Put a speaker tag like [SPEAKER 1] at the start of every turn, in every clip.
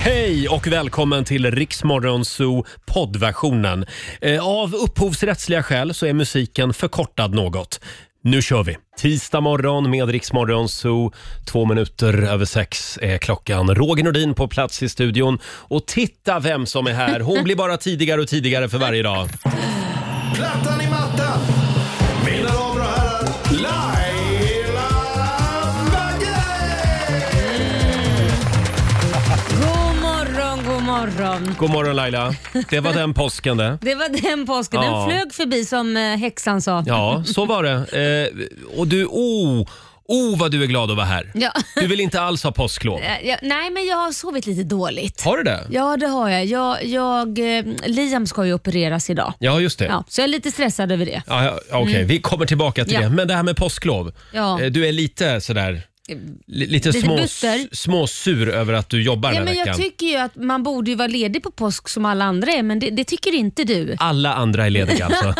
[SPEAKER 1] Hej och välkommen till Riksmorgon Zoo poddversionen. Eh, Av upphovsrättsliga skäl så är musiken förkortad något. Nu kör vi! Tisdag morgon med Riksmorgon Zoo. Två minuter över sex är klockan. Roger Nordin på plats i studion. Och titta vem som är här! Hon blir bara tidigare och tidigare för varje dag.
[SPEAKER 2] Plattan i mattan! Mina damer och herrar, Laila Bagge!
[SPEAKER 3] God morgon, god morgon.
[SPEAKER 1] God morgon Laila! Det var den påsken det.
[SPEAKER 3] Det var den påsken.
[SPEAKER 1] Ja.
[SPEAKER 3] Den flög förbi som eh, häxan sa.
[SPEAKER 1] Ja, så var det. Eh, och du, oh, oh vad du är glad att vara här.
[SPEAKER 3] Ja.
[SPEAKER 1] Du vill inte alls ha påsklov.
[SPEAKER 3] Eh, jag- Nej, men jag har sovit lite dåligt.
[SPEAKER 1] Har du det?
[SPEAKER 3] Ja, det har jag. jag, jag eh, Liam ska ju opereras idag.
[SPEAKER 1] Ja, just det.
[SPEAKER 3] Ja,
[SPEAKER 1] Ja.
[SPEAKER 3] så jag är lite stressad över det.
[SPEAKER 1] Ja, Okej, vi kommer tillbaka till
[SPEAKER 3] Ja.
[SPEAKER 1] det. Men det här med påsklov.
[SPEAKER 3] Ja.
[SPEAKER 1] Eh, Du är lite sådär,
[SPEAKER 3] Eh,
[SPEAKER 1] li- lite,
[SPEAKER 3] Lite
[SPEAKER 1] små,
[SPEAKER 3] butter.
[SPEAKER 1] småsur över att du jobbar
[SPEAKER 3] Ja,
[SPEAKER 1] den här
[SPEAKER 3] men jag
[SPEAKER 1] veckan.
[SPEAKER 3] tycker ju att man borde ju vara ledig på påsk som alla andra är, men det, det tycker inte du.
[SPEAKER 1] Alla andra är lediga alltså.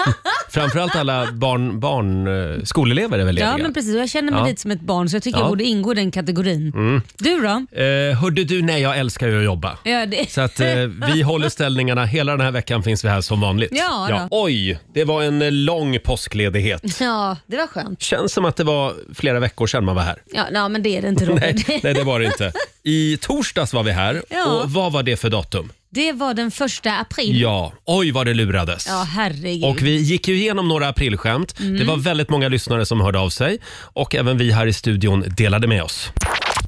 [SPEAKER 1] Framförallt alla barn, barn, eh, skolelever är väl lediga.
[SPEAKER 3] Ja, men precis. Och Jag känner mig
[SPEAKER 1] Ja.
[SPEAKER 3] lite som ett barn, så jag tycker
[SPEAKER 1] Ja. Mm.
[SPEAKER 3] jag borde ingå i den kategorin. Du då?
[SPEAKER 1] eh, hörde du, nej jag älskar ju att jobba.
[SPEAKER 3] Ja, det...
[SPEAKER 1] Så att eh, vi håller ställningarna. Hela den här veckan finns vi här som vanligt.
[SPEAKER 3] Ja, då.
[SPEAKER 1] Oj, det var en eh, lång påskledighet.
[SPEAKER 3] ja, det var skönt.
[SPEAKER 1] Känns som att det var flera veckor sedan man var här.
[SPEAKER 3] Ja, nej, men det är det inte Roger.
[SPEAKER 1] Nej,
[SPEAKER 3] Det-
[SPEAKER 1] nej, det var det inte. I torsdags var vi här.
[SPEAKER 3] Ja.
[SPEAKER 1] Och vad var det för datum?
[SPEAKER 3] Det var den första april.
[SPEAKER 1] Ja, oj vad det lurades.
[SPEAKER 3] Ja, herregud. Mm.
[SPEAKER 1] Och vi gick ju igenom några aprilskämt. Det var väldigt många lyssnare som hörde av sig och även vi här i studion delade med oss.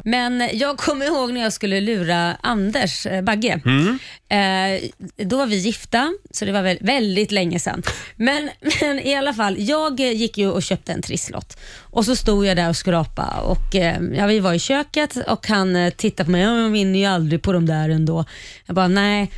[SPEAKER 3] Men jag kommer ihåg när jag skulle lura Anders eh, Bagge.
[SPEAKER 1] Mm.
[SPEAKER 3] Eh, då var vi gifta, så det var väl väldigt länge sedan. Men, men i alla fall, jag eh, gick ju och köpte en trisslott och så stod jag där och skrapade och eh, ja, vi var i köket och han eh, tittade på mig, jag vinner ju aldrig på de där ändå. Jag bara, nej.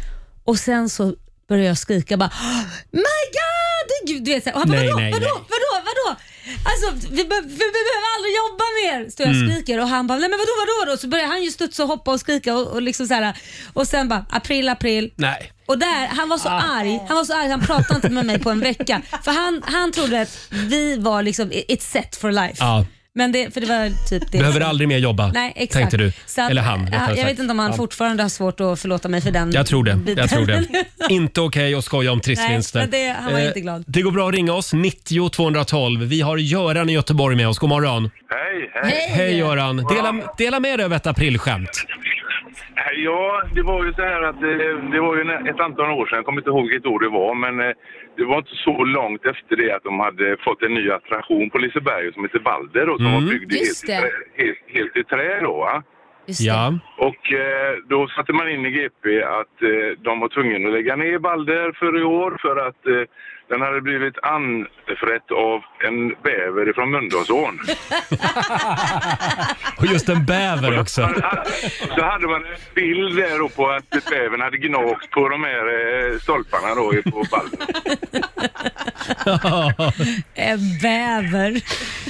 [SPEAKER 3] Och sen så började jag skrika bara, "Oh my god! Gud, Du vet, så här. och han bara,
[SPEAKER 1] Nej,
[SPEAKER 3] vadå,
[SPEAKER 1] nej,
[SPEAKER 3] vadå,
[SPEAKER 1] nej.
[SPEAKER 3] vadå, vadå? Alltså, vi, be- vi behöver aldrig jobba mer, står
[SPEAKER 1] Mm.
[SPEAKER 3] jag och skriker och han bara, nej men vadå, vadå, vadå? Så börjar han ju studsa och hoppa och skrika och, och liksom så här. Och sen bara, april, april.
[SPEAKER 1] Nej.
[SPEAKER 3] Och där, han var så
[SPEAKER 1] Ah.
[SPEAKER 3] arg, han var så arg, han pratade inte med mig på en vecka. För han, han trodde att vi var liksom, it's set for life.
[SPEAKER 1] Ja.
[SPEAKER 3] Men det, för det var typ det.
[SPEAKER 1] Behöver aldrig mer jobba,
[SPEAKER 3] Nej, exakt.
[SPEAKER 1] tänkte du.
[SPEAKER 3] Så att,
[SPEAKER 1] Eller han,
[SPEAKER 3] ja,
[SPEAKER 1] rättare
[SPEAKER 3] Jag
[SPEAKER 1] sagt.
[SPEAKER 3] vet inte om han
[SPEAKER 1] Ja.
[SPEAKER 3] fortfarande har svårt att förlåta mig för den
[SPEAKER 1] Jag tror det.
[SPEAKER 3] biten.
[SPEAKER 1] Jag tror det. Inte okej att skoja om
[SPEAKER 3] Nej,
[SPEAKER 1] trissvinster. Eh,
[SPEAKER 3] men det- han var inte glad.
[SPEAKER 1] Det går bra att ringa oss, 90 212. Vi har Göran i Göteborg med oss. God morgon.
[SPEAKER 4] Hej, hej.
[SPEAKER 3] Hej.
[SPEAKER 1] Hej Göran. Dela, dela med dig av ett aprilskämt.
[SPEAKER 4] Hej, Ja, det var ju så här att eh, det var ju en- ett antal år sedan, jag kommer inte ihåg vilket år det var, men eh, det var inte så långt efter det att de hade fått en ny attraktion på Liseberg som heter Balder och som var byggd i
[SPEAKER 3] Just
[SPEAKER 4] helt, i
[SPEAKER 3] det.
[SPEAKER 4] trä, helt, helt i trä då va.
[SPEAKER 3] Just det.
[SPEAKER 1] Ja.
[SPEAKER 4] Och eh, då satte man in i GP att eh, de var tvungna att lägga ner Balder för i år för att eh, den hade blivit anfrätt av en bäver från Mölndalsån.
[SPEAKER 1] Och just en bäver också.
[SPEAKER 4] Så hade man en bild där då på att bävern hade gnagt på de här eh, stolparna då i- på ballen.
[SPEAKER 3] Eh, Bäver.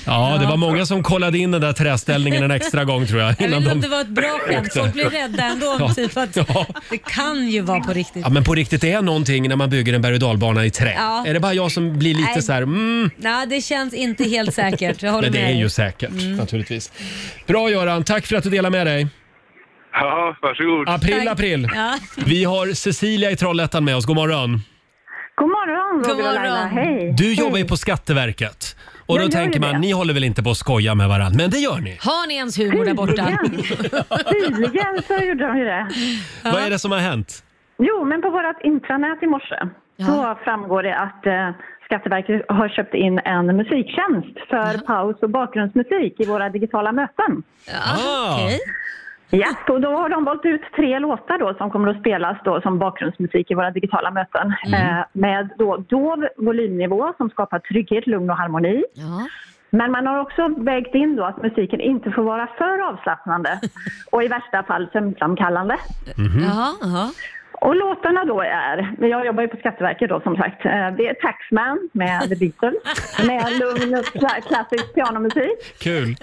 [SPEAKER 1] Ja, det var många som kollade in den där träställningen en extra gång tror jag.
[SPEAKER 3] Jag vet
[SPEAKER 1] Innan
[SPEAKER 3] inte om
[SPEAKER 1] de...
[SPEAKER 3] det var ett bra skämt.
[SPEAKER 1] åkte.
[SPEAKER 3] Folk blir rädda ändå. om
[SPEAKER 1] Ja,
[SPEAKER 3] Typ att
[SPEAKER 1] ja.
[SPEAKER 3] Det kan ju vara på riktigt.
[SPEAKER 1] Ja, men på riktigt, det är någonting när man bygger en berg och dalbana i trä.
[SPEAKER 3] Ja.
[SPEAKER 1] Är det bara jag som blir lite
[SPEAKER 3] Nej.
[SPEAKER 1] så här, mm,
[SPEAKER 3] Nej, det känns inte helt säkert. Jag håller
[SPEAKER 1] men det
[SPEAKER 3] med
[SPEAKER 1] är
[SPEAKER 3] dig. Mm.
[SPEAKER 1] ju säkert naturligtvis. Bra Göran, tack för att du delar med dig.
[SPEAKER 4] Ja, varsågod.
[SPEAKER 1] April,
[SPEAKER 3] Tack.
[SPEAKER 1] april.
[SPEAKER 3] Ja.
[SPEAKER 1] Vi har Cecilia i Trollhättan med oss, god morgon.
[SPEAKER 5] God morgon,
[SPEAKER 3] God
[SPEAKER 5] Roger och Laila.
[SPEAKER 3] morgon.
[SPEAKER 5] Hej.
[SPEAKER 1] Du jobbar ju på Skatteverket. Och då
[SPEAKER 5] Jag gör
[SPEAKER 1] tänker man,
[SPEAKER 5] det.
[SPEAKER 1] ni håller väl inte på att skoja med varandra? Men det gör ni.
[SPEAKER 3] Har ni ens humor där borta?
[SPEAKER 5] Tydligen så gjorde de ju det.
[SPEAKER 1] Vad är det som har hänt?
[SPEAKER 5] Jo, men på vårt intranät i morse så framgår det att eh, Skatteverket har köpt in en musiktjänst för paus och bakgrundsmusik i våra digitala möten.
[SPEAKER 1] Ah.
[SPEAKER 3] Okej.
[SPEAKER 5] Ja, och då har de valt ut tre låtar då som kommer att spelas då som bakgrundsmusik i våra digitala möten.
[SPEAKER 3] Mm.
[SPEAKER 5] Eh, med då dov volymnivå som skapar trygghet, lugn och harmoni.
[SPEAKER 3] Ja.
[SPEAKER 5] Men man har också vägt in då att musiken inte får vara för avslappnande och i värsta fall sömnframkallande.
[SPEAKER 1] Mhm. Mm.
[SPEAKER 3] Jaha, jaha.
[SPEAKER 5] Och låtarna då är, men jag jobbar ju på Skatteverket då som sagt, Eh, det är Taxman med The Beatles med lugn och kla- klassisk pianomusik
[SPEAKER 1] Kul.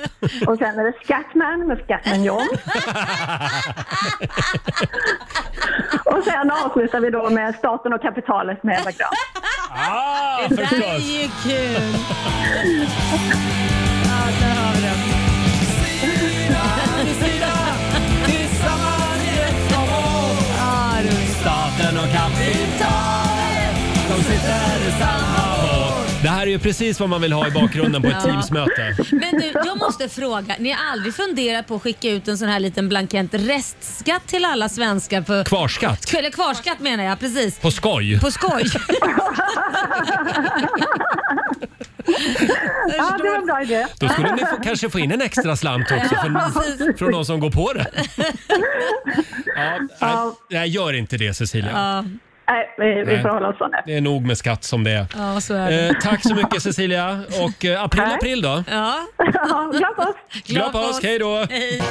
[SPEAKER 5] och sen är det Scatman med Scatman John. Och sen avslutar vi då med Staten och kapitalet med Eva Grön.
[SPEAKER 1] Ah,
[SPEAKER 3] Det där är ju kul. Ja, där har vi den.
[SPEAKER 2] Tillsammans i ett sammanhang.
[SPEAKER 1] Det här är ju precis vad man vill ha i bakgrunden på ett
[SPEAKER 3] Ja.
[SPEAKER 1] Teamsmöte.
[SPEAKER 3] Men du, jag måste fråga. Ni har aldrig funderat på att skicka ut en sån här liten blankett restskatt till alla svenskar? På,
[SPEAKER 1] Kvarskatt.
[SPEAKER 3] eller kvarskatt menar jag, precis.
[SPEAKER 1] På skoj.
[SPEAKER 3] På skoj.
[SPEAKER 5] Ja, det var en bra idé.
[SPEAKER 1] Då skulle ni få, kanske få in en extra slant också från, från de som går på det. Ja, nej, nej, gör inte det Cecilia.
[SPEAKER 3] Ja,
[SPEAKER 5] Nej, vi, vi får hålla oss så nu.
[SPEAKER 1] Det är nog med skatt som det är.
[SPEAKER 3] ja, så är
[SPEAKER 1] Eh,
[SPEAKER 3] det.
[SPEAKER 1] tack så mycket Cecilia och eh, april april då.
[SPEAKER 3] Ja,
[SPEAKER 5] Ja, glad påsk!
[SPEAKER 1] Glad påsk, hej då!
[SPEAKER 3] Hej.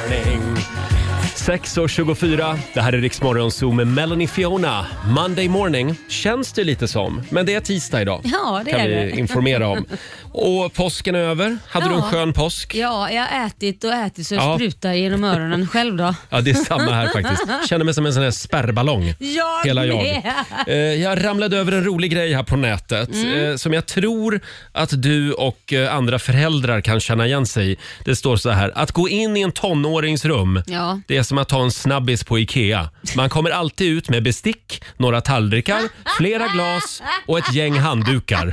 [SPEAKER 1] 6.24, det här är Riksmorgon Zoo med Melanie Fiona. Monday morning känns det lite som, men det är tisdag idag.
[SPEAKER 3] Ja, det
[SPEAKER 1] kan
[SPEAKER 3] är
[SPEAKER 1] vi
[SPEAKER 3] det.
[SPEAKER 1] informera om. Och påsken är över. Hade du en
[SPEAKER 3] Ja.
[SPEAKER 1] skön påsk?
[SPEAKER 3] Ja, jag har ätit och ätit så jag
[SPEAKER 1] Ja.
[SPEAKER 3] sprutar genom öronen själv då.
[SPEAKER 1] Ja, det är samma här faktiskt. Känner mig som en sån här spärrballong.
[SPEAKER 3] Jag
[SPEAKER 1] Hela jag.
[SPEAKER 3] med.
[SPEAKER 1] Eh, Jag ramlade över en rolig grej här på nätet
[SPEAKER 3] Mm.
[SPEAKER 1] eh, som jag tror att du och eh, andra föräldrar kan känna igen sig i. Det står så här, att gå in i en tonårings rum
[SPEAKER 3] Ja.
[SPEAKER 1] det är som att ta en snabbis på IKEA. Man kommer alltid ut med bestick, några tallrikar, flera glas och ett gäng handdukar.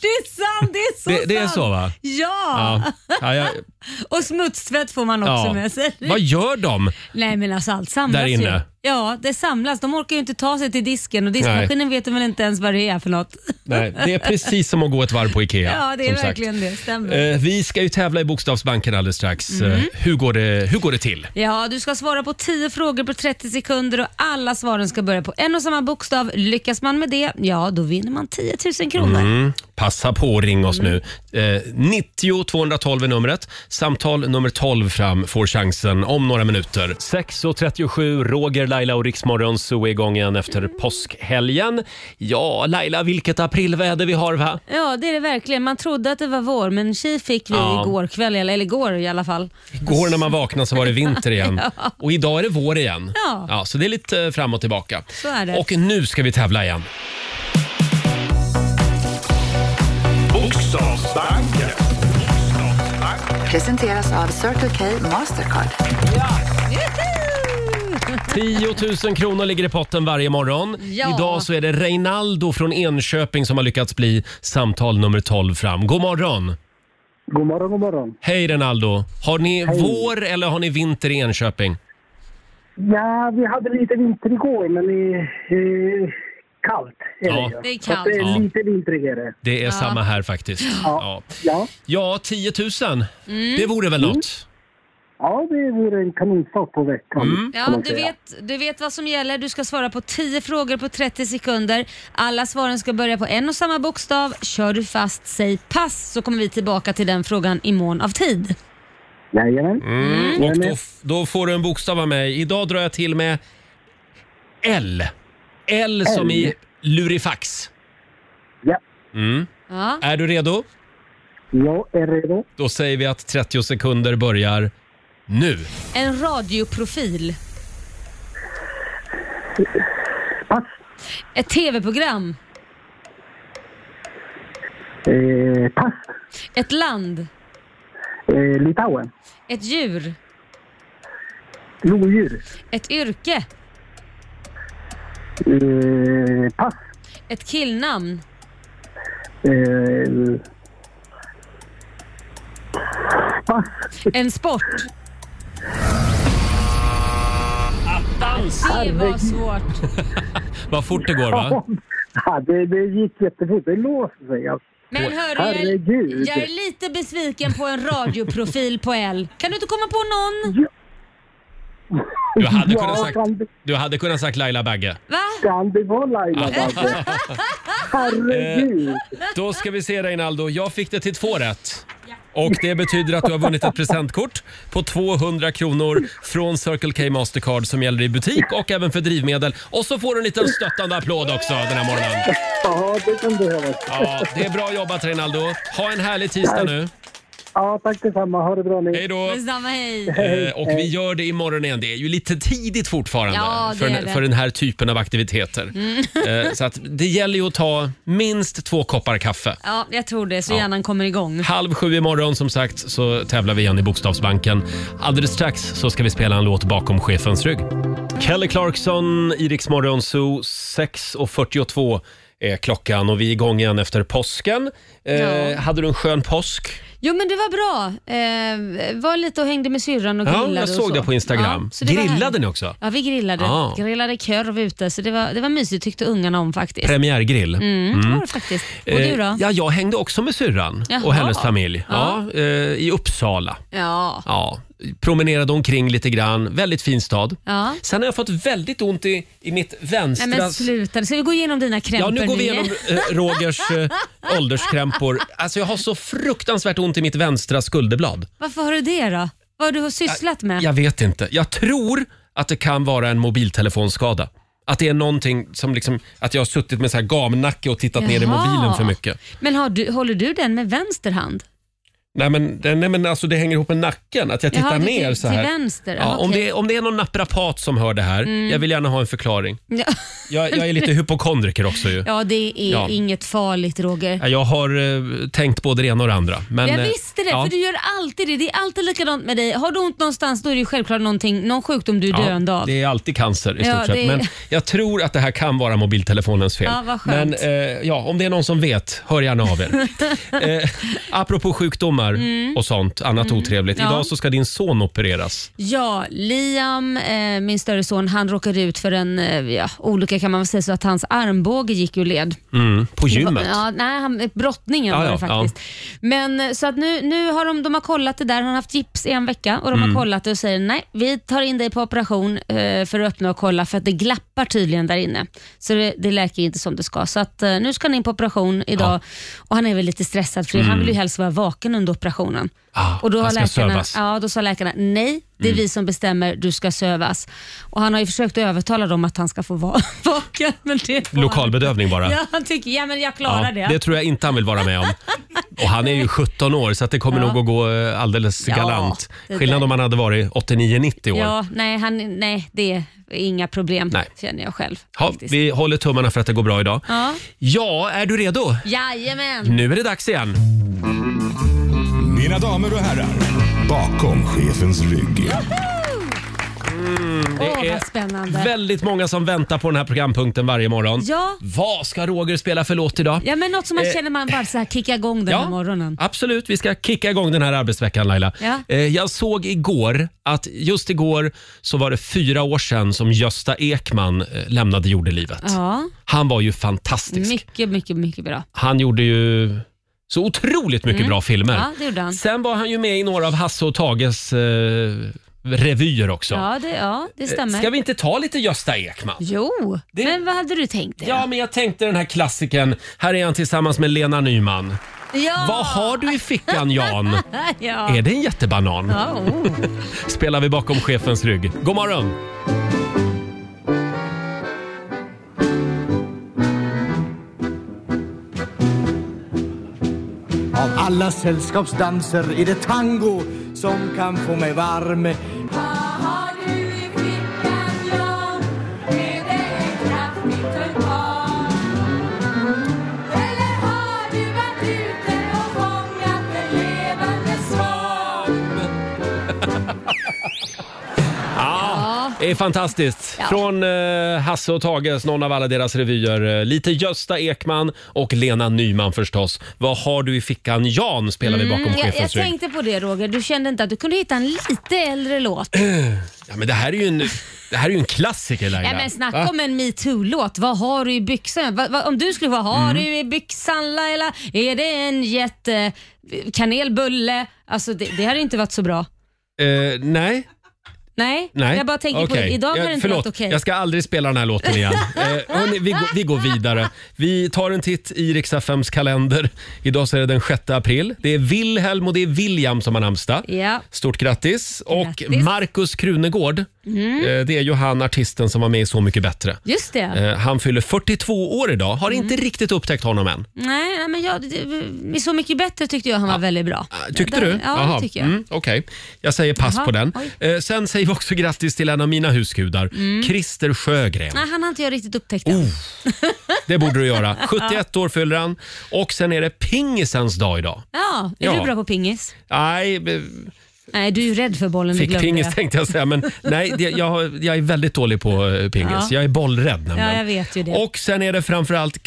[SPEAKER 3] Det är sant, det är så
[SPEAKER 1] Det- det är
[SPEAKER 3] sant.
[SPEAKER 1] så, va?
[SPEAKER 3] Ja.
[SPEAKER 1] Ja. Ja, jag,
[SPEAKER 3] och smutstvätt får man också
[SPEAKER 1] ja.
[SPEAKER 3] med sig.
[SPEAKER 1] Vad gör de?
[SPEAKER 3] Nej men alltså allt samlas
[SPEAKER 1] Där inne.
[SPEAKER 3] ju. Ja, det samlas. De orkar ju inte ta sig till disken och diskmaskinen vet de väl inte ens vad det är för något.
[SPEAKER 1] Nej, det är precis som att gå ett varv på IKEA.
[SPEAKER 3] Ja, det är
[SPEAKER 1] som sagt.
[SPEAKER 3] verkligen det. Stämmer.
[SPEAKER 1] Eh, Vi ska ju tävla i Bokstavsbanken alldeles strax.
[SPEAKER 3] Mhm.
[SPEAKER 1] Eh, Hur, går det, hur går det till?
[SPEAKER 3] Ja, du ska svara på 10 frågor på 30 sekunder och alla svaren ska börja på en och samma bokstav. Lyckas man med det, ja då vinner man 10 000 kronor.
[SPEAKER 1] Mm. Passa på att ringa oss nu. Eh, 90 212 är numret. Samtal nummer 12 fram får chansen om några minuter. 6.37, Roger, Laila och Riksmorgon så är igång igen efter påskhelgen. Ja, Laila, vilket aprilväder vi har va?
[SPEAKER 3] Ja, det är det verkligen. Man trodde att det var vår, men tji fick vi
[SPEAKER 1] Ja.
[SPEAKER 3] igår kväll, eller eller igår i alla fall.
[SPEAKER 1] Igår när man vaknade så var det vinter igen. Och idag är det vår igen.
[SPEAKER 3] Ja.
[SPEAKER 1] så det är lite fram och tillbaka.
[SPEAKER 3] Så är det.
[SPEAKER 1] Och nu ska vi tävla igen.
[SPEAKER 2] Bokstavsbanken.
[SPEAKER 6] Presenteras av Circle K Mastercard.
[SPEAKER 1] 10 000 kronor ligger i potten varje morgon.
[SPEAKER 3] Ja.
[SPEAKER 1] Idag så är det Reinaldo från Enköping som har lyckats bli samtal nummer 12 fram. God morgon!
[SPEAKER 7] God morgon, god morgon.
[SPEAKER 1] Hej Reinaldo! Har ni vår eller har ni vinter i Enköping?
[SPEAKER 7] Ja, vi hade lite vinter igår, men det är eh, kallt. är
[SPEAKER 1] Ja.
[SPEAKER 7] ju.
[SPEAKER 3] Det är kallt.
[SPEAKER 7] Så att Det är
[SPEAKER 1] Ja.
[SPEAKER 7] lite vintrigare.
[SPEAKER 1] Det är samma här faktiskt. Ja,
[SPEAKER 7] Ja. Mm.
[SPEAKER 1] ja 10 000. Det vore väl något?
[SPEAKER 7] ja, det vore en kanonstart på veckan.
[SPEAKER 1] Mm.
[SPEAKER 7] kan
[SPEAKER 3] Ja,
[SPEAKER 7] man
[SPEAKER 3] du
[SPEAKER 7] säga.
[SPEAKER 3] vet, du vet vad som gäller. Du ska svara på 10 frågor på 30 sekunder. Alla svaren ska börja på en och samma bokstav. Kör du fast, säg pass, så kommer vi tillbaka till den frågan i mån av tid.
[SPEAKER 7] Jajamän.
[SPEAKER 1] Mm. Och då, f- då får du en bokstav av mig. Idag drar jag till med L. L som i lurifax.
[SPEAKER 7] Ja.
[SPEAKER 1] Mm.
[SPEAKER 3] Ja.
[SPEAKER 1] Är du redo?
[SPEAKER 7] Jag är redo.
[SPEAKER 1] Då säger vi att 30 sekunder börjar nu.
[SPEAKER 3] En radioprofil.
[SPEAKER 7] Pass.
[SPEAKER 3] Ett tv-program.
[SPEAKER 7] Eh, pass.
[SPEAKER 3] Ett land.
[SPEAKER 7] Eh, Litauen.
[SPEAKER 3] Ett djur.
[SPEAKER 7] Lodjur.
[SPEAKER 3] Ett yrke.
[SPEAKER 7] Eh, pass.
[SPEAKER 3] Ett killnamn.
[SPEAKER 7] Eh, pass.
[SPEAKER 3] En sport.
[SPEAKER 1] Ah. Dans!
[SPEAKER 3] Det var svårt.
[SPEAKER 1] Vad fort det går va?
[SPEAKER 7] Ja, det, det gick jättefort. Det låser sig. Alltså.
[SPEAKER 3] Men hörru, jag,
[SPEAKER 7] Herregud.
[SPEAKER 3] jag är lite besviken på en radioprofil på L. Kan du inte komma på någon?
[SPEAKER 1] Du hade kunnat
[SPEAKER 7] Ja,
[SPEAKER 1] sagt,
[SPEAKER 7] kan det-
[SPEAKER 1] du hade kunnat sagt Laila Bagge.
[SPEAKER 3] Va?
[SPEAKER 7] kan det vara Laila Bagge? Herregud.
[SPEAKER 1] Eh, Då ska vi se Reinaldo. Jag fick det till två rätt. Och det betyder att du har vunnit ett presentkort på 200 kronor från Circle K Mastercard som gäller i butik och även för drivmedel. Och så får du en liten stöttande applåd också den här morgonen.
[SPEAKER 7] Ja, det kan behövas.
[SPEAKER 1] Ja, det är bra jobbat Reinaldo. Ha en härlig tisdag nu.
[SPEAKER 7] Ja, tack detsamma. Ha det bra ni.
[SPEAKER 1] Hej då!
[SPEAKER 3] Detsamma, hej.
[SPEAKER 1] Eh, och vi gör det imorgon igen. Det är ju lite tidigt fortfarande
[SPEAKER 3] Ja, det
[SPEAKER 1] för,
[SPEAKER 3] är
[SPEAKER 1] den,
[SPEAKER 3] det. Mm.
[SPEAKER 1] för den här typen av aktiviteter. Eh, så att det gäller ju att ta minst två koppar kaffe.
[SPEAKER 3] Ja, jag tror det, så hjärnan kommer igång.
[SPEAKER 1] Halv sju imorgon som sagt så tävlar vi igen i Bokstavsbanken. Alldeles strax så ska vi spela en låt bakom chefens rygg. Kelly Clarkson, Iriks morgonzoo 6.42 är klockan och vi är igång igen efter påsken. Eh,
[SPEAKER 3] Ja.
[SPEAKER 1] Hade du en skön påsk?
[SPEAKER 3] Jo men det var bra. Eh, var lite och hängde med syrran och
[SPEAKER 1] Ja,
[SPEAKER 3] grillade
[SPEAKER 1] jag
[SPEAKER 3] och
[SPEAKER 1] såg
[SPEAKER 3] så.
[SPEAKER 1] det på Instagram.
[SPEAKER 3] Ja, så det var
[SPEAKER 1] Grillade
[SPEAKER 3] härligt.
[SPEAKER 1] ni också?
[SPEAKER 3] Ja, vi grillade.
[SPEAKER 1] Ah.
[SPEAKER 3] Grillade korv ute, så det var, det var mysigt tyckte ungarna om faktiskt.
[SPEAKER 1] Premiärgrill.
[SPEAKER 3] Mm,
[SPEAKER 1] Mm.
[SPEAKER 3] det var det faktiskt. Och du
[SPEAKER 1] Eh,
[SPEAKER 3] då?
[SPEAKER 1] Ja, jag hängde också med syrran
[SPEAKER 3] Jaha.
[SPEAKER 1] och hennes familj. Ja. eh, I Uppsala.
[SPEAKER 3] Ja.
[SPEAKER 1] Ja, promenerade omkring lite grann. Väldigt fin stad.
[SPEAKER 3] Ja.
[SPEAKER 1] Sen har jag fått väldigt ont i, i mitt vänstra...
[SPEAKER 3] Nej men sluta, ska vi gå igenom dina krämpor
[SPEAKER 1] Ja, nu går vi
[SPEAKER 3] igen?
[SPEAKER 1] igenom eh, Rogers eh, ålderskrämpor. Alltså jag har så fruktansvärt ont i mitt vänstra skulderblad.
[SPEAKER 3] Varför har du det då? Vad har du har sysslat med?
[SPEAKER 1] Jag vet inte. Jag tror att det kan vara en mobiltelefonskada. Att det är någonting som liksom, att jag har suttit med så här gamnacke och tittat ner i
[SPEAKER 3] Jaha.
[SPEAKER 1] mobilen för mycket.
[SPEAKER 3] Men har du, håller du den med vänster hand?
[SPEAKER 1] Nej men, det- nej, men alltså det hänger ihop med nacken, att jag tittar
[SPEAKER 3] Jaha, det-
[SPEAKER 1] ner
[SPEAKER 3] till-
[SPEAKER 1] så här.
[SPEAKER 3] till vänster,
[SPEAKER 1] Ja, om,
[SPEAKER 3] okej.
[SPEAKER 1] det, är- om det är någon naprapat som hör det här,
[SPEAKER 3] Mm.
[SPEAKER 1] jag vill gärna ha en förklaring.
[SPEAKER 3] Ja,
[SPEAKER 1] Jag, jag är lite hypokondriker också ju.
[SPEAKER 3] ja det är
[SPEAKER 1] Ja.
[SPEAKER 3] inget farligt Roger.
[SPEAKER 1] Ja, Jag har eh, tänkt både det ena och det andra. Men,
[SPEAKER 3] jag
[SPEAKER 1] eh,
[SPEAKER 3] visste det,
[SPEAKER 1] ja.
[SPEAKER 3] för du gör alltid det. Det är alltid likadant med dig. Har du ont någonstans då är det ju självklart någonting, någon sjukdom du är döende av.
[SPEAKER 1] Det är alltid cancer i
[SPEAKER 3] Ja,
[SPEAKER 1] stort sett.
[SPEAKER 3] det-
[SPEAKER 1] Men jag tror att det här kan vara mobiltelefonens fel.
[SPEAKER 3] Ja, vad skönt.
[SPEAKER 1] Men eh, ja, om det är någon som vet, hör gärna av er. eh, apropå sjukdomar
[SPEAKER 3] Mm.
[SPEAKER 1] och sånt, annat
[SPEAKER 3] Mm.
[SPEAKER 1] otrevligt.
[SPEAKER 3] Ja.
[SPEAKER 1] Idag så ska din son opereras.
[SPEAKER 3] Ja, Liam, eh, min större son, han råkade ut för en eh, ja, olycka kan man väl säga så att hans armbåge gick ur led.
[SPEAKER 1] Mm, på gymmet.
[SPEAKER 3] Ja, nej, han, brottningen
[SPEAKER 1] Ja,
[SPEAKER 3] var
[SPEAKER 1] ja,
[SPEAKER 3] det faktiskt. Men eh, så att nu, nu har de, de har kollat det där, han har haft gips i en vecka och de
[SPEAKER 1] Mm.
[SPEAKER 3] har kollat det och säger nej, vi tar in dig på operation eh, för att öppna och kolla för att det glappar tydligen där inne. Så det, det läker inte som det ska. Så att eh, nu ska han in på operation idag och han är väl lite stressad för
[SPEAKER 1] Mm. Ah,
[SPEAKER 3] han vill ju helst vara vaken under operationen. och då, har
[SPEAKER 1] han ska
[SPEAKER 3] läkarna,
[SPEAKER 1] sövas. Mm.
[SPEAKER 3] ja, då sa läkarna nej, det är vi som bestämmer, du ska sövas. Och han har ju försökt att övertala dem att han ska få vara vaken. Men det får han
[SPEAKER 1] Lokalbedövning bara.
[SPEAKER 3] Ja, han tycker, ja men jag klarar
[SPEAKER 1] Ja,
[SPEAKER 3] det.
[SPEAKER 1] det tror jag inte han vill vara med om. Och han är ju 17 år så att det kommer
[SPEAKER 3] Ja.
[SPEAKER 1] nog att gå eh, alldeles
[SPEAKER 3] Ja,
[SPEAKER 1] galant.
[SPEAKER 3] det
[SPEAKER 1] Skillnad om han hade varit 89-90 år.
[SPEAKER 3] Ja, nej, han, nej, det är inga problem känner jag själv.
[SPEAKER 1] Ja, vi håller tummarna för att det går bra idag.
[SPEAKER 3] Ja.
[SPEAKER 1] Ja, är du redo?
[SPEAKER 3] Jajamän.
[SPEAKER 1] Nu är det dags igen.
[SPEAKER 8] Mina damer och herrar, bakom chefens rygg.
[SPEAKER 1] Mm, det
[SPEAKER 3] Åh, vad
[SPEAKER 1] är
[SPEAKER 3] spännande.
[SPEAKER 1] väldigt många som väntar på den här programpunkten varje morgon.
[SPEAKER 3] Ja.
[SPEAKER 1] Vad ska Roger spela för låt idag?
[SPEAKER 3] Ja, men något som man
[SPEAKER 1] Eh,
[SPEAKER 3] känner man bara så här kickar igång den
[SPEAKER 1] ja.
[SPEAKER 3] här morgonen.
[SPEAKER 1] Absolut, vi ska kicka igång den här arbetsveckan Laila.
[SPEAKER 3] Ja.
[SPEAKER 1] Eh, Jag såg igår att just igår så var det fyra år sedan som Gösta Ekman eh, lämnade jordelivet.
[SPEAKER 3] Ja, Mm.
[SPEAKER 1] Han var ju fantastisk.
[SPEAKER 3] mycket, mycket, mycket bra.
[SPEAKER 1] Han gjorde ju så otroligt mycket
[SPEAKER 3] Mm.
[SPEAKER 1] bra filmer.
[SPEAKER 3] Ja, det gjorde han.
[SPEAKER 1] Sen var han ju med i några av Hasse och Tages eh, revyer också.
[SPEAKER 3] Ja, det, ja, det stämmer.
[SPEAKER 1] Eh, Ska vi inte ta lite Gösta Ekman?
[SPEAKER 3] Jo, men vad hade du tänkt dig?
[SPEAKER 1] Ja, men jag tänkte den här klassiken. Här är han tillsammans med Lena Nyman.
[SPEAKER 3] Ja.
[SPEAKER 1] Vad har du i fickan Jan?
[SPEAKER 3] ja.
[SPEAKER 1] Är det en jättebanan?
[SPEAKER 3] Ja, oh.
[SPEAKER 1] Spelar vi bakom chefens rygg. God morgon!
[SPEAKER 9] Av alla sällskapsdanser är det tango som kan få mig varm.
[SPEAKER 1] Ja, det är fantastiskt. Från eh, Hasse och Tages, någon av alla deras revyer. Eh, Lite Gösta Ekman och Lena Nyman förstås. Vad har du i fickan Jan spelar vi bakom
[SPEAKER 3] Mm, jag, jag
[SPEAKER 1] chefens rygg.
[SPEAKER 3] tänkte på det Roger, du kände inte att du kunde hitta en lite äldre låt?
[SPEAKER 1] Ja, men det här är ju en, det här är ju en klassiker Laila.
[SPEAKER 3] Ja, men snacka
[SPEAKER 1] Va?
[SPEAKER 3] om en metoo-låt. Vad har du i byxan? Vad- vad- om du skulle vara, har
[SPEAKER 1] Mm.
[SPEAKER 3] du i byxan Laila? Är det en jätte kanelbulle? Alltså det, det hade inte varit så bra.
[SPEAKER 1] Eh, nej.
[SPEAKER 3] Nej,
[SPEAKER 1] Nej.
[SPEAKER 3] jag bara tänker på
[SPEAKER 1] Okej.
[SPEAKER 3] det. Idag har
[SPEAKER 1] Jag-
[SPEAKER 3] det inte
[SPEAKER 1] förlåt,
[SPEAKER 3] varit okej.
[SPEAKER 1] Jag ska aldrig spela den här låten igen. eh, hörni, vi, går- vi går vidare. Vi tar en titt i Riks-FMs kalender. Idag så är det den 6 april. Det är Wilhelm och det är William som har namnsdag.
[SPEAKER 3] Ja.
[SPEAKER 1] Stort grattis! Och
[SPEAKER 3] Grattis.
[SPEAKER 1] Markus Krunegård,
[SPEAKER 3] Mm.
[SPEAKER 1] eh, det är ju han artisten som var med i Så mycket bättre.
[SPEAKER 3] Just det.
[SPEAKER 1] Eh, Han fyller 42 år idag.
[SPEAKER 3] Mm.
[SPEAKER 1] Har inte riktigt upptäckt honom än.
[SPEAKER 3] Nej, nej, men jag, det, Så mycket bättre tyckte jag han var väldigt bra.
[SPEAKER 1] Ah. Tyckte
[SPEAKER 3] Där-
[SPEAKER 1] du?
[SPEAKER 3] Ja,
[SPEAKER 1] Jaha,
[SPEAKER 3] det tycker jag.
[SPEAKER 1] Mm, Okej, jag säger pass
[SPEAKER 3] Jaha,
[SPEAKER 1] på den.
[SPEAKER 3] oj.
[SPEAKER 1] Eh, sen säger vi också grattis till en av mina husgudar,
[SPEAKER 3] Mm.
[SPEAKER 1] Christer Sjögren.
[SPEAKER 3] Nej, han har inte jag riktigt upptäckt än.
[SPEAKER 1] Det borde du göra. 71 år fyller han. Och sen är det pingisens dag idag.
[SPEAKER 3] Ja, är
[SPEAKER 1] Ja.
[SPEAKER 3] du bra på pingis?
[SPEAKER 1] Nej, b-
[SPEAKER 3] Nej, du är ju rädd för bollen. du
[SPEAKER 1] Fick
[SPEAKER 3] glömde
[SPEAKER 1] pingis
[SPEAKER 3] det.
[SPEAKER 1] tänkte jag säga, men nej, det, jag, har- jag är väldigt dålig på eh, pingis.
[SPEAKER 3] Ja.
[SPEAKER 1] Jag är bollrädd
[SPEAKER 3] Ja,
[SPEAKER 1] nämligen.
[SPEAKER 3] jag vet ju det.
[SPEAKER 1] Och sen är det framförallt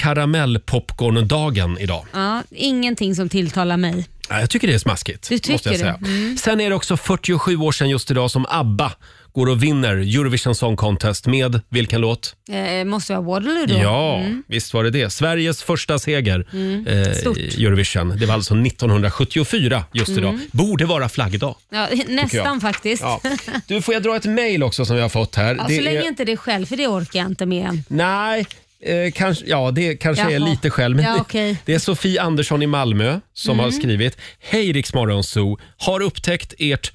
[SPEAKER 1] karamellpopcorndagen idag.
[SPEAKER 3] Ja, ingenting som tilltalar mig.
[SPEAKER 1] Ja, Jag tycker det är smaskigt.
[SPEAKER 3] Du tycker
[SPEAKER 1] måste jag
[SPEAKER 3] det?
[SPEAKER 1] säga.
[SPEAKER 3] Mm.
[SPEAKER 1] Sen är det också 47 år sedan just idag som ABBA går och vinner Eurovision Song Contest med vilken låt?
[SPEAKER 3] Eh, måste vara Waterloo då?
[SPEAKER 1] Ja,
[SPEAKER 3] Mm.
[SPEAKER 1] visst var det det. Sveriges första seger
[SPEAKER 3] Mm. Stort.
[SPEAKER 1] eh, i Eurovision. Det var alltså 1974 just
[SPEAKER 3] Mm.
[SPEAKER 1] idag. Borde vara flaggdag.
[SPEAKER 3] Ja,
[SPEAKER 1] jag.
[SPEAKER 3] nästan faktiskt.
[SPEAKER 1] Ja. Du, får jag dra ett mejl också som jag har fått här?
[SPEAKER 3] Ja,
[SPEAKER 1] Det
[SPEAKER 3] så länge
[SPEAKER 1] är-
[SPEAKER 3] inte det är själv, för det orkar jag inte med än.
[SPEAKER 1] Nej, eh, kanske, ja, det kanske är
[SPEAKER 3] Jaha.
[SPEAKER 1] lite själv. Men
[SPEAKER 3] Ja,
[SPEAKER 1] det-
[SPEAKER 3] okej.
[SPEAKER 1] Det är Sofie Andersson i Malmö som
[SPEAKER 3] Mm.
[SPEAKER 1] har skrivit. Hej Rix Morgonzoo! Har upptäckt ert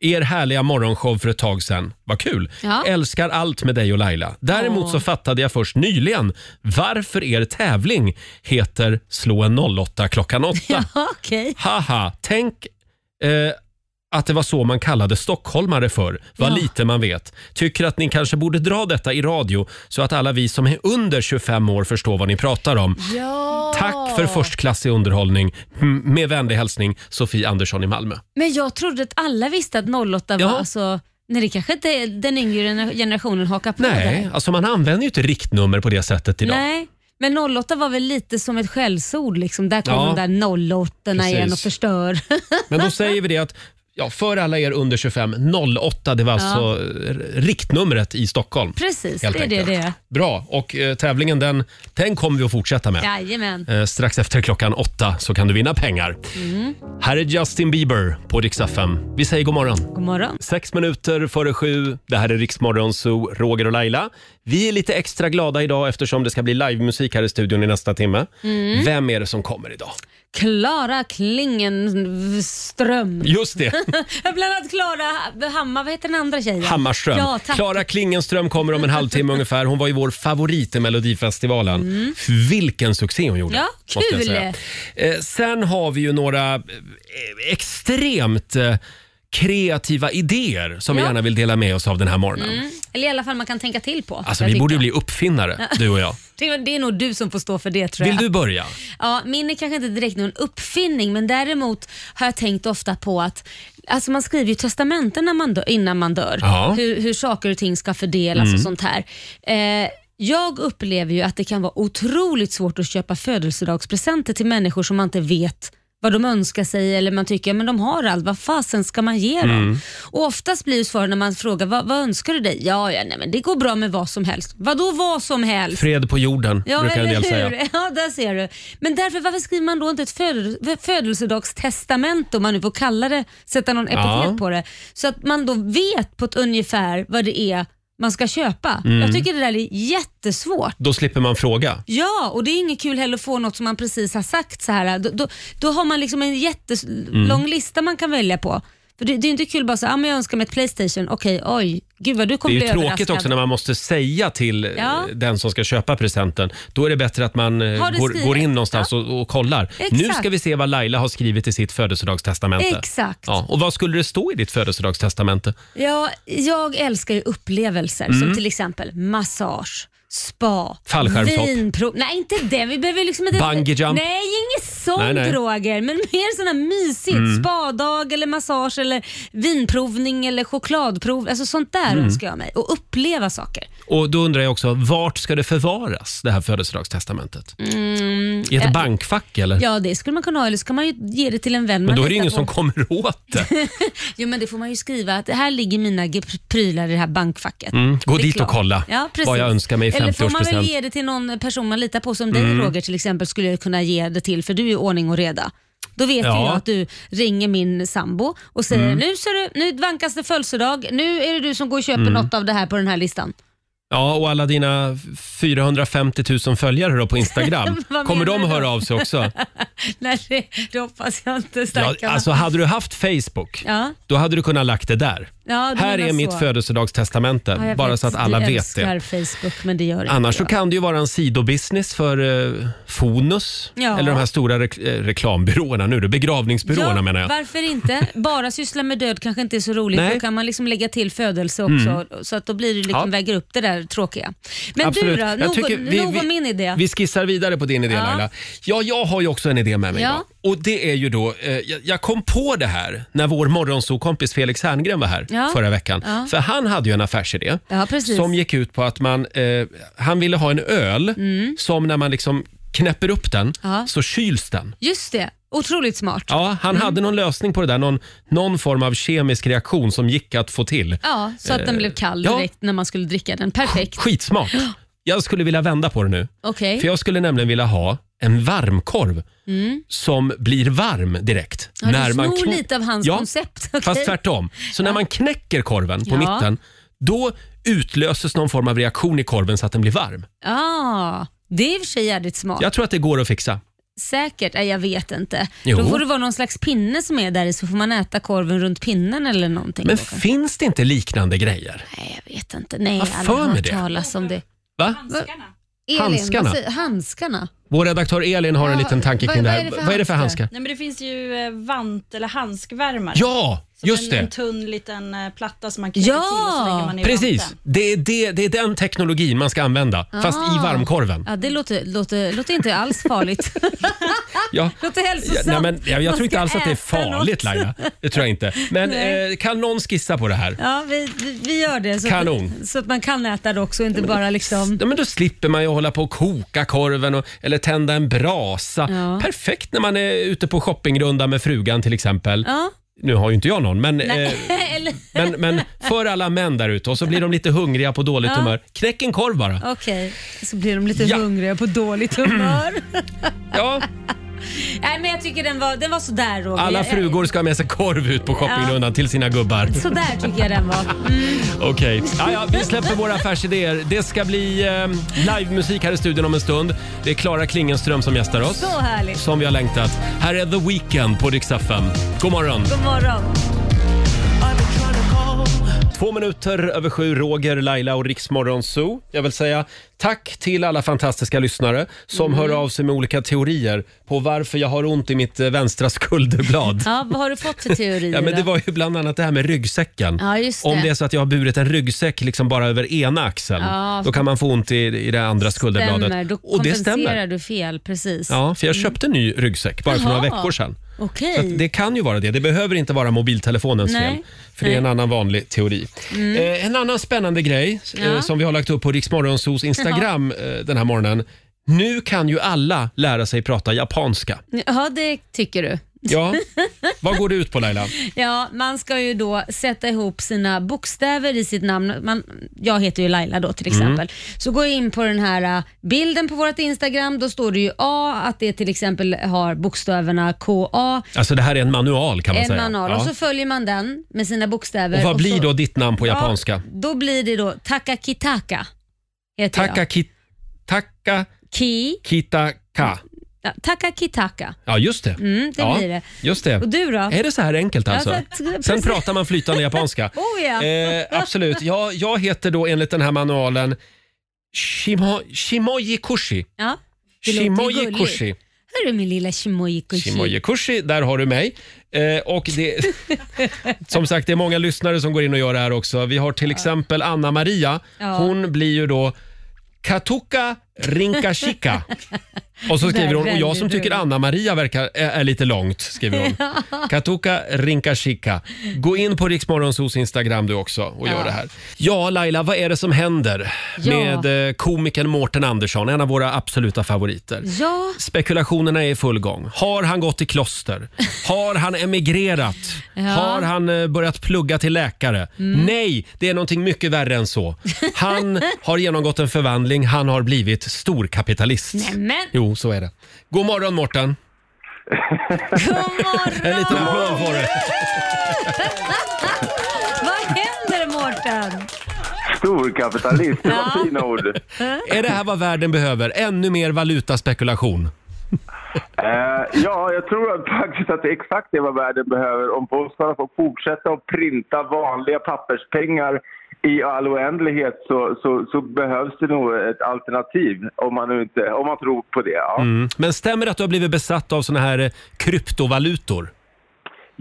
[SPEAKER 1] er härliga morgonshow för ett tag sedan. Vad kul!
[SPEAKER 2] Ja.
[SPEAKER 1] Älskar allt med dig och Laila. Däremot
[SPEAKER 2] Åh.
[SPEAKER 1] så fattade jag först nyligen varför er tävling heter Slå en 08 klockan 8.
[SPEAKER 3] Okej.
[SPEAKER 1] Haha, tänk eh, att det var så man kallade stockholmare för. Vad
[SPEAKER 3] Ja.
[SPEAKER 1] lite man vet. Tycker att ni kanske borde dra detta i radio så att alla vi som är under 25 år förstår vad ni pratar om.
[SPEAKER 3] Ja.
[SPEAKER 1] Tack för förstklassig underhållning. Mm, Med vänlig hälsning Sofie Andersson i Malmö.
[SPEAKER 3] Men jag trodde att alla visste att 08 var
[SPEAKER 1] Ja.
[SPEAKER 3] alltså... Nej, det kanske inte är den yngre gener- generationen hakar på
[SPEAKER 1] Nej,
[SPEAKER 3] där.
[SPEAKER 1] alltså man använder ju inte riktnummer på det sättet idag.
[SPEAKER 3] Nej. Men 08 var väl lite som ett skällsord. Liksom. Där kom
[SPEAKER 1] Ja.
[SPEAKER 3] de där 08 igen
[SPEAKER 1] Precis.
[SPEAKER 3] och förstör.
[SPEAKER 1] Men då säger vi det att ja, för alla er under 25, 08 det var
[SPEAKER 3] Ja.
[SPEAKER 1] alltså eh, riktnumret i Stockholm.
[SPEAKER 3] Precis,
[SPEAKER 1] Helt
[SPEAKER 3] det är det
[SPEAKER 1] enkelt.
[SPEAKER 3] det är.
[SPEAKER 1] Bra, och eh, tävlingen den, den kommer vi att fortsätta med.
[SPEAKER 3] Jajamän.
[SPEAKER 1] Eh, strax efter klockan åtta så kan du vinna pengar.
[SPEAKER 3] Mm.
[SPEAKER 1] Här är Justin Bieber på Rix FM. Vi säger god morgon.
[SPEAKER 3] God morgon.
[SPEAKER 1] Sex minuter före sju. Det här är Rix Morgon Zoo, Roger och Laila. Vi är lite extra glada idag eftersom det ska bli livemusik här i studion i nästa timme.
[SPEAKER 3] Mm.
[SPEAKER 1] Vem är det som kommer idag?
[SPEAKER 3] Klara Klingenström.
[SPEAKER 1] Just det.
[SPEAKER 3] Bland annat Klara Hammar, vad heter den andra tjejen?
[SPEAKER 1] Hammarström.
[SPEAKER 3] Ja, tack.
[SPEAKER 1] Klara Klingenström kommer om en halvtimme ungefär. Hon var ju vår favorit i Melodifestivalen.
[SPEAKER 2] Mm.
[SPEAKER 1] Vilken succé hon gjorde!
[SPEAKER 2] Ja,
[SPEAKER 1] måste jag
[SPEAKER 2] kul.
[SPEAKER 1] säga. Eh, sen har vi ju några eh, extremt eh, kreativa idéer som vi
[SPEAKER 3] Ja.
[SPEAKER 1] gärna vill dela med oss av den här morgonen.
[SPEAKER 3] Mm. Eller i alla fall man kan tänka till på.
[SPEAKER 1] Alltså,
[SPEAKER 3] Jag
[SPEAKER 1] vi borde ju
[SPEAKER 3] tycker.
[SPEAKER 1] bli uppfinnare, du och jag.
[SPEAKER 3] Det är- Det är nog du som får stå för det tror
[SPEAKER 1] Vill
[SPEAKER 3] jag.
[SPEAKER 1] du börja?
[SPEAKER 3] Ja, min är kanske inte direkt någon uppfinning men däremot har jag tänkt ofta på att Alltså man skriver ju testamenten när man dö- innan man dör,
[SPEAKER 2] Ja.
[SPEAKER 3] hur, hur saker och ting ska fördelas
[SPEAKER 2] Mm.
[SPEAKER 3] och sånt här. Eh, jag upplever ju att det kan vara otroligt svårt att köpa födelsedagspresenter till människor som man inte vet vad de önskar sig eller man tycker men de har allt, vad fasen ska man ge dem?
[SPEAKER 2] Mm.
[SPEAKER 3] Och oftast blir ju svaren när man frågar vad, vad önskar du dig? Ja, ja nej, men det går bra med vad som helst. Vadå vad som helst?
[SPEAKER 1] Fred på jorden,
[SPEAKER 3] Ja,
[SPEAKER 1] Mm, brukar en
[SPEAKER 3] eller
[SPEAKER 1] del
[SPEAKER 3] hur?
[SPEAKER 1] säga.
[SPEAKER 3] Ja, där ser du. Men därför, varför skriver man då inte ett födel- födelsedagstestament om man nu får kalla det, sätta någon epitet
[SPEAKER 2] Ja.
[SPEAKER 3] på det. Så att man då vet på ett ungefär vad det är man ska köpa.
[SPEAKER 1] Mm.
[SPEAKER 3] Jag tycker det där är jättesvårt.
[SPEAKER 1] Då slipper man fråga.
[SPEAKER 3] Ja, och det är inget kul heller att få något som man precis har sagt. så här. Då, då, då har man liksom en
[SPEAKER 1] Mm.
[SPEAKER 3] jättelång lista man kan välja på. För det, det är inte kul bara så, ah, men jag önskar mig ett Playstation. Okej, oj, gud vad du
[SPEAKER 1] Det är
[SPEAKER 3] kommer
[SPEAKER 1] ju
[SPEAKER 3] bli
[SPEAKER 1] tråkigt
[SPEAKER 3] överraskad.
[SPEAKER 1] också när man måste säga till eh,
[SPEAKER 3] Ja.
[SPEAKER 1] den som ska köpa presenten. Då är det bättre att man eh,
[SPEAKER 3] Har det
[SPEAKER 1] går,
[SPEAKER 3] skrivet?
[SPEAKER 1] går in någonstans och, och kollar.
[SPEAKER 3] Exakt.
[SPEAKER 1] Nu ska vi se vad Laila har skrivit i sitt födelsedagstestamente.
[SPEAKER 3] Exakt.
[SPEAKER 1] Ja, och vad skulle det stå i ditt födelsedagstestamente?
[SPEAKER 3] Ja, jag älskar ju upplevelser
[SPEAKER 1] Mm.
[SPEAKER 3] som till exempel massage, spa,
[SPEAKER 1] Fallskärmshopp.
[SPEAKER 3] vinprov. Nej, inte det. Vi behöver liksom inte...
[SPEAKER 1] Bungee jump.
[SPEAKER 3] Nej, inget sånt
[SPEAKER 1] Nej, nej.
[SPEAKER 3] Roger. Men mer sådana mysigt.
[SPEAKER 1] Mm.
[SPEAKER 3] Spadag eller massage eller vinprovning eller chokladprov. Alltså sånt där
[SPEAKER 1] Mm.
[SPEAKER 3] önskar jag mig. Och uppleva saker.
[SPEAKER 1] Och då undrar jag också, vart ska det förvaras, det här födelsedagstestamentet?
[SPEAKER 3] Mm,
[SPEAKER 1] I ett
[SPEAKER 3] ja,
[SPEAKER 1] bankfack eller?
[SPEAKER 3] Ja, det skulle man kunna ha. Eller så kan man ju ge det till en vän
[SPEAKER 1] Men
[SPEAKER 3] man
[SPEAKER 1] då är det
[SPEAKER 3] litar
[SPEAKER 1] ingen
[SPEAKER 3] på.
[SPEAKER 1] som kommer åt det.
[SPEAKER 3] Jo, men det får man ju skriva. Att här ligger mina g- prylar i det här bankfacket.
[SPEAKER 1] Mm, gå
[SPEAKER 3] Det är
[SPEAKER 1] dit och
[SPEAKER 3] klart.
[SPEAKER 1] kolla
[SPEAKER 3] ja, precis.
[SPEAKER 1] vad jag önskar mig i
[SPEAKER 3] Eller får man
[SPEAKER 1] 50-årspresent.
[SPEAKER 3] väl ge det till någon person man litar på som
[SPEAKER 1] Mm.
[SPEAKER 3] dig Roger till exempel skulle jag kunna ge det till för du är ju ordning och reda. Då vet ju
[SPEAKER 1] Ja.
[SPEAKER 3] jag att du ringer min sambo och säger
[SPEAKER 1] Mm.
[SPEAKER 3] nu, ser du, nu vankas det födelsedag, nu är det du som går och köper
[SPEAKER 1] Mm.
[SPEAKER 3] något av det här på den här listan.
[SPEAKER 1] Ja, och alla dina 450 000 följare då på Instagram.
[SPEAKER 3] Vad
[SPEAKER 1] kommer
[SPEAKER 3] menar
[SPEAKER 1] de
[SPEAKER 3] du då?
[SPEAKER 1] höra av sig också?
[SPEAKER 3] Nej, det, det hoppas jag inte
[SPEAKER 1] Ja,
[SPEAKER 3] stackarna.
[SPEAKER 1] alltså hade du haft Facebook,
[SPEAKER 3] Ja.
[SPEAKER 1] då hade du kunnat lagt det där.
[SPEAKER 3] Ja, du
[SPEAKER 1] Här
[SPEAKER 3] menar
[SPEAKER 1] är mitt
[SPEAKER 3] så.
[SPEAKER 1] födelsedagstestamente,
[SPEAKER 3] Ja, jag
[SPEAKER 1] bara
[SPEAKER 3] vet.
[SPEAKER 1] så att alla
[SPEAKER 3] du
[SPEAKER 1] vet
[SPEAKER 3] älskar
[SPEAKER 1] det.
[SPEAKER 3] Facebook men det gör inte
[SPEAKER 1] Annars så
[SPEAKER 3] jag.
[SPEAKER 1] kan det ju vara en sidobusiness för eh, Fonus
[SPEAKER 3] Ja.
[SPEAKER 1] eller de här stora rek- eh, reklambyråerna nu, då, begravningsbyråerna
[SPEAKER 3] Ja,
[SPEAKER 1] menar jag.
[SPEAKER 3] Varför inte? Bara syssla med död kanske inte är så roligt.
[SPEAKER 1] Nej.
[SPEAKER 3] Då kan man liksom lägga till födelse också
[SPEAKER 1] Mm.
[SPEAKER 3] så att då blir det liksom
[SPEAKER 1] Ja.
[SPEAKER 3] väger upp det där tråkiga. Men
[SPEAKER 1] Absolut.
[SPEAKER 3] du då?
[SPEAKER 1] Jag
[SPEAKER 3] Nog,
[SPEAKER 1] tycker vi-
[SPEAKER 3] nog om
[SPEAKER 1] vi-
[SPEAKER 3] min idé.
[SPEAKER 1] Vi skissar vidare på din idé
[SPEAKER 3] Ja.
[SPEAKER 1] Laila. Ja, jag har ju också en idé med mig
[SPEAKER 3] Ja.
[SPEAKER 1] idag. Och det är ju då, eh, jag, jag kom på det här när vår morgonsokompis Felix Herngren var här
[SPEAKER 3] Ja.
[SPEAKER 1] förra veckan.
[SPEAKER 3] Ja.
[SPEAKER 1] För han hade ju en affärsidé
[SPEAKER 3] Ja, precis.
[SPEAKER 1] som gick ut på att man, eh, han ville ha en öl som när man liksom knäpper upp den
[SPEAKER 3] Mm. Ja.
[SPEAKER 1] så kyls den.
[SPEAKER 3] Just det, otroligt smart.
[SPEAKER 1] Ja, han hade någon lösning på det där, någon, någon form av kemisk reaktion som gick att få till.
[SPEAKER 3] Ja, så att den
[SPEAKER 1] Eh,
[SPEAKER 3] blev kall
[SPEAKER 1] ja.
[SPEAKER 3] direkt när man skulle dricka den. Perfekt.
[SPEAKER 1] Skitsmart. Jag skulle vilja vända på det nu.
[SPEAKER 3] Okej.
[SPEAKER 1] För jag skulle nämligen vilja ha en varmkorv
[SPEAKER 3] Mm.
[SPEAKER 1] som blir varm direkt.
[SPEAKER 3] Ja, du snor
[SPEAKER 1] kn-
[SPEAKER 3] lite av hans
[SPEAKER 1] Ja,
[SPEAKER 3] koncept. okej.
[SPEAKER 1] Fast tvärtom. Så när man knäcker korven på
[SPEAKER 3] Ja.
[SPEAKER 1] mitten, då utlöses någon form av reaktion i korven så att den blir varm.
[SPEAKER 3] Ja, det är i och för sig jävligt smart.
[SPEAKER 1] Jag tror att det går att fixa.
[SPEAKER 3] Säkert? Nej, jag vet inte.
[SPEAKER 1] Jo.
[SPEAKER 3] Då får det vara någon slags pinne som är där i så får man äta korven runt pinnen eller någonting.
[SPEAKER 1] Men
[SPEAKER 3] då kanske.
[SPEAKER 1] finns det inte liknande grejer?
[SPEAKER 3] Nej, jag vet inte. Nej,
[SPEAKER 1] Vad
[SPEAKER 3] jag har
[SPEAKER 1] för
[SPEAKER 3] aldrig
[SPEAKER 1] mig
[SPEAKER 3] hört
[SPEAKER 1] det?
[SPEAKER 3] talas om det.
[SPEAKER 1] Va?
[SPEAKER 3] Elin,
[SPEAKER 1] Handskarna.
[SPEAKER 3] vad säger- Handskarna?
[SPEAKER 1] Vår redaktör Elin har en liten tanke kring det här. Vad är det för handskar?
[SPEAKER 10] Nej, men det finns ju eh, vant eller handskvärmare.
[SPEAKER 1] Ja,
[SPEAKER 10] Som
[SPEAKER 1] just
[SPEAKER 10] en,
[SPEAKER 1] det.
[SPEAKER 10] En tunn liten eh, platta som man knäpper
[SPEAKER 3] Ja!
[SPEAKER 10] till och så lägger man i
[SPEAKER 1] Precis,
[SPEAKER 10] vanten.
[SPEAKER 1] det är, det, det är den teknologin man ska använda, fast i
[SPEAKER 3] Ah.
[SPEAKER 1] varmkorven.
[SPEAKER 3] Ja, det låter, låter, låter inte alls farligt.
[SPEAKER 1] Ja.
[SPEAKER 3] låter hälsosamt.
[SPEAKER 1] Ja, nej, men jag jag
[SPEAKER 3] Man
[SPEAKER 1] tror inte
[SPEAKER 3] ska
[SPEAKER 1] alls att det är
[SPEAKER 3] äta
[SPEAKER 1] farligt
[SPEAKER 3] något.
[SPEAKER 1] Laila. Det tror jag inte. Men
[SPEAKER 3] Nej.
[SPEAKER 1] eh, kan någon skissa på det här?
[SPEAKER 3] Ja, vi, vi, vi gör det. Så
[SPEAKER 1] Kanon.
[SPEAKER 3] Att, så att man kan äta det också och inte bara liksom...
[SPEAKER 1] Ja, men då slipper man ju hålla på och koka korven och, eller tända en brasa.
[SPEAKER 3] Ja.
[SPEAKER 1] Perfekt när man är ute på shoppingrunda med frugan till exempel.
[SPEAKER 3] Ja.
[SPEAKER 1] Nu har ju inte jag någon, men, eh,
[SPEAKER 3] Nej, eller...
[SPEAKER 1] men, men för alla män där ute och så blir de lite hungriga på dåligt
[SPEAKER 3] Ja.
[SPEAKER 1] humör. Knäck en korv bara.
[SPEAKER 3] Okej, så blir de lite
[SPEAKER 1] Ja.
[SPEAKER 3] hungriga på dåligt humör.
[SPEAKER 1] Ja,
[SPEAKER 3] Nej, men jag tycker den var, den var sådär Roger.
[SPEAKER 1] alla
[SPEAKER 3] Jag- jag-
[SPEAKER 1] frugor ska ha med sig korv ut på shoppingrundan till sina gubbar.
[SPEAKER 3] Eh, Sådär tycker jag den var. Mm.
[SPEAKER 1] Okej, ja, ja, vi släpper våra affärsidéer. Det ska bli eh, livemusik här i studion om en stund. Det är Klara Klingenström som gästar oss.
[SPEAKER 3] Så härligt.
[SPEAKER 1] Som vi har längtat. Här är The Weeknd på Dix FM. God morgon!
[SPEAKER 3] God morgon.
[SPEAKER 1] Två minuter över sju, Roger, Laila och Riksmorgon Zoo. Jag vill säga tack till alla fantastiska lyssnare som
[SPEAKER 3] Mm.
[SPEAKER 1] hör av sig med olika teorier på varför jag har ont i mitt eh, vänstra skulderblad.
[SPEAKER 3] Ja, vad har du fått för teorier
[SPEAKER 1] Ja, men det
[SPEAKER 3] då?
[SPEAKER 1] var ju bland annat det här med ryggsäcken.
[SPEAKER 3] Ja, just det.
[SPEAKER 1] Om det är så att jag har burit en ryggsäck liksom bara över ena axeln,
[SPEAKER 3] Ja.
[SPEAKER 1] då kan man få ont i, i det andra skulderbladet.
[SPEAKER 3] Stämmer, då
[SPEAKER 1] och det
[SPEAKER 3] kompenserar
[SPEAKER 1] stämmer.
[SPEAKER 3] du fel. Precis.
[SPEAKER 1] Ja, för jag köpte en ny ryggsäck bara för några
[SPEAKER 3] Jaha.
[SPEAKER 1] veckor sedan.
[SPEAKER 3] Okej.
[SPEAKER 1] Så att det kan ju vara det. Det behöver inte vara mobiltelefonens
[SPEAKER 3] Nej. Mm.
[SPEAKER 1] fel. För det är en annan vanlig teori. Eh, en annan spännande grej eh,
[SPEAKER 3] Ja.
[SPEAKER 1] som vi har lagt upp på Riksmorgonsos Instagram eh, den här morgonen. Nu kan ju alla lära sig prata japanska.
[SPEAKER 3] Ja, det tycker du.
[SPEAKER 1] Ja, vad går det ut på Laila?
[SPEAKER 3] Ja, man ska ju då sätta ihop sina bokstäver i sitt namn. Man, jag heter ju Laila då till
[SPEAKER 1] Mm.
[SPEAKER 3] exempel. Så går jag in på den här ä, bilden på vårt Instagram. Då står det ju A, att det till exempel har bokstäverna KA,
[SPEAKER 1] Alltså det här är en manual kan man
[SPEAKER 3] en
[SPEAKER 1] säga.
[SPEAKER 3] manual.
[SPEAKER 1] Ja.
[SPEAKER 3] Och så följer man den med sina bokstäver.
[SPEAKER 1] Och vad blir
[SPEAKER 3] så,
[SPEAKER 1] då ditt namn på japanska?
[SPEAKER 3] Ja, då blir det då Takakitaka. Heter
[SPEAKER 1] Taka
[SPEAKER 3] jag.
[SPEAKER 1] ki, taka
[SPEAKER 3] Ki,
[SPEAKER 1] kita ka.
[SPEAKER 3] ja, Takakitaka.
[SPEAKER 1] Ja, just det.
[SPEAKER 3] Mm, det
[SPEAKER 1] ja,
[SPEAKER 3] blir det.
[SPEAKER 1] Just det.
[SPEAKER 3] Och du då?
[SPEAKER 1] Är det så här enkelt alltså?
[SPEAKER 3] Ja, så-
[SPEAKER 1] Sen
[SPEAKER 3] precis.
[SPEAKER 1] pratar man flytande japanska.
[SPEAKER 3] Oh ja.
[SPEAKER 1] Eh, absolut. Ja, jag heter då enligt den här manualen Shimo, Shimoji Kushi.
[SPEAKER 3] ja. Det låter ju
[SPEAKER 1] Shimoji
[SPEAKER 3] gulligt.
[SPEAKER 1] Kushi.
[SPEAKER 3] Hörru min lilla Shimoyikushi.
[SPEAKER 1] Shimoji Kushi, där har du mig. Eh, och det, som sagt, det är många lyssnare som går in och gör det här också. Vi har till exempel Anna-Maria.
[SPEAKER 3] Ja.
[SPEAKER 1] Hon blir ju då Katuka Rinkashika. Och så skriver
[SPEAKER 3] Vä-
[SPEAKER 1] hon, och jag
[SPEAKER 3] väldigt
[SPEAKER 1] som tycker
[SPEAKER 3] roligt.
[SPEAKER 1] Anna-Maria verkar är, är lite långt, skriver hon. Katuka Rinkashika. Gå in på Riksmorgonsos Instagram du också och gör
[SPEAKER 3] Ja.
[SPEAKER 1] det här. Ja, Laila, vad är det som händer
[SPEAKER 3] Ja.
[SPEAKER 1] med eh, komikern Mårten Andersson, en av våra absoluta favoriter?
[SPEAKER 3] Ja,
[SPEAKER 1] Spekulationerna är i full gång. Har han gått i kloster? Har han emigrerat?
[SPEAKER 3] Ja. Mm.
[SPEAKER 1] Har han eh, börjat plugga till läkare? Nej, det är någonting mycket värre än så. Han har genomgått en förvandling. Han har blivit storkapitalist.
[SPEAKER 3] nämen.
[SPEAKER 1] Jo, så är det. God morgon, Mårten.
[SPEAKER 3] God
[SPEAKER 1] En liten
[SPEAKER 3] morgon!
[SPEAKER 1] applåd får du.
[SPEAKER 3] Vad händer Mårten?
[SPEAKER 4] Storkapitalist, det var
[SPEAKER 3] Ja.
[SPEAKER 4] fina ord.
[SPEAKER 1] Är det här vad världen behöver? Ännu mer valutaspekulation.
[SPEAKER 4] Eh, ja, jag tror att faktiskt att det är exakt det vad världen behöver om påskarna får fortsätta att printa vanliga papperspengar i all oändlighet så, så, så behövs det nog ett alternativ om man, nu inte, om man tror på det. Ja.
[SPEAKER 1] Mm. Men stämmer det att du har blivit besatt av såna här eh, kryptovalutor?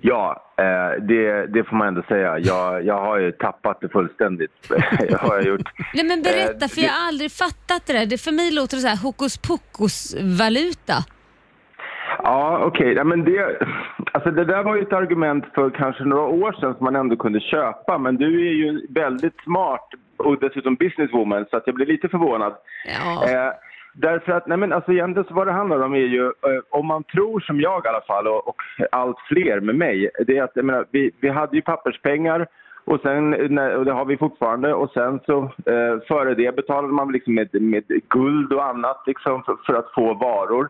[SPEAKER 4] Ja, eh, det, det får man ändå säga. Jag, jag har ju tappat det fullständigt. det har jag gjort.
[SPEAKER 3] Nej men berätta
[SPEAKER 4] Eh,
[SPEAKER 3] för jag har aldrig fattat det där. Det, för mig låter det så här hokus pokus valuta.
[SPEAKER 4] Ja,
[SPEAKER 11] Ja, okej. Ja, men det, alltså det där var ju ett argument för kanske några år sedan som man ändå kunde köpa. Men du är ju väldigt smart och dessutom businesswoman så att jag blir lite förvånad. Eh, därför att, nej men alltså egentligen så vad det handlar om är ju, eh, om man tror som jag i alla fall och, och allt fler med mig, det är att jag menar, vi, vi hade ju papperspengar och, sen, eh, nej, och det har vi fortfarande och sen så eh, före det betalade man liksom med, med guld och annat liksom för, för att få varor.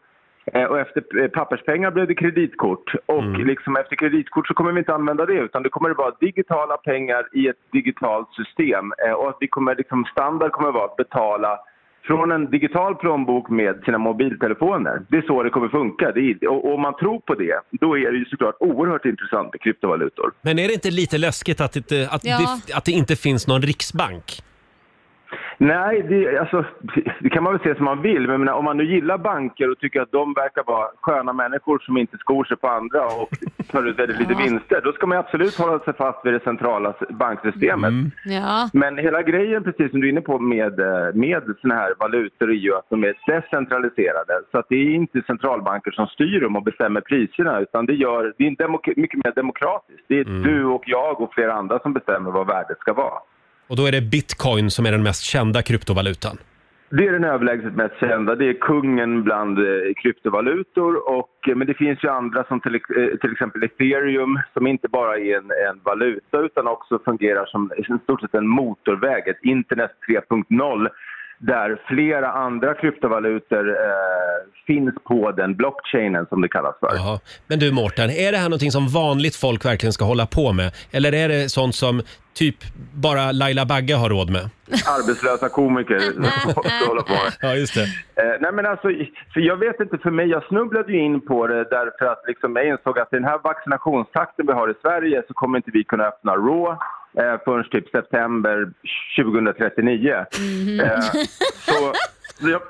[SPEAKER 11] Eh, Och efter eh, papperspengar blev det kreditkort. Och liksom efter kreditkort så kommer vi inte använda det utan det kommer det vara digitala pengar i ett digitalt system. Eh, Och att vi kommer liksom, standard kommer vara att betala från en digital plånbok med sina mobiltelefoner. Det är så det kommer funka. Det är, och och om man tror på det, då är det ju såklart oerhört intressant med kryptovalutor.
[SPEAKER 1] Men är det inte lite läskigt att, det, att,
[SPEAKER 11] Ja.
[SPEAKER 1] det, att det inte finns någon riksbank?
[SPEAKER 11] Nej, det, alltså, det kan man väl se som man vill. Men jag menar, om man nu gillar banker och tycker att de verkar vara sköna människor som inte skor sig på andra och tar ut väldigt lite vinster, då ska man ju absolut hålla sig fast vid det centrala s- banksystemet.
[SPEAKER 3] Ja.
[SPEAKER 11] Men hela grejen, precis som du är inne på med, eh, med såna här valutor, är ju att de är decentraliserade. Så att det är inte centralbanker som styr dem och bestämmer priserna, utan det, gör, det är en demok- mycket mer demokratiskt. Det är du och jag och flera andra som bestämmer vad värdet ska vara.
[SPEAKER 1] Och då är det bitcoin som är den mest kända kryptovalutan.
[SPEAKER 11] Det är den överlägset mest kända. Det är kungen bland eh, kryptovalutor. Och, eh, men det finns ju andra som till, eh, till exempel ethereum som inte bara är en, en valuta utan också fungerar som i stort sett en motorväg, ett internet 3.0 där flera andra kryptovalutor eh, finns på den blockchainen som det kallas för.
[SPEAKER 1] Jaha. Men du Mårten, är det här någonting som vanligt folk verkligen ska hålla på med? Eller är det sånt som typ bara Laila Bagge har råd med?
[SPEAKER 11] Arbetslösa komiker ska hålla på med.
[SPEAKER 1] Ja, just det.
[SPEAKER 11] Eh, nej men alltså, för jag vet inte, för mig, jag snubblade ju in på det därför att liksom jag insåg att i den här vaccinationstakten vi har i Sverige så kommer inte vi kunna öppna Raw eh, förrän typ september 2039.
[SPEAKER 4] Mhm.
[SPEAKER 11] Eh, så så jag,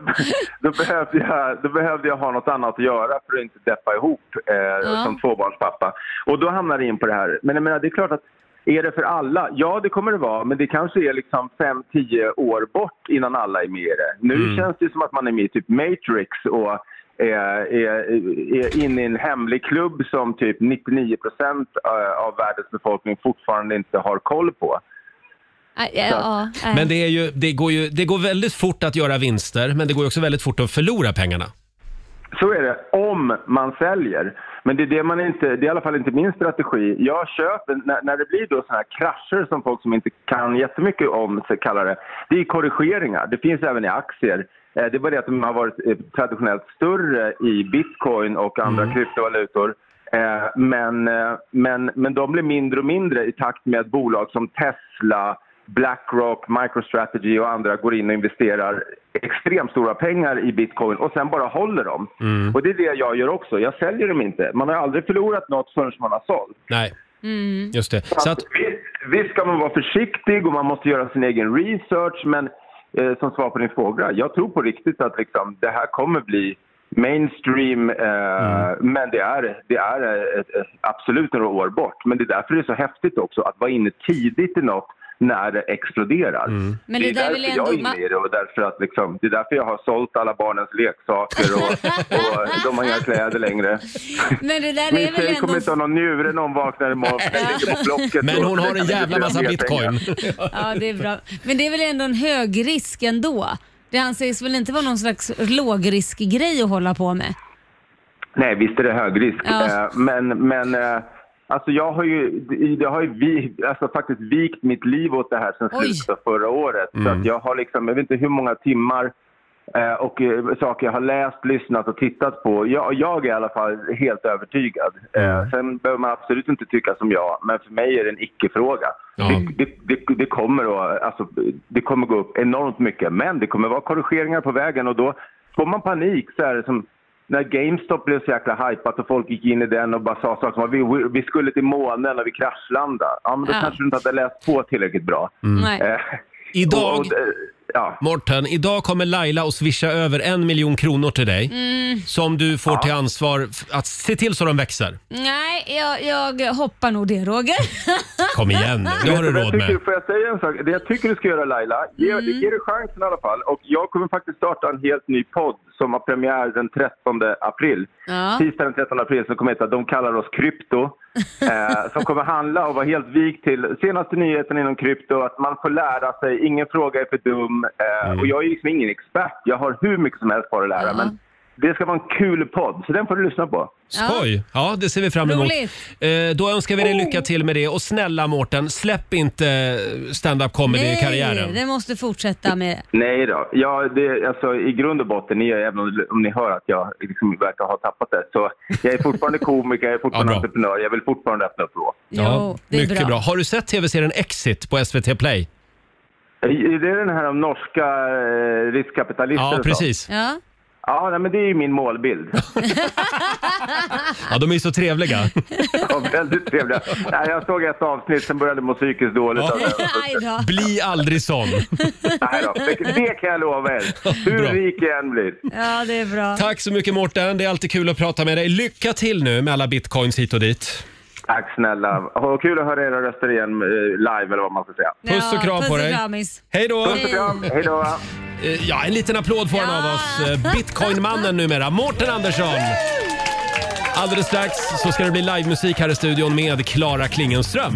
[SPEAKER 11] då, behövde jag, då behövde jag ha något annat att göra för att inte deppa ihop eh,
[SPEAKER 2] Ja.
[SPEAKER 11] som tvåbarnspappa. Och då hamnade jag in på det här. Men jag menar, det är klart att är det för alla? Ja, det kommer det vara, men det kanske är liksom 5-10 år bort innan alla är med i det. Nu
[SPEAKER 2] Mm.
[SPEAKER 11] känns det som att man är med i typ Matrix och är, är, är inne i en hemlig klubb som typ 99 procent eh, av världens befolkning fortfarande inte har koll på.
[SPEAKER 3] Ah, Ja, ja,
[SPEAKER 5] Äh.
[SPEAKER 3] ja.
[SPEAKER 1] Men det, är ju, det, går ju, det går väldigt fort att göra vinster, men det går ju också väldigt fort att förlora pengarna.
[SPEAKER 11] Så är det, om man säljer. Men det är, det man inte, det är i alla fall inte min strategi. Jag köper, när, när det blir då såna här krascher som folk som inte kan jättemycket om så kallar det, det är korrigeringar. Det finns även i aktier. Eh, Det är bara det att de har varit eh, traditionellt större i bitcoin och andra kryptovalutor. Eh, Men, eh, men, men de blir mindre och mindre i takt med att bolag som Tesla, Blackrock, MicroStrategy och andra går in och investerar extremt stora pengar i bitcoin och sen bara håller dem. Och det är det jag gör också. Jag säljer dem inte. Man har aldrig förlorat något förrän man har sålt.
[SPEAKER 1] Nej,
[SPEAKER 2] Mm.
[SPEAKER 1] just det.
[SPEAKER 11] Så att... Alltså, visst, visst ska man vara försiktig och man måste göra sin egen research men eh, som svar på din fråga, jag tror på riktigt att liksom, det här kommer bli mainstream eh, men det är, det är eh, ett, ett, absolut några år bort. Men det är därför det är så häftigt också att vara inne tidigt i något när det exploderar.
[SPEAKER 3] Men det
[SPEAKER 11] är
[SPEAKER 3] där är
[SPEAKER 11] därför
[SPEAKER 3] väl
[SPEAKER 11] jag är
[SPEAKER 3] ändå-
[SPEAKER 11] inne i det och därför att liksom, det är därför jag har sålt alla barnens leksaker och, och de har inga kläder längre.
[SPEAKER 3] Men det där
[SPEAKER 11] Min
[SPEAKER 3] är väl
[SPEAKER 11] tjej kommer
[SPEAKER 3] ändå...
[SPEAKER 11] inte ha någon njure när hon vaknar imorgon. för Den ligger på blocket.
[SPEAKER 1] Men hon har en jävla massa
[SPEAKER 11] Mer
[SPEAKER 1] bitcoin.
[SPEAKER 11] pengar.
[SPEAKER 3] Ja, det är bra. Men det är väl ändå en hög risk ändå? Det anses väl inte vara någon slags lågriskgrej att hålla på med?
[SPEAKER 11] Nej, visst är det hög risk.
[SPEAKER 3] Ja.
[SPEAKER 11] Eh, Men, men eh, alltså jag har ju, jag har ju vi, alltså faktiskt vikt mitt liv åt det här sen
[SPEAKER 2] Oj.
[SPEAKER 11] slutet av förra året. Så
[SPEAKER 1] Mm.
[SPEAKER 11] att jag har liksom, jag vet inte hur många timmar eh, och eh, saker jag har läst, lyssnat och tittat på. Jag, jag är i alla fall helt övertygad. Eh, Sen behöver man absolut inte tycka som jag, men för mig är det en icke-fråga. Det, det, det, det, kommer att, alltså, det kommer gå upp enormt mycket, men det kommer vara korrigeringar på vägen och då får man panik. Så här, som när GameStop blev så jäkla hajpat och folk gick in i den och bara sa saker som att vi, vi- vi skulle till månen och vi kraschlandade. Ja, men då
[SPEAKER 2] Ja.
[SPEAKER 11] kanske du inte hade läst på tillräckligt bra.
[SPEAKER 2] Mm. Nej.
[SPEAKER 11] Eh,
[SPEAKER 1] Idag-
[SPEAKER 11] och- och, eh, ja.
[SPEAKER 1] Morten, idag kommer Laila att swisha över en miljon kronor till dig.
[SPEAKER 3] Mm.
[SPEAKER 1] Som du får till ansvar f- att se till så de växer.
[SPEAKER 3] Nej, jag, jag hoppar nog det Roger.
[SPEAKER 1] Kom igen, det har du
[SPEAKER 11] Vet vad jag
[SPEAKER 1] råd med.
[SPEAKER 11] tycker, får jag säga en sak? Det jag tycker du ska göra Laila, ge, ge dig chansen i alla fall. Och jag kommer faktiskt starta en helt ny podd som har premiär den 13 april.
[SPEAKER 2] Ja.
[SPEAKER 11] Tisdag den 13 april som kommer heta De kallar oss krypto. eh, som kommer handla och vara helt vik till senaste nyheten inom krypto, att man får lära sig, ingen fråga är för dum. Eh,
[SPEAKER 1] Mm.
[SPEAKER 11] Och jag är liksom ingen expert, jag har hur mycket som helst på att lära. Men det ska vara en kul podd, så den får du lyssna på.
[SPEAKER 1] Skoj! Ja, det ser vi fram emot.
[SPEAKER 11] Roligt. Oh.
[SPEAKER 1] Eh, Då önskar vi dig lycka till med det. Och snälla Mårten, släpp inte stand-up comedy-karriären.
[SPEAKER 3] det måste fortsätta med.
[SPEAKER 11] Nej då. Ja, det, alltså, I grund och botten, ni, även om, om ni hör att jag liksom verkar ha tappat det, så jag är fortfarande komiker, jag är fortfarande entreprenör, jag vill fortfarande öppna upp då.
[SPEAKER 1] Ja,
[SPEAKER 11] det är
[SPEAKER 1] mycket
[SPEAKER 11] bra.
[SPEAKER 1] bra. Har du sett tv-serien Exit på SVT Play?
[SPEAKER 11] Det är den här om norska eh, riskkapitalister
[SPEAKER 1] Ja,
[SPEAKER 11] och så.
[SPEAKER 1] precis.
[SPEAKER 3] Ja.
[SPEAKER 11] Ja, nej, men det är ju min målbild.
[SPEAKER 1] Ja, de är ju så trevliga.
[SPEAKER 11] ja, väldigt trevliga. Nej, jag såg ett avsnitt, sen började jag må psykiskt dåligt. av det.
[SPEAKER 1] Bli aldrig sån.
[SPEAKER 11] Nej då, det, det kan jag lova er. Hur rik jag än blir.
[SPEAKER 3] Ja, det är bra.
[SPEAKER 1] Tack så mycket Mårten, det är alltid kul att prata med dig. Lycka till nu med alla bitcoins hit och dit.
[SPEAKER 11] Tack snälla. Ha kul att höra era röster igen eh, live eller vad man ska säga.
[SPEAKER 1] Puss och kram
[SPEAKER 3] puss
[SPEAKER 1] på
[SPEAKER 3] och
[SPEAKER 1] dig.
[SPEAKER 3] kramis.
[SPEAKER 1] Hej då! Eh,
[SPEAKER 3] Puss och kram.
[SPEAKER 11] Hej då!
[SPEAKER 1] Ja, en liten applåd får han av oss. Eh, Bitcoinmannen numera, Mårten Andersson. Alldeles strax så ska det bli livemusik här i studion med Klara Klingenström.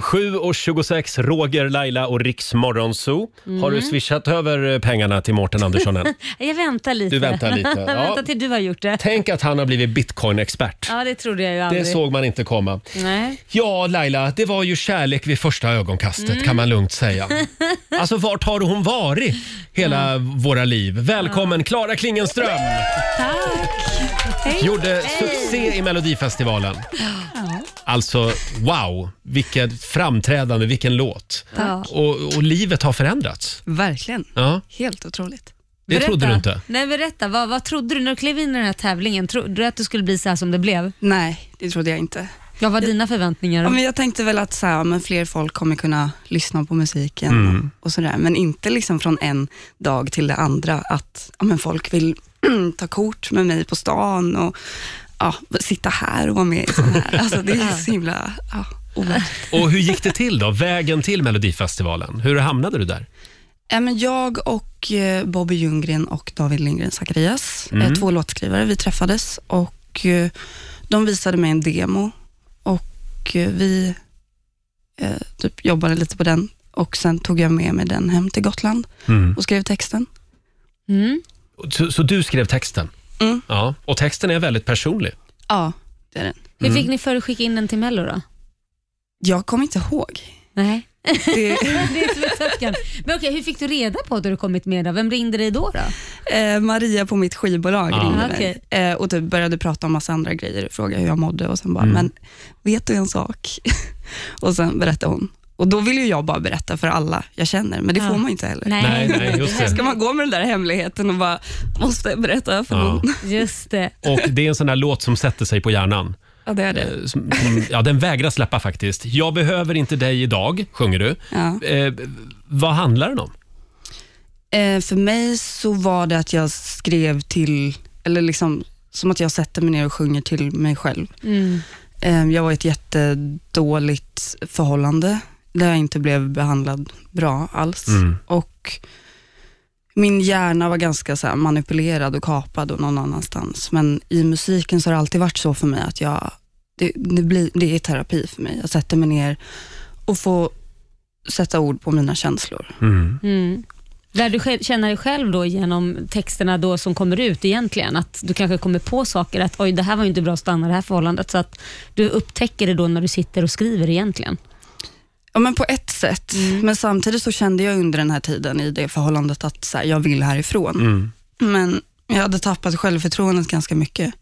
[SPEAKER 1] 7.26, Roger, Laila och Riks Morgonzoo. Har
[SPEAKER 3] Mm.
[SPEAKER 1] du swishat över eh, pengarna till Mårten Andersson än?
[SPEAKER 3] jag väntar lite.
[SPEAKER 1] Du väntar lite,
[SPEAKER 3] jag
[SPEAKER 1] ja.
[SPEAKER 3] väntar till du har gjort det.
[SPEAKER 1] Tänk att han har blivit bitcoin-expert.
[SPEAKER 3] Ja, det trodde jag ju aldrig.
[SPEAKER 1] Det såg man inte komma.
[SPEAKER 3] Nej.
[SPEAKER 1] Ja, Laila, det var ju kärlek vid första ögonkastet
[SPEAKER 3] Mm.
[SPEAKER 1] kan man lugnt säga. Alltså, vart har hon varit hela
[SPEAKER 12] Mm.
[SPEAKER 1] våra liv? Välkommen Klara Klingenström!
[SPEAKER 3] Hej.
[SPEAKER 1] Gjorde succé i Melodifestivalen. Alltså, wow! Vilket framträdande, vilken låt.
[SPEAKER 12] Tack.
[SPEAKER 1] Och, och livet har förändrats.
[SPEAKER 12] Verkligen.
[SPEAKER 1] Ja.
[SPEAKER 12] Helt otroligt.
[SPEAKER 1] Det trodde du inte.
[SPEAKER 3] Nej, berätta. Vad, vad trodde du när du klev in i den här tävlingen? Trodde du att du skulle bli så här som det blev?
[SPEAKER 12] Nej, det trodde jag inte.
[SPEAKER 3] Vad var dina förväntningar?
[SPEAKER 12] Ja, men jag tänkte väl att så här, ja, men fler folk kommer kunna lyssna på musiken och sådär, men inte liksom från en dag till det andra att ja, men folk vill ta kort med mig på stan och ja, sitta här och vara med i sån här. Alltså, det är så himla... Ja.
[SPEAKER 1] Och hur gick det till då? Vägen till Melodifestivalen. Hur hamnade du där?
[SPEAKER 12] Ja, men jag och eh, Bobby Ljunggren och David Lindgren Zacharias, eh,
[SPEAKER 1] Mm.
[SPEAKER 12] två låtskrivare, vi träffades och eh, de visade mig en demo och eh, vi eh, typ jobbade lite på den och sen tog jag med mig den hem till Gotland
[SPEAKER 1] Mm.
[SPEAKER 12] och skrev texten.
[SPEAKER 3] Mm.
[SPEAKER 1] Så, så du skrev texten?
[SPEAKER 12] Mm.
[SPEAKER 1] Ja, och texten är väldigt personlig.
[SPEAKER 12] Ja, det är den.
[SPEAKER 3] Hur
[SPEAKER 1] Mm.
[SPEAKER 3] fick ni för att skicka in den till Mello då?
[SPEAKER 12] Jag kommer inte ihåg.
[SPEAKER 3] Nej.
[SPEAKER 12] Det...
[SPEAKER 3] det är som ett töcken. Men okej, hur fick du reda på att du kommit med då? Vem ringde dig då? då?
[SPEAKER 12] Eh, Maria på mitt skivbolag
[SPEAKER 3] Ah.
[SPEAKER 12] ringde
[SPEAKER 3] Okej.
[SPEAKER 12] mig eh, och typ började prata om massa andra grejer, fråga hur jag mådde och sen bara,
[SPEAKER 3] Mm.
[SPEAKER 12] men vet du en sak? och sen berättade hon. Och då vill ju jag bara berätta för alla jag känner, men det
[SPEAKER 3] Ja.
[SPEAKER 12] får man ju inte heller.
[SPEAKER 3] Nej. Nej, nej, just det.
[SPEAKER 12] Ska man gå med den där hemligheten och bara, måste berätta för
[SPEAKER 1] Ja.
[SPEAKER 12] någon?
[SPEAKER 3] Just det.
[SPEAKER 1] Och det är en sån där låt som sätter sig på hjärnan.
[SPEAKER 12] Ja, det är det.
[SPEAKER 1] Eh, som- som- Ja, den vägrar släppa faktiskt. Jag behöver inte dig idag, sjunger du.
[SPEAKER 12] Ja.
[SPEAKER 1] Eh, vad handlar den om?
[SPEAKER 12] Eh, för mig så var det att jag skrev till, eller liksom som att jag sätter mig ner och sjunger till mig själv.
[SPEAKER 2] Mm.
[SPEAKER 12] Eh, Jag var i ett jättedåligt förhållande där jag inte blev behandlad bra alls.
[SPEAKER 2] Mm.
[SPEAKER 12] Och min hjärna var ganska så här manipulerad och kapad och någon annanstans. Men i musiken så har det alltid varit så för mig att jag, det, det, blir, det är terapi för mig. Jag sätter mig ner och får sätta ord på mina känslor.
[SPEAKER 3] Mm. Lär du själv- känna dig själv då genom texterna då som kommer ut egentligen? Att du kanske kommer på saker, att oj, det här var ju inte bra att stanna i det här förhållandet. Så att du upptäcker det då när du sitter och skriver egentligen.
[SPEAKER 12] Ja, men på ett sätt. Men samtidigt så kände jag under den här tiden i det förhållandet att så här, jag vill härifrån. Men jag hade tappat självförtroendet ganska mycket.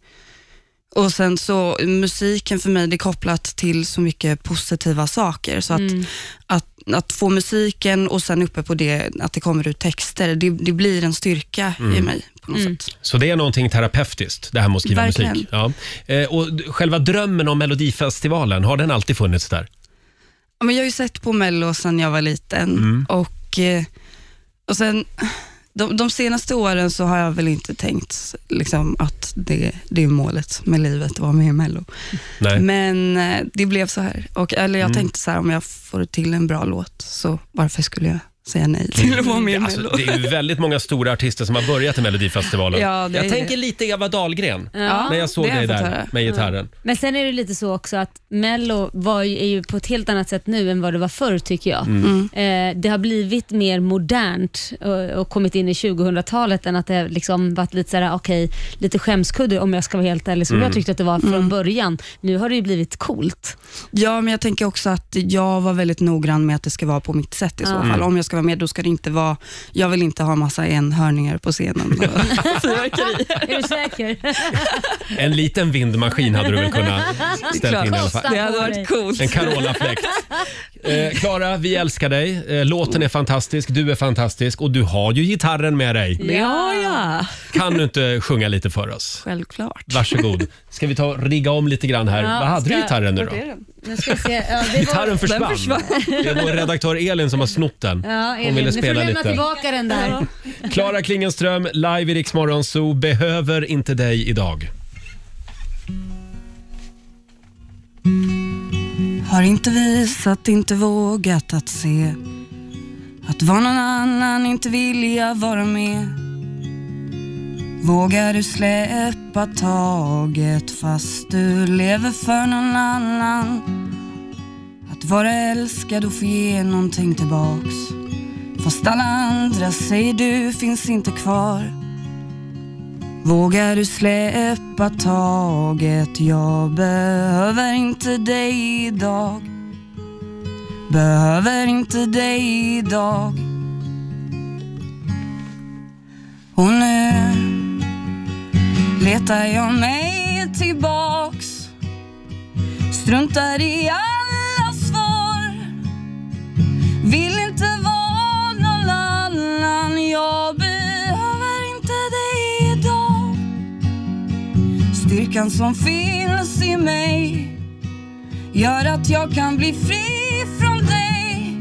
[SPEAKER 12] Och sen så, musiken för mig, det är kopplat till så mycket positiva saker. Så att, att, att få musiken och sen uppe på det, att det kommer ut texter, det, det blir en styrka i
[SPEAKER 1] Mm.
[SPEAKER 12] mig på något sätt.
[SPEAKER 1] Så det är någonting terapeutiskt, det här med att skriva
[SPEAKER 12] Verkligen.
[SPEAKER 1] musik. Ja. Eh, och d- själva drömmen om Melodifestivalen, har den alltid funnits där?
[SPEAKER 12] Ja, men jag har ju sett på Mello sedan jag var liten och eh,
[SPEAKER 13] Och sen, de, de senaste åren så har jag väl inte tänkt liksom, att det, det är målet med livet, att vara med i Mello.
[SPEAKER 12] Nej.
[SPEAKER 13] Men eh, det blev så här. Och, eller jag
[SPEAKER 1] Mm.
[SPEAKER 13] tänkte så här, om jag får till en bra låt, så varför skulle jag säga nej till att vara med i
[SPEAKER 1] Alltså,
[SPEAKER 13] Mello?
[SPEAKER 1] det är ju väldigt många stora artister som har börjat i Melodifestivalen.
[SPEAKER 13] Ja, det
[SPEAKER 1] jag
[SPEAKER 13] är-
[SPEAKER 1] tänker lite Eva Dahlgren
[SPEAKER 3] Ja,
[SPEAKER 1] när jag såg
[SPEAKER 3] det har
[SPEAKER 1] dig
[SPEAKER 3] jag fått
[SPEAKER 1] där
[SPEAKER 3] höra.
[SPEAKER 1] med gitarren.
[SPEAKER 3] Men sen är det lite så också att Mello var ju, är ju på ett helt annat sätt nu än vad det var förr tycker jag.
[SPEAKER 1] Mm.
[SPEAKER 3] Eh, det har blivit mer modernt och, och kommit in i 2000-talet än att det liksom varit lite såhär, okej, lite skämskudde om jag ska vara helt ärlig, som
[SPEAKER 13] Mm.
[SPEAKER 3] jag tyckte att det var från
[SPEAKER 13] Mm.
[SPEAKER 3] början. Nu har det ju blivit coolt.
[SPEAKER 13] Ja, men jag tänker också att jag var väldigt noggrann med att det ska vara på mitt sätt i så
[SPEAKER 3] Ja.
[SPEAKER 13] fall.
[SPEAKER 3] Mm.
[SPEAKER 13] Om jag ska vara med, då ska det inte vara... Jag vill inte ha massa enhörningar på scenen.
[SPEAKER 3] Fyrverkeri. är du säker?
[SPEAKER 1] En liten vindmaskin hade du väl kunnat ställa in i alla fall.
[SPEAKER 3] Det hade varit
[SPEAKER 13] coolt.
[SPEAKER 1] En Carola-fläkt. Eh, Klara, vi älskar dig. Eh, låten är fantastisk, du är fantastisk och du har ju gitarren med dig.
[SPEAKER 13] Ja, ja.
[SPEAKER 1] Kan du inte sjunga lite för oss?
[SPEAKER 13] Självklart.
[SPEAKER 1] Varsågod. Ska vi ta och rigga om lite grann här?
[SPEAKER 3] Ja,
[SPEAKER 1] Vad hade du
[SPEAKER 3] ska-
[SPEAKER 1] gitarren nu då?
[SPEAKER 3] vart är den? Nu ska vi se. Ja, det var-
[SPEAKER 1] Gitarren försvann. Det är vår redaktör Elin som har snott den.
[SPEAKER 3] Ja,
[SPEAKER 1] Hon
[SPEAKER 3] Elin,
[SPEAKER 1] ville
[SPEAKER 3] nu får du
[SPEAKER 1] spela
[SPEAKER 3] lämna
[SPEAKER 1] lite.
[SPEAKER 3] tillbaka den där.
[SPEAKER 1] Klara Klingenström, live i Rix Morgon Zoo, behöver inte dig idag.
[SPEAKER 13] Har inte visat, inte vågat att se Att vara någon annan, inte vilja vara med Vågar du släppa taget fast du lever för någon annan Att vara älskad och få ge någonting tillbaks Fast alla andra säger du finns inte kvar Vågar du släppa taget? Jag behöver inte dig idag. Behöver inte dig idag. Och nu letar jag mig tillbaks. Struntar i alla svar. Vill inte vara någon annan Jag behöver inte dig idag Styrkan som finns i mig Gör att jag kan bli fri från dig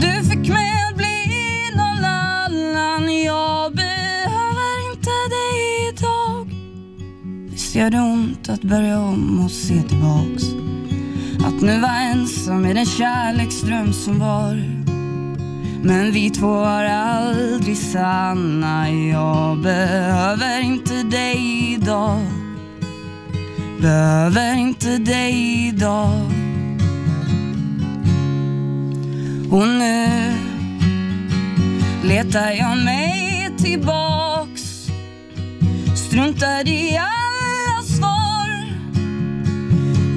[SPEAKER 13] Du fick mig att bli någon annan Jag behöver inte dig idag Visst gör det ont att börja om och se tillbaks att nu var ensam i den kärleksdröm som var Men vi två var aldrig sanna Jag behöver inte dig idag Behöver inte dig idag Och nu letar jag mig tillbaks Struntar i alla svar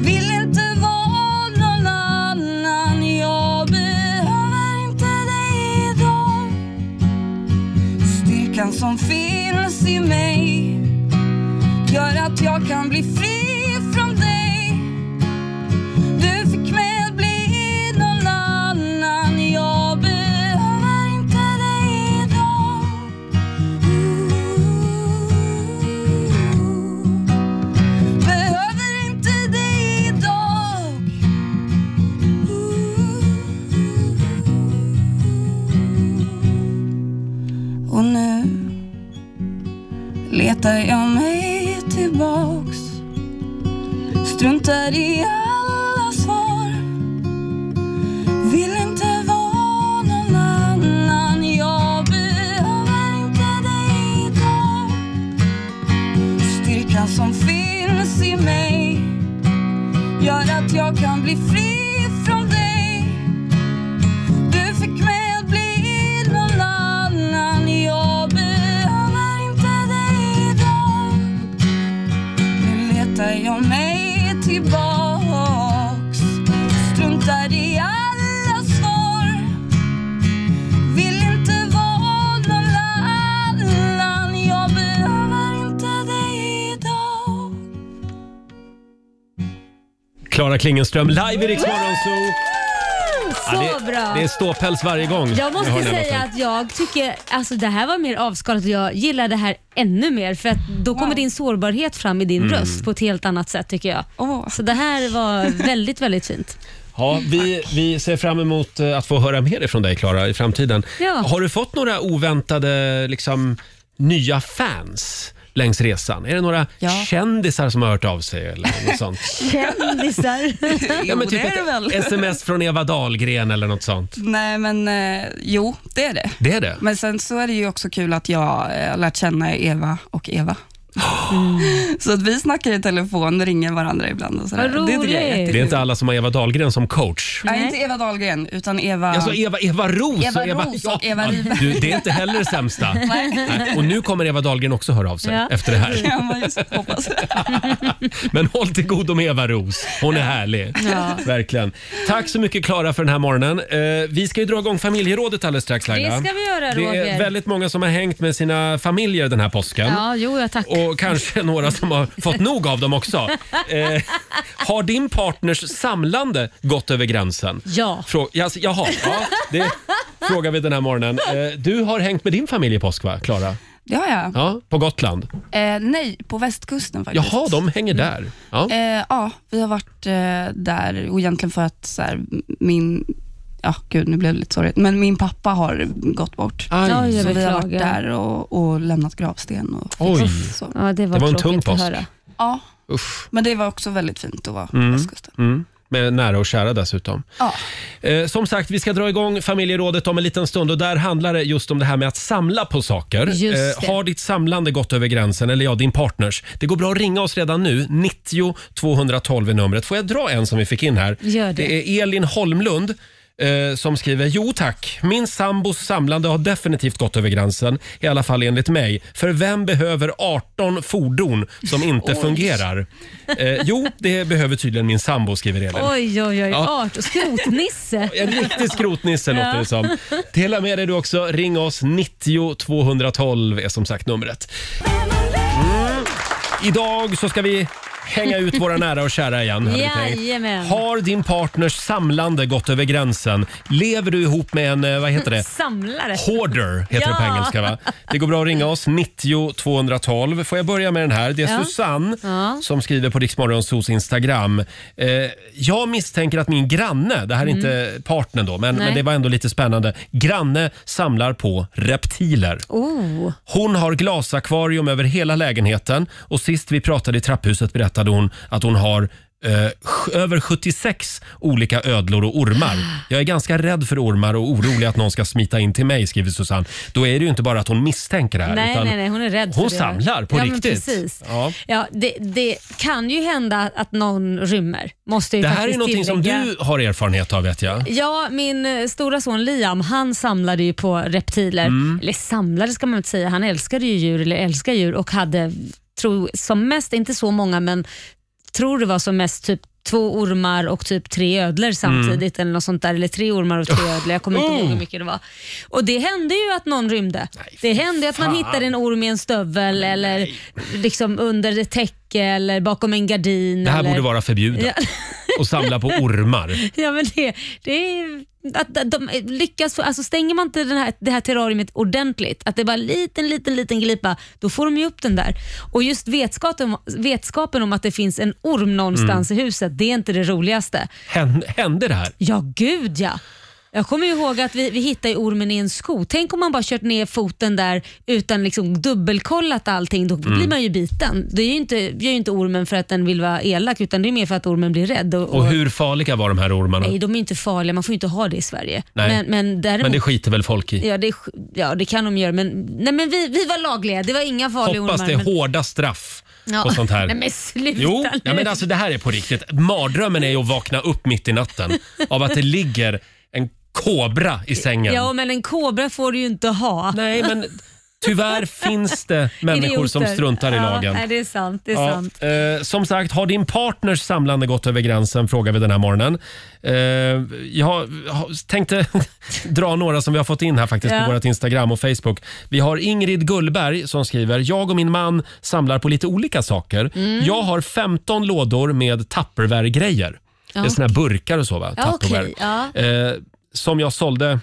[SPEAKER 13] vill inte vara någon annan Jag behöver inte dig idag Styrkan som finns i mig Gör att jag kan bli fri från dig Du fick mig att bli någon annan Jag behöver inte dig idag Behöver inte dig idag Och nu letar jag mig tillbaks Struntar i alla svar Vill inte vara någon annan Jag behöver inte dig idag Styrkan som finns i mig gör att jag kan bli fri från dig. Du fick mig att bli någon annan. Jag behöver inte dig idag. Nu letar jag mig tillbaks. Struntar i alla svar. Vill inte vara någon annan. Jag behöver inte dig idag.
[SPEAKER 1] Klara Klingenström, live i Rix Morgon Zoo.
[SPEAKER 3] Så
[SPEAKER 1] Ja, det,
[SPEAKER 3] bra.
[SPEAKER 1] det är ståpäls varje gång
[SPEAKER 3] Jag måste
[SPEAKER 1] hör den här
[SPEAKER 3] säga
[SPEAKER 1] låten.
[SPEAKER 3] att jag tycker, alltså det här var mer avskalat och jag gillar det här ännu mer för att då kommer din sårbarhet fram i din
[SPEAKER 1] Mm.
[SPEAKER 3] röst på ett helt annat sätt tycker jag. Så det här var väldigt, väldigt fint.
[SPEAKER 1] Ja, vi, vi ser fram emot eh, att få höra mer från dig Klara i framtiden.
[SPEAKER 3] Ja.
[SPEAKER 1] Har du fått några oväntade liksom, nya fans längs resan? Är det några kändisar som har hört av sig eller något sånt?
[SPEAKER 3] Kändisar.
[SPEAKER 1] Ja, men typ ett sms från Eva Dahlgren eller något sånt.
[SPEAKER 12] Nej, men eh, jo, det är det.
[SPEAKER 1] Det är det?
[SPEAKER 12] Men sen så är det ju också kul att jag eh, har lärt känna Eva och Eva. Mm. Så att vi snackar i telefon, ringer varandra ibland och sådär.
[SPEAKER 1] Vad
[SPEAKER 12] Det tycker jag är
[SPEAKER 1] Det
[SPEAKER 12] jättekul.
[SPEAKER 1] är inte alla som har Eva Dahlgren som coach.
[SPEAKER 12] Nej, inte Eva Dahlgren, utan Eva...
[SPEAKER 1] Alltså Eva, Eva Ros
[SPEAKER 12] Eva Ros och Eva
[SPEAKER 1] ja,
[SPEAKER 12] Rydberg.
[SPEAKER 1] du, Det är inte heller det sämsta.
[SPEAKER 12] Nej.
[SPEAKER 1] Nej, Och nu kommer Eva Dahlgren också höra av sig
[SPEAKER 12] Ja.
[SPEAKER 1] efter det här.
[SPEAKER 12] Ja, man just hoppas.
[SPEAKER 1] Men håll till godo med Eva Ros. Hon är härlig.
[SPEAKER 12] Ja.
[SPEAKER 1] Verkligen. Tack så mycket Klara för den här morgonen. Eh, vi ska ju dra igång familjerådet alldeles strax Laila.
[SPEAKER 3] Det ska vi göra,
[SPEAKER 1] Det är
[SPEAKER 3] Roger.
[SPEAKER 1] väldigt många som har hängt med sina familjer den här påsken.
[SPEAKER 3] Ja, jo, jag tackar.
[SPEAKER 1] Och kanske några som har fått nog av dem också. Eh, har din partners samlande gått över gränsen?
[SPEAKER 3] Ja.
[SPEAKER 1] Frå- ja, alltså, jaha, ja, det frågar vi den här morgonen. Eh, du har hängt med din familj i påsk va, Klara?
[SPEAKER 12] Det har jag.
[SPEAKER 1] Ja, på Gotland.
[SPEAKER 12] Eh, nej, på västkusten faktiskt.
[SPEAKER 1] Jaha, de hänger där. Ja.
[SPEAKER 12] Eh, ja, vi har varit eh, där och egentligen för att så här, min, ja gud nu blev det lite sorgligt, men min pappa har gått bort.
[SPEAKER 3] Aj. Oj, jag
[SPEAKER 12] så vi har varit
[SPEAKER 3] beklagar.
[SPEAKER 12] där och, och lämnat gravsten. Och
[SPEAKER 1] Oj.
[SPEAKER 12] Så.
[SPEAKER 3] Ja, det var,
[SPEAKER 1] Det var en
[SPEAKER 3] tråkigt
[SPEAKER 1] tung
[SPEAKER 3] att
[SPEAKER 1] påsk.
[SPEAKER 3] höra.
[SPEAKER 12] Ja,
[SPEAKER 1] Usch.
[SPEAKER 12] men det var också väldigt fint att vara.
[SPEAKER 1] Mm. Mm. Med nära och kära dessutom.
[SPEAKER 12] Ja.
[SPEAKER 1] Eh, som sagt, vi ska dra igång familjerådet om en liten stund och där handlar det just om det här med att samla på saker. Eh,
[SPEAKER 2] Just det.
[SPEAKER 1] har ditt samlande gått över gränsen, eller ja, din partners? Det går bra att ringa oss redan nu. 90 212 är numret. Får jag dra en som vi fick in här?
[SPEAKER 2] Gör det.
[SPEAKER 1] är Elin Holmlund. eh, Som skriver, jo tack, min sambos samlande har definitivt gått över gränsen. I alla fall enligt mig. För vem behöver 18 fordon som inte
[SPEAKER 3] Oj.
[SPEAKER 1] fungerar? Eh, jo, det behöver tydligen min sambo, skriver Elin.
[SPEAKER 3] Oj, oj, oj.
[SPEAKER 1] Ja.
[SPEAKER 3] Art och skrotnisse.
[SPEAKER 1] En riktig skrotnisse låter
[SPEAKER 3] Ja.
[SPEAKER 1] det som. Dela med dig du också. Ring oss. 90 212 är som sagt numret. Mm. Idag så ska vi hänga ut våra nära och kära igen. hade vi tänkt.
[SPEAKER 3] Jajamän.
[SPEAKER 1] Har din partners samlande gått över gränsen? Lever du ihop med en, eh, vad heter det?
[SPEAKER 3] Samlare.
[SPEAKER 1] Hoarder heter det på
[SPEAKER 3] Ja.
[SPEAKER 1] engelska va? Det går bra att ringa oss, 90 212. Får jag börja med den här? Det är
[SPEAKER 3] Ja.
[SPEAKER 1] Susanne
[SPEAKER 3] Ja.
[SPEAKER 1] som skriver på Riksmorgonsos Instagram. Eh, jag misstänker att min granne, det här är
[SPEAKER 2] Mm.
[SPEAKER 1] inte partnern då, men,
[SPEAKER 2] Nej.
[SPEAKER 1] men det var ändå lite spännande. Granne samlar på reptiler.
[SPEAKER 3] Oh.
[SPEAKER 1] Hon har glasakvarium över hela lägenheten och sist vi pratade i trapphuset berättade hon att hon har eh, sj- över 76 olika ödlor och ormar. Jag är ganska rädd för ormar och orolig att någon ska smita in till mig, skriver Susanne. Då är det ju inte bara att hon misstänker det här.
[SPEAKER 3] Nej,
[SPEAKER 1] utan
[SPEAKER 3] nej, nej, hon är rädd
[SPEAKER 1] Hon
[SPEAKER 3] för det.
[SPEAKER 1] samlar på
[SPEAKER 3] ja, Men
[SPEAKER 1] riktigt.
[SPEAKER 3] precis.
[SPEAKER 1] Ja.
[SPEAKER 3] Ja, det, det kan ju hända att någon rymmer. Måste ju
[SPEAKER 1] Det här är
[SPEAKER 3] faktiskt
[SPEAKER 1] någonting som
[SPEAKER 3] tillägga.
[SPEAKER 1] du har erfarenhet av vet jag.
[SPEAKER 3] Ja, min eh, stora son Liam, han samlade ju på reptiler.
[SPEAKER 1] Mm.
[SPEAKER 3] Eller samlade ska man inte säga, han älskade ju djur, eller älskar djur och hade, tror som mest, inte så många, men tror det var som mest typ två ormar och typ tre ödlor samtidigt eller något sånt där. Eller tre ormar och tre ödlor, jag kommer inte ihåg hur
[SPEAKER 1] Mm.
[SPEAKER 3] mycket det var. Och det hände ju att någon rymde. det hände ju att man
[SPEAKER 1] fan.
[SPEAKER 3] hittade en orm i en stövel eller liksom under ett täcke eller bakom en gardin.
[SPEAKER 1] Det här
[SPEAKER 3] eller...
[SPEAKER 1] borde vara förbjudet.
[SPEAKER 3] Ja.
[SPEAKER 1] Och samla på ormar.
[SPEAKER 3] Ja, men det, det är att att de lyckas, få- alltså stänger man inte den här, det här terrariet ordentligt, att det är bara en liten, liten, liten glipa, då får de ju upp den där. Och just vetskapen, vetskapen om att det finns en orm
[SPEAKER 1] Mm.
[SPEAKER 3] någonstans i huset, det är inte det roligaste.
[SPEAKER 1] Hän- Hände det här?
[SPEAKER 3] Ja, gud ja. Jag kommer ju ihåg att vi, vi hittade ju ormen i en sko. Tänk om man bara kört ner foten där utan liksom dubbelkollat allting. Då
[SPEAKER 1] Mm.
[SPEAKER 3] blir man ju biten. Det är ju inte, gör ju inte ormen för att den vill vara elak utan det är mer för att ormen blir rädd. och-
[SPEAKER 1] Och hur farliga var de här ormarna?
[SPEAKER 3] Nej, de är inte farliga. Man får ju inte ha det i Sverige.
[SPEAKER 1] Nej.
[SPEAKER 3] Men, men däremot...
[SPEAKER 1] Men det skiter väl folk i?
[SPEAKER 3] Ja det, är sk- ja, det kan de göra. Men, nej, men vi, vi var lagliga. Det var inga farliga
[SPEAKER 1] Hoppas det
[SPEAKER 3] ormar.
[SPEAKER 1] är
[SPEAKER 3] men-
[SPEAKER 1] hårda straff
[SPEAKER 3] Ja.
[SPEAKER 1] på sånt här.
[SPEAKER 3] Nej, men sluta
[SPEAKER 1] jo,
[SPEAKER 3] nu.
[SPEAKER 1] ja, men alltså, det här är på riktigt. Mardrömmen är ju att vakna upp mitt i natten av att det ligger en kobra i sängen.
[SPEAKER 3] Ja, men en kobra får du ju inte ha.
[SPEAKER 1] Nej, men Tyvärr finns det människor som struntar i lagen.
[SPEAKER 3] Ja, nej, det är sant. Det är
[SPEAKER 1] Ja,
[SPEAKER 3] sant.
[SPEAKER 1] eh, som sagt, har din partners samlande gått över gränsen? Frågar vi den här morgonen. Eh, jag har- har- tänkte dra några som vi har fått in här faktiskt
[SPEAKER 2] Ja.
[SPEAKER 1] på vårt Instagram och Facebook. Vi har Ingrid Gullberg som skriver, jag och min man samlar på lite olika saker.
[SPEAKER 2] Mm.
[SPEAKER 1] Jag har 15 lådor med Tupperware-grejer. Det
[SPEAKER 2] Ja.
[SPEAKER 1] är såna här burkar och Eh, så va?
[SPEAKER 2] Ja, okej.
[SPEAKER 1] Tupperware.
[SPEAKER 2] Ja.
[SPEAKER 1] Eh, som jag sålde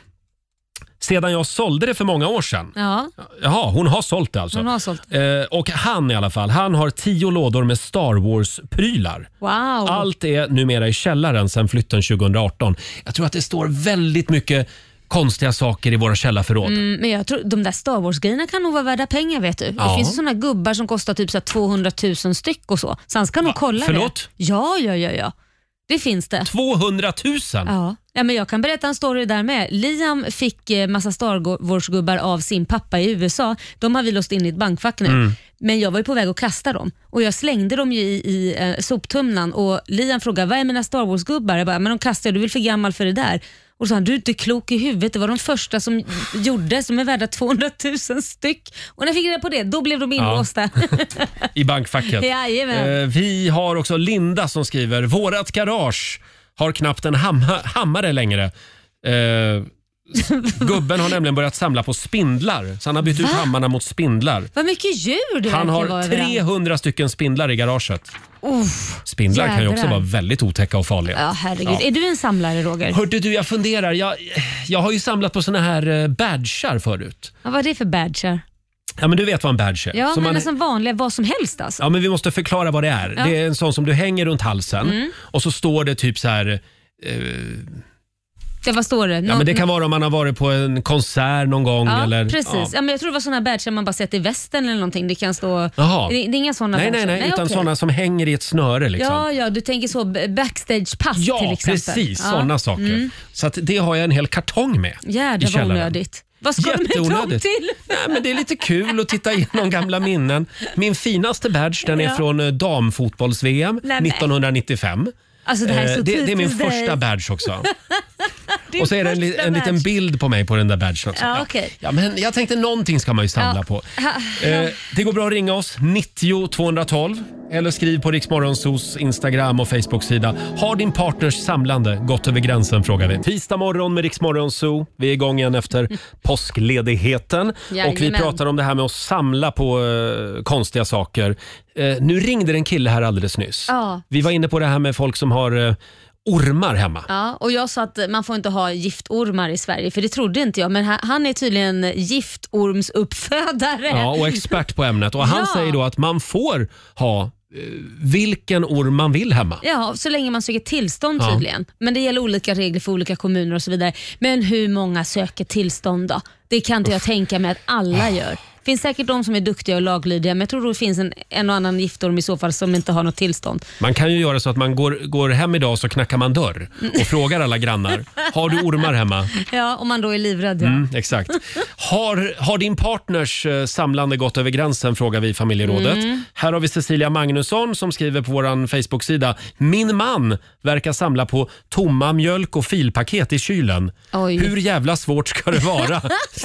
[SPEAKER 1] sedan jag sålde det för många år sedan.
[SPEAKER 3] Ja,
[SPEAKER 1] Jaha, hon har sålt det alltså.
[SPEAKER 3] hon har sålt.
[SPEAKER 1] Eh, och han i alla fall, han har tio lådor med Star Wars-prylar.
[SPEAKER 3] Wow.
[SPEAKER 1] Allt är numera i källaren sedan flytten 2018. Jag tror att det står väldigt mycket konstiga saker i våra källarförråd.
[SPEAKER 3] Mm, men jag tror, de där Star Wars-grejerna kan nog vara värda pengar vet du.
[SPEAKER 1] Ja.
[SPEAKER 3] Det finns ju såna gubbar som kostar typ så här 200 000 styck och så. Så han ska nog kolla
[SPEAKER 1] Förlåt?
[SPEAKER 3] det. Ja, ja, ja, ja. Det finns det.
[SPEAKER 1] 200 000?
[SPEAKER 3] Ja. ja, men jag kan berätta en story där med. Liam fick eh, massa Star Wars-gubbar av sin pappa i USA. De har vi låst in i ett bankfack nu.
[SPEAKER 14] Mm.
[SPEAKER 3] Men jag var ju på väg att kasta dem och jag slängde dem ju i, i eh, soptunnan och Liam frågade, vad är mina Star Wars-gubbar? Jag bara, men de kastar jag, du är väl för gammal för det där? Och så sa han, du är inte klok i huvudet, det var de första som gjordes, de är värda 200 000 styck. Och när jag fick reda på det, då blev de inlåsta.
[SPEAKER 1] I bankfacket.
[SPEAKER 3] Jajamän.
[SPEAKER 1] Eh, vi har också Linda som skriver, vårat garage har knappt en hamma- hammare längre. Eh, s- gubben har nämligen börjat samla på spindlar, så han har bytt ut
[SPEAKER 3] Va?
[SPEAKER 1] hammarna mot spindlar.
[SPEAKER 3] vad mycket djur det
[SPEAKER 1] Han
[SPEAKER 3] verkar vara
[SPEAKER 1] har
[SPEAKER 3] överallt.
[SPEAKER 1] 300 stycken spindlar i garaget.
[SPEAKER 3] Uff,
[SPEAKER 1] Spindlar kan ju också
[SPEAKER 3] jädrar.
[SPEAKER 1] vara väldigt otäcka och farliga.
[SPEAKER 3] Ja, herregud.
[SPEAKER 1] Ja.
[SPEAKER 3] Är du en samlare Roger?
[SPEAKER 1] Hörde du, jag funderar. Jag, jag har ju samlat på såna här eh, badgar förut.
[SPEAKER 3] Ja, vad är det för badgar?
[SPEAKER 1] Ja, men du vet vad en badge är.
[SPEAKER 3] Ja,
[SPEAKER 1] Som
[SPEAKER 3] men
[SPEAKER 1] man-
[SPEAKER 3] nästan vanliga, vad som helst alltså.
[SPEAKER 1] Ja, men vi måste förklara vad det är.
[SPEAKER 3] Ja.
[SPEAKER 1] Det är en sån som du hänger runt halsen
[SPEAKER 3] Mm.
[SPEAKER 1] och så står det typ så här... eh,
[SPEAKER 3] Det, vad står det?
[SPEAKER 1] ja, men det kan vara om man har varit på en konsert någon gång.
[SPEAKER 3] Ja,
[SPEAKER 1] eller,
[SPEAKER 3] precis. Ja. men jag tror det var såna badgar man bara sätter i västen eller någonting. Det kan stå...
[SPEAKER 1] Jaha.
[SPEAKER 3] Det, det är inga sådana
[SPEAKER 1] Nej,
[SPEAKER 3] badgar.
[SPEAKER 1] nej, nej, utan
[SPEAKER 3] okej.
[SPEAKER 1] såna som hänger i ett snöre. Liksom.
[SPEAKER 3] Ja, ja, du tänker så b- backstagepass
[SPEAKER 1] Ja,
[SPEAKER 3] till exempel.
[SPEAKER 1] precis.
[SPEAKER 3] Ja.
[SPEAKER 1] Såna saker.
[SPEAKER 3] Mm.
[SPEAKER 1] Så att det har jag en hel kartong med i
[SPEAKER 3] Jädrar vad
[SPEAKER 1] källaren.
[SPEAKER 3] onödigt. Vad ska du med dem
[SPEAKER 1] Jätteonödigt.
[SPEAKER 3] till?
[SPEAKER 1] Nej, men det är lite kul att titta igenom gamla minnen. Min finaste badge den är
[SPEAKER 3] Ja.
[SPEAKER 1] från eh, damfotbolls-VM
[SPEAKER 3] Nej, men.
[SPEAKER 1] 1995.
[SPEAKER 3] Alltså, det här är
[SPEAKER 1] Eh,
[SPEAKER 3] så
[SPEAKER 1] det, det är min
[SPEAKER 3] typiskt dig.
[SPEAKER 1] första badge också.
[SPEAKER 3] Din
[SPEAKER 1] Och så är det en, li-
[SPEAKER 3] första
[SPEAKER 1] en liten
[SPEAKER 3] badge.
[SPEAKER 1] bild på mig på den där badgen också.
[SPEAKER 3] Ja, okej.
[SPEAKER 1] Ja, men jag tänkte någonting ska man ju samla
[SPEAKER 3] Ja.
[SPEAKER 1] på.
[SPEAKER 3] Ha-
[SPEAKER 1] Eh, det går bra att ringa oss, 90 212 eller skriv på Riksmorgonsos Instagram och Facebook-sida. Har din partners samlande gått över gränsen frågar vi. Tisdag morgon med Riksmorgonso. Vi är igång igen efter påskledigheten
[SPEAKER 2] Jajamän.
[SPEAKER 1] och vi pratar om det här med att samla på eh, konstiga saker. Eh, nu ringde det en kille här alldeles nyss.
[SPEAKER 3] Ja.
[SPEAKER 1] Vi var inne på det här med folk som har eh, ormar hemma.
[SPEAKER 3] Ja, och jag sa att man får inte ha giftormar i Sverige, för det trodde inte jag. Men ha- han är tydligen giftormsuppfödare.
[SPEAKER 1] Ja, och expert på ämnet. Och han
[SPEAKER 3] Ja.
[SPEAKER 1] säger då att man får ha eh, vilken orm man vill hemma.
[SPEAKER 3] Ja, så länge man söker tillstånd
[SPEAKER 1] Ja.
[SPEAKER 3] tydligen. Men det gäller olika regler för olika kommuner och så vidare. Men hur många söker tillstånd då? Det kan inte jag tänka mig att
[SPEAKER 1] Ah.
[SPEAKER 3] alla gör. Det finns säkert de som är duktiga och laglydiga, men jag tror det finns en, en och annan giftorm i så fall som inte har något tillstånd.
[SPEAKER 1] Man kan ju göra så att man går, går hem idag så knackar man dörr och frågar alla grannar. Har du ormar hemma?
[SPEAKER 3] Ja, om man då är livrädd. Ja.
[SPEAKER 1] Mm, exakt. Har, har din partners eh, samlande gått över gränsen? Frågar vi i familjerådet.
[SPEAKER 2] Mm.
[SPEAKER 1] Här har vi Cecilia Magnusson som skriver på vår Facebook-sida. Min man verkar samla på tomma mjölk och filpaket i kylen.
[SPEAKER 3] Oj.
[SPEAKER 1] Hur jävla svårt ska det vara?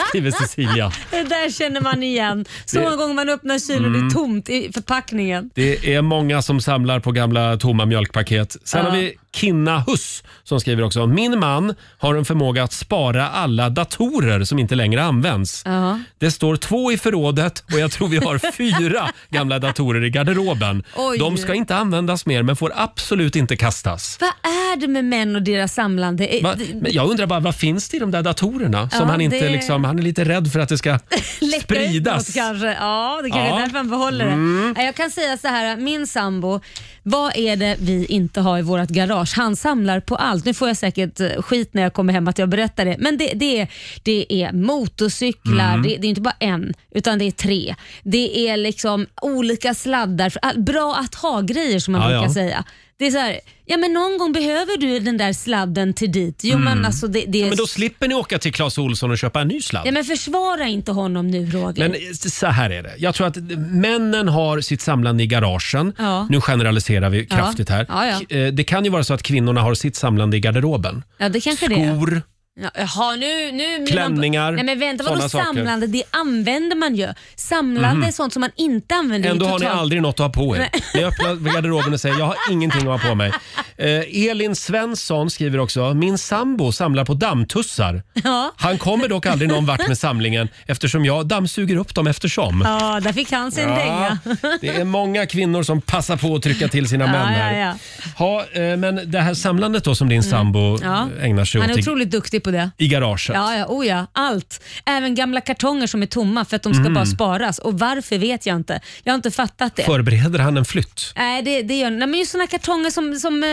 [SPEAKER 1] Skriver Cecilia.
[SPEAKER 3] Det där känner man igen. Så
[SPEAKER 1] Det-
[SPEAKER 3] många gånger man öppnar kylen och det
[SPEAKER 1] Mm.
[SPEAKER 3] är tomt i förpackningen.
[SPEAKER 1] Det är många som samlar på gamla tomma mjölkpaket. Sen
[SPEAKER 3] Ja.
[SPEAKER 1] har vi Kinna Huss som skriver också. Min man har en förmåga att spara alla datorer som inte längre används.
[SPEAKER 3] Ja.
[SPEAKER 1] Det står två i förrådet och jag tror vi har fyra gamla datorer i garderoben.
[SPEAKER 3] Oj.
[SPEAKER 1] De ska inte användas mer men får absolut inte kastas.
[SPEAKER 3] Vad är det med män och deras samlande? Eh,
[SPEAKER 1] Va?
[SPEAKER 3] det-
[SPEAKER 1] Men jag undrar bara, vad finns det i de där datorerna? Som
[SPEAKER 3] Ja,
[SPEAKER 1] han, inte
[SPEAKER 3] det-
[SPEAKER 1] liksom, han är lite rädd för att det ska
[SPEAKER 3] läcka ut
[SPEAKER 1] spridas.
[SPEAKER 3] något kanske. Ja, det kanske
[SPEAKER 1] Ja.
[SPEAKER 3] är därför han behåller det.
[SPEAKER 1] Mm.
[SPEAKER 3] Nej, Jag kan säga så här, min sambo, vad är det vi inte har i vårt garage? Han samlar på allt. Nu får jag säkert eh, skit när jag kommer hem att jag berättar det, men det, det, är, det är motorcyklar,
[SPEAKER 14] Mm.
[SPEAKER 3] det, det är inte bara en, utan det är tre. Det är liksom olika sladdar, för all- bra att ha-grejer som man
[SPEAKER 14] Ja,
[SPEAKER 3] brukar
[SPEAKER 14] ja.
[SPEAKER 3] säga. Det är så här, ja men någon gång behöver du den där sladden till dit. Jo
[SPEAKER 1] Mm.
[SPEAKER 3] men alltså det, det är...
[SPEAKER 1] Ja, men då slipper ni åka till Clas Olsson och köpa en ny sladd.
[SPEAKER 3] Ja, men försvara inte honom nu Roger.
[SPEAKER 1] Men eh, så här är det. Jag tror att eh, männen har sitt samlande i garagen.
[SPEAKER 3] Ja.
[SPEAKER 1] Nu generaliserar vi
[SPEAKER 3] Ja.
[SPEAKER 1] kraftigt här.
[SPEAKER 3] Ja, ja.
[SPEAKER 1] K- eh, Det kan ju vara så att kvinnorna har sitt samlande i garderoben.
[SPEAKER 3] Ja, det kanske det är.
[SPEAKER 1] Skor.
[SPEAKER 3] Ja, Jaha, nu... nu nu-
[SPEAKER 1] Klänningar,
[SPEAKER 3] Nej, men vänta, vadå
[SPEAKER 1] såna saker.
[SPEAKER 3] samlande? Det använder man ju. Samlande
[SPEAKER 1] Mhm.
[SPEAKER 3] är sånt som man inte använder.
[SPEAKER 1] Ändå
[SPEAKER 3] i
[SPEAKER 1] har ni
[SPEAKER 3] totalt-
[SPEAKER 1] aldrig något att ha på er.
[SPEAKER 3] Nej.
[SPEAKER 1] Ni öppnar garderoben och säger jag har ingenting att ha på mig. Eh, Elin Svensson skriver också, min sambo samlar på dammtussar.
[SPEAKER 3] Ja.
[SPEAKER 1] Han kommer dock aldrig någon vart med samlingen eftersom jag dammsuger upp dem eftersom.
[SPEAKER 3] Ja, där fick han sin
[SPEAKER 1] Ja,
[SPEAKER 3] dänga.
[SPEAKER 1] Det är många kvinnor som passar på att trycka till sina
[SPEAKER 3] Ja,
[SPEAKER 1] män
[SPEAKER 3] ja,
[SPEAKER 1] här.
[SPEAKER 3] ja.
[SPEAKER 1] Ha, eh, men det här samlandet då som din sambo
[SPEAKER 3] Mm. Ja.
[SPEAKER 1] ägnar sig
[SPEAKER 3] Han är
[SPEAKER 1] åt i
[SPEAKER 3] otroligt duktig på det.
[SPEAKER 1] I garaget.
[SPEAKER 3] Ja, ja, oh ja, allt. Även gamla kartonger som är tomma för att de ska
[SPEAKER 1] Mm.
[SPEAKER 3] bara sparas. Och varför vet jag inte. Jag har inte fattat det.
[SPEAKER 1] Förbereder han en flytt?
[SPEAKER 3] Nej, det, det gör Nej, men just sådana kartonger som, som eh,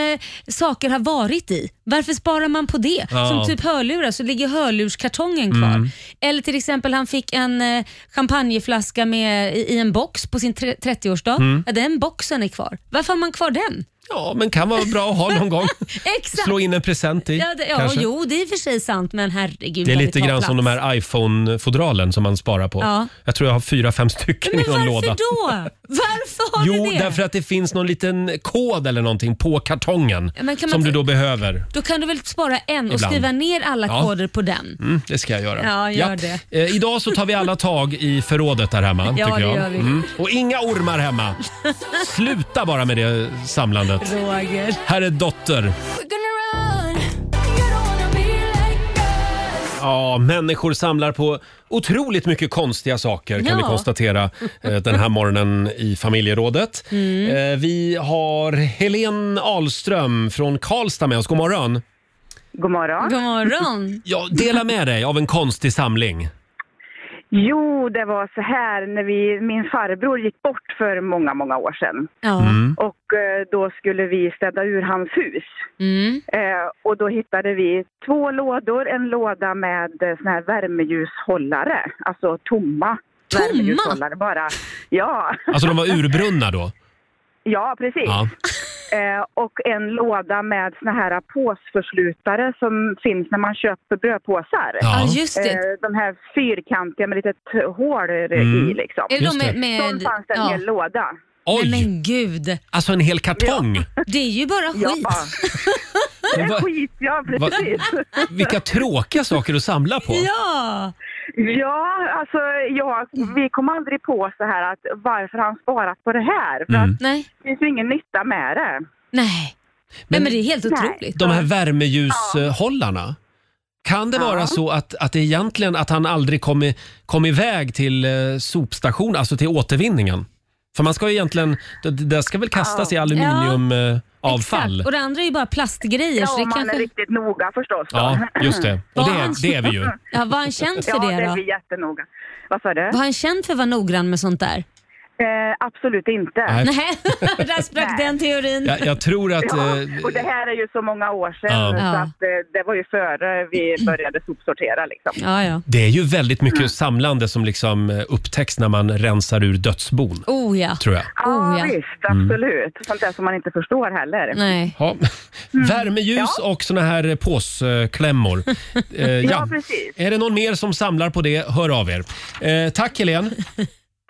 [SPEAKER 3] saker har varit i. Varför sparar man på det?
[SPEAKER 1] Ja.
[SPEAKER 3] Som typ hörlurar, så ligger hörlurskartongen kvar.
[SPEAKER 2] Mm.
[SPEAKER 3] Eller till exempel han fick en eh, champagneflaska med, i, i en box på sin tre- 30-årsdag.
[SPEAKER 1] Mm.
[SPEAKER 3] Ja, den boxen är kvar. Varför har man kvar den?
[SPEAKER 1] Ja, men kan vara bra att ha någon gång.
[SPEAKER 3] Exakt!
[SPEAKER 1] Slå in en present i
[SPEAKER 3] ja, det, ja,
[SPEAKER 1] kanske.
[SPEAKER 3] jo, det är i och för sig sant, men herregud.
[SPEAKER 1] Det är
[SPEAKER 3] vad
[SPEAKER 1] lite
[SPEAKER 3] tar
[SPEAKER 1] grann
[SPEAKER 3] plats.
[SPEAKER 1] som de här iPhone-fodralen som man sparar på.
[SPEAKER 3] Ja.
[SPEAKER 1] Jag tror jag har fyra, fem stycken
[SPEAKER 3] Men
[SPEAKER 1] i någon låda.
[SPEAKER 3] varför då? Varför har
[SPEAKER 1] Jo,
[SPEAKER 3] du det?
[SPEAKER 1] därför att det finns någon liten kod eller någonting på kartongen
[SPEAKER 3] Ja, men kan man
[SPEAKER 1] som du
[SPEAKER 3] inte-
[SPEAKER 1] då behöver.
[SPEAKER 3] Då kan du väl spara en och
[SPEAKER 1] Ibland.
[SPEAKER 3] skriva ner alla
[SPEAKER 1] Ja.
[SPEAKER 3] koder på den.
[SPEAKER 1] Mm, det ska jag göra.
[SPEAKER 3] Ja, gör det.
[SPEAKER 1] Eh, idag så tar vi alla tag i förrådet där hemma.
[SPEAKER 3] Ja,
[SPEAKER 1] tycker jag. Mm.
[SPEAKER 3] det gör vi.
[SPEAKER 1] Och inga ormar hemma. Sluta bara med det samlandet.
[SPEAKER 3] Roger.
[SPEAKER 1] Här är Dotter. Ja, människor samlar på otroligt mycket konstiga saker kan
[SPEAKER 2] Ja.
[SPEAKER 1] vi konstatera eh, den här morgonen i familjerådet.
[SPEAKER 2] Mm.
[SPEAKER 1] Eh, Vi har Helen Ahlström från Karlstad med oss. God morgon!
[SPEAKER 14] God morgon.
[SPEAKER 3] God morgon.
[SPEAKER 1] Ja, dela med dig av en konstig samling.
[SPEAKER 14] Jo, det var så här när vi, min farbror gick bort för många, många år sedan.
[SPEAKER 2] Mm.
[SPEAKER 14] Och eh, då skulle vi städa ur hans hus.
[SPEAKER 3] Mm.
[SPEAKER 14] Eh, och då hittade vi två lådor, en låda med eh, sån här värmeljushållare, alltså tomma.
[SPEAKER 1] Tomma?
[SPEAKER 14] Värmeljushållare bara. Ja.
[SPEAKER 1] Alltså de var urbrunna då?
[SPEAKER 14] Ja, precis.
[SPEAKER 1] Ja.
[SPEAKER 14] Eh, och en låda med såna här påsförslutare som finns när man köper brödpåsar.
[SPEAKER 2] Ja. Ja, just det.
[SPEAKER 14] Eh, de här fyrkantiga med litet hål
[SPEAKER 1] Mm.
[SPEAKER 14] i liksom.
[SPEAKER 1] Är det de Just med- det.
[SPEAKER 3] med-
[SPEAKER 14] Sån fanns det en
[SPEAKER 3] ja.
[SPEAKER 14] hel låda.
[SPEAKER 1] Oj!
[SPEAKER 3] Nej, men gud.
[SPEAKER 1] Alltså en hel kartong!
[SPEAKER 3] Det är ju bara skit.
[SPEAKER 1] Men vad-
[SPEAKER 14] Skit, ja
[SPEAKER 1] vad-
[SPEAKER 14] precis.
[SPEAKER 1] vilka tråkiga saker att samla på!
[SPEAKER 3] Ja!
[SPEAKER 14] Ja, alltså ja, vi kom aldrig på så här att varför har han sparat på det här. För
[SPEAKER 1] Mm.
[SPEAKER 14] att
[SPEAKER 3] Nej.
[SPEAKER 14] det finns ju ingen nytta med det.
[SPEAKER 3] Nej. Men, men det är helt
[SPEAKER 14] Nej.
[SPEAKER 3] otroligt.
[SPEAKER 1] De här värmeljushållarna. Kan det vara så att, att det egentligen att han aldrig kom, i, kom iväg till eh, sopstation, alltså till återvinningen? För man ska ju egentligen, det, det ska väl kastas i eh, aluminiumavfall?
[SPEAKER 3] Exakt. Och det andra är ju bara plastgrejer.
[SPEAKER 14] Ja,
[SPEAKER 3] så det
[SPEAKER 14] om man
[SPEAKER 3] kanske...
[SPEAKER 14] är riktigt noga förstås. då.
[SPEAKER 1] Ja, just det. Och
[SPEAKER 3] Var
[SPEAKER 1] det,
[SPEAKER 3] han-
[SPEAKER 1] är- det är vi ju.
[SPEAKER 3] Ja, var han känd för
[SPEAKER 14] ja,
[SPEAKER 3] det
[SPEAKER 14] Ja, det
[SPEAKER 3] då?
[SPEAKER 14] är vi jättenoga. Vad sa du?
[SPEAKER 3] Var han känd för att vara noggrann med sånt där?
[SPEAKER 14] Eh, absolut inte.
[SPEAKER 1] Nej.
[SPEAKER 3] Nej, där sprack den teorin.
[SPEAKER 1] Jag, jag tror att...
[SPEAKER 14] Ja,
[SPEAKER 1] eh,
[SPEAKER 14] och det här är ju så många år sedan
[SPEAKER 1] Ja.
[SPEAKER 14] så
[SPEAKER 1] Ja.
[SPEAKER 14] att, eh, det var ju före vi började sopsortera liksom.
[SPEAKER 1] Det är ju väldigt
[SPEAKER 3] Mm.
[SPEAKER 1] mycket samlande som liksom eh, upptäcks när man rensar ur dödsbon.
[SPEAKER 3] Oh ja.
[SPEAKER 1] Tror Mm. jag.
[SPEAKER 14] Ja, visst, absolut. Sånt där som man inte förstår heller.
[SPEAKER 3] Nej.
[SPEAKER 1] Ja.
[SPEAKER 3] Mm.
[SPEAKER 1] Värmeljus och såna här eh, påsklämmor. Eh,
[SPEAKER 14] Ja, precis.
[SPEAKER 1] Är det någon mer som samlar på det, hör av er. Eh, tack Helen.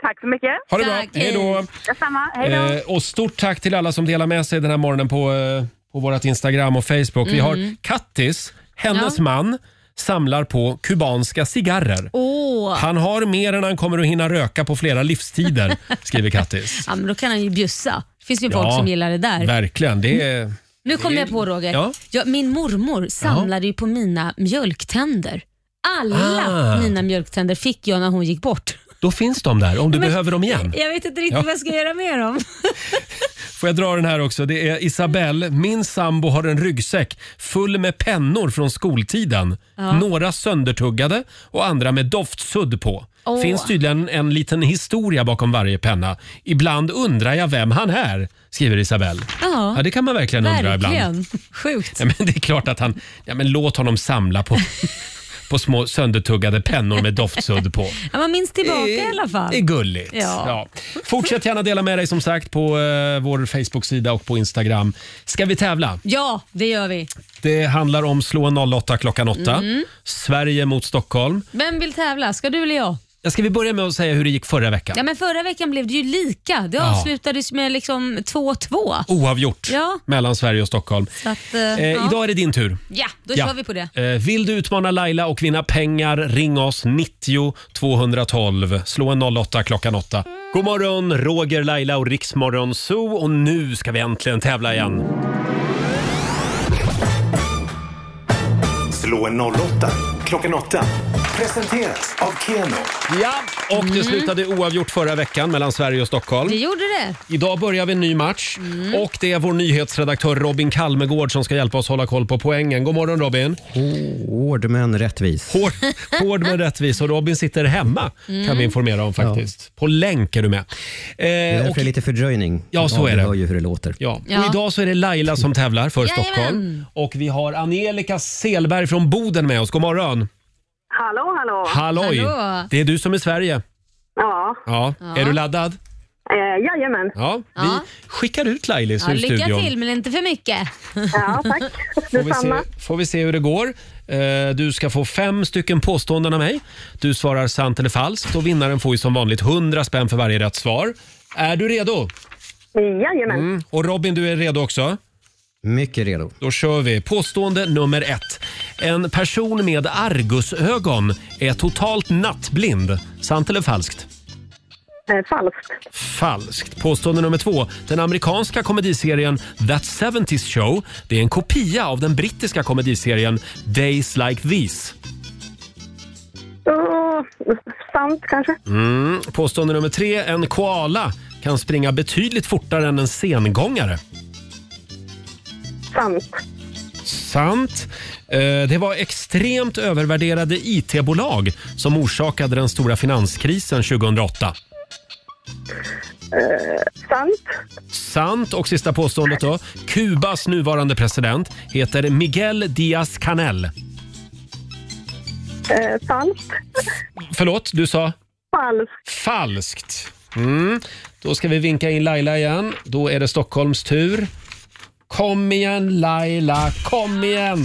[SPEAKER 14] Tack så mycket.
[SPEAKER 1] Ha det bra. Tack, hej. Hej då.
[SPEAKER 14] Detsamma, hej då.
[SPEAKER 1] Eh, och stort tack till alla som delar med sig den här morgonen på, eh, på vårt Instagram och Facebook. Vi
[SPEAKER 2] Mm.
[SPEAKER 1] har Kattis, hennes
[SPEAKER 2] Ja.
[SPEAKER 1] man, samlar på kubanska cigarrer.
[SPEAKER 3] Åh.
[SPEAKER 1] Han har mer än han kommer att hinna röka på flera livstider, skriver Kattis.
[SPEAKER 3] Ja, men då kan han ju bjussa. Det finns ju folk
[SPEAKER 1] Ja,
[SPEAKER 3] som gillar det där.
[SPEAKER 1] Verkligen. Det är...
[SPEAKER 3] Nu kom jag på Roger.
[SPEAKER 1] Ja.
[SPEAKER 3] Ja. min mormor samlade ju på mina mjölktänder. Alla
[SPEAKER 1] Ah.
[SPEAKER 3] mina mjölktänder fick jag när hon gick bort.
[SPEAKER 1] Då finns de där om du
[SPEAKER 3] Men-
[SPEAKER 1] behöver dem igen.
[SPEAKER 3] Jag vet inte riktigt
[SPEAKER 1] Ja.
[SPEAKER 3] vad jag ska göra med dem.
[SPEAKER 1] Får jag dra den här också? Det är Isabelle. Min sambo har en ryggsäck full med pennor från skoltiden.
[SPEAKER 2] Ja.
[SPEAKER 1] Några söndertuggade och andra med doftsudd på.
[SPEAKER 2] Åh.
[SPEAKER 1] Finns tydligen en liten historia bakom varje penna. Ibland undrar jag vem han är, skriver Isabelle.
[SPEAKER 3] Ja.
[SPEAKER 1] det kan man verkligen, undra ibland.
[SPEAKER 3] Verkligen. Sjukt.
[SPEAKER 1] Ja, men det är klart att han... Ja, men låt honom samla på, på små söndertuggade pennor med doftsudd på.
[SPEAKER 3] Ja, man minns tillbaka
[SPEAKER 1] Eh.
[SPEAKER 3] i alla fall.
[SPEAKER 1] Det är gulligt. Ja.
[SPEAKER 3] Ja.
[SPEAKER 1] Fortsätt gärna dela med dig som sagt på eh, vår Facebook-sida och på Instagram. Ska vi tävla?
[SPEAKER 3] Ja, det gör vi.
[SPEAKER 1] Det handlar om slå en 08 klockan 8.
[SPEAKER 3] Mm.
[SPEAKER 1] Sverige mot Stockholm.
[SPEAKER 3] Vem vill tävla? Ska du eller jag?
[SPEAKER 1] Ja, Ska vi börja med att säga hur det gick förra veckan?
[SPEAKER 3] Ja, men förra veckan blev det ju lika. Det
[SPEAKER 1] Ja.
[SPEAKER 3] avslutades med liksom 2-2.
[SPEAKER 1] Oavgjort
[SPEAKER 3] Ja,
[SPEAKER 1] mellan Sverige och Stockholm.
[SPEAKER 3] så att,
[SPEAKER 1] Eh,
[SPEAKER 3] ja.
[SPEAKER 1] Idag är det din tur.
[SPEAKER 3] Ja, då kör vi på det.
[SPEAKER 1] Eh, vill du utmana Laila och vinna pengar, ring oss 90 212. Slå en 08 klockan 8. God morgon, Roger, Laila och Riksmorgon Zoo. Och nu ska vi äntligen tävla igen.
[SPEAKER 8] Slå en 08
[SPEAKER 15] klockan åtta. Presenteras av Keno.
[SPEAKER 1] Ja, och det slutade oavgjort förra veckan mellan Sverige och Stockholm.
[SPEAKER 3] Mm. Det gjorde Mm. det.
[SPEAKER 1] Idag börjar vi en ny match och det är vår nyhetsredaktör Robin Kalmegård som ska hjälpa oss hålla koll på poängen. God morgon Robin!
[SPEAKER 16] Hård men rättvis.
[SPEAKER 1] Hård, hård men rättvis och Robin sitter hemma kan
[SPEAKER 16] Mm.
[SPEAKER 1] vi informera om faktiskt. På länk är du med.
[SPEAKER 16] Det är
[SPEAKER 1] Eh,
[SPEAKER 16] därför
[SPEAKER 1] och,
[SPEAKER 16] det är lite fördröjning.
[SPEAKER 1] Ja, så är
[SPEAKER 16] Vi
[SPEAKER 1] det.
[SPEAKER 16] hör ju hur det låter.
[SPEAKER 1] ja.
[SPEAKER 3] Ja.
[SPEAKER 1] och idag så är det Laila som tävlar för
[SPEAKER 3] Jajamän.
[SPEAKER 1] Stockholm. Och vi har Angelica Selberg från Boden med oss. God morgon!
[SPEAKER 17] Hallå, hallå.
[SPEAKER 1] Halloj! Det är du som är Sverige.
[SPEAKER 17] Ja,
[SPEAKER 1] Ja.
[SPEAKER 3] Ja.
[SPEAKER 1] Är du laddad?
[SPEAKER 17] eh, jajamän.
[SPEAKER 1] Ja, vi
[SPEAKER 3] Ja.
[SPEAKER 1] skickar ut Lailis
[SPEAKER 3] Ja,
[SPEAKER 1] ur
[SPEAKER 3] lycka
[SPEAKER 1] studion.
[SPEAKER 3] till, men inte för mycket.
[SPEAKER 17] Ja, tack.
[SPEAKER 1] Får vi, se, får vi se hur det går. Eh, Du ska få fem stycken påståenden av mig. Du svarar sant eller falskt och vinnaren får ju som vanligt 100 spänn för varje rätt svar. Är du redo?
[SPEAKER 17] Jajamän.
[SPEAKER 1] Mm. Och Robin, du är redo också? Mycket redo. Då kör vi. Påstående nummer ett. En person med argusögon är totalt nattblind. Sant eller falskt?
[SPEAKER 17] Eh, falskt.
[SPEAKER 1] Falskt. Påstående nummer två. Den amerikanska komediserien That 70s Show det är en kopia av den brittiska komediserien Days Like These.
[SPEAKER 17] Oh, sant kanske.
[SPEAKER 1] Mm. Påstående nummer tre. En koala kan springa betydligt fortare än en sengångare.
[SPEAKER 17] Sant.
[SPEAKER 1] Sant. Eh, Det var extremt övervärderade IT-bolag som orsakade den stora finanskrisen 2008.
[SPEAKER 17] Eh, sant.
[SPEAKER 1] Sant. Och sista påståendet då. Kubas nuvarande president heter Miguel Diaz-Canel.
[SPEAKER 17] Eh, falskt.
[SPEAKER 1] Förlåt, du sa?
[SPEAKER 17] Falskt.
[SPEAKER 1] Falskt. Mm. Då ska vi vinka in Laila igen. Då är det Stockholms tur. Kom igen Laila, kom igen!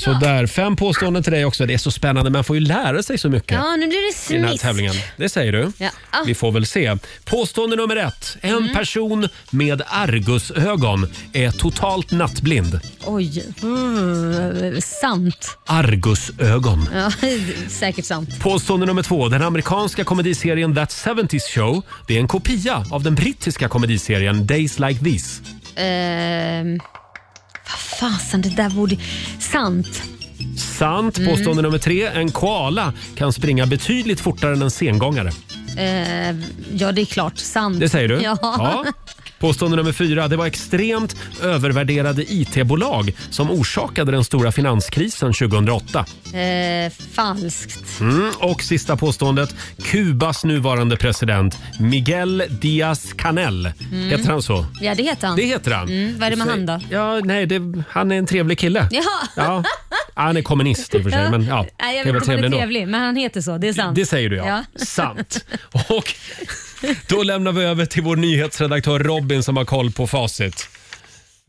[SPEAKER 1] Sådär, fem påståenden till dig också. Det är så spännande, man får ju lära sig så mycket
[SPEAKER 3] Ja, nu blir det
[SPEAKER 1] i den här
[SPEAKER 3] smisk.
[SPEAKER 1] tävlingen. Det säger du.
[SPEAKER 3] Ja. Ah. Mm.
[SPEAKER 1] Vi får väl se. Påstående nummer ett. En person med argusögon är totalt nattblind.
[SPEAKER 3] Oj. Mm, sant.
[SPEAKER 1] Argusögon.
[SPEAKER 3] Ja, säkert sant.
[SPEAKER 1] Påstående nummer två. Den amerikanska komediserien That 70s Show det är en kopia av den brittiska komediserien Days Like These.
[SPEAKER 3] Ehm, vad fasen, det där borde... Sant.
[SPEAKER 1] Sant.
[SPEAKER 3] Mm.
[SPEAKER 1] Påstående nummer tre. En koala kan springa betydligt fortare än en sengångare.
[SPEAKER 3] Ehm, ja, det är klart. Sant.
[SPEAKER 1] Det säger du?
[SPEAKER 3] Ja.
[SPEAKER 1] Ja. Påstående nummer fyra. Det var extremt övervärderade IT-bolag som orsakade den stora finanskrisen 2008.
[SPEAKER 3] Ehm, falskt.
[SPEAKER 1] Mm. Och sista påståendet. Kubas nuvarande president Miguel Diaz-Canel.
[SPEAKER 3] Mm.
[SPEAKER 1] Heter han så?
[SPEAKER 3] Ja, det heter han.
[SPEAKER 1] Det heter han.
[SPEAKER 3] Mm, vad är det med
[SPEAKER 1] Så-
[SPEAKER 3] han då?
[SPEAKER 1] Ja, nej, det, han är en trevlig kille.
[SPEAKER 3] Jaha.
[SPEAKER 1] Ja. Han är kommunist i och för sig,
[SPEAKER 3] Ja.
[SPEAKER 1] men ja,
[SPEAKER 3] Nej, jag
[SPEAKER 1] det är
[SPEAKER 3] vet
[SPEAKER 1] väl
[SPEAKER 3] inte om
[SPEAKER 1] trevlig
[SPEAKER 3] han är
[SPEAKER 1] ändå.
[SPEAKER 3] trevlig, men han heter så. Det är sant.
[SPEAKER 1] Det säger du ja.
[SPEAKER 3] Ja.
[SPEAKER 1] Sant. Och då lämnar vi över till vår nyhetsredaktör Robin som har koll på facit.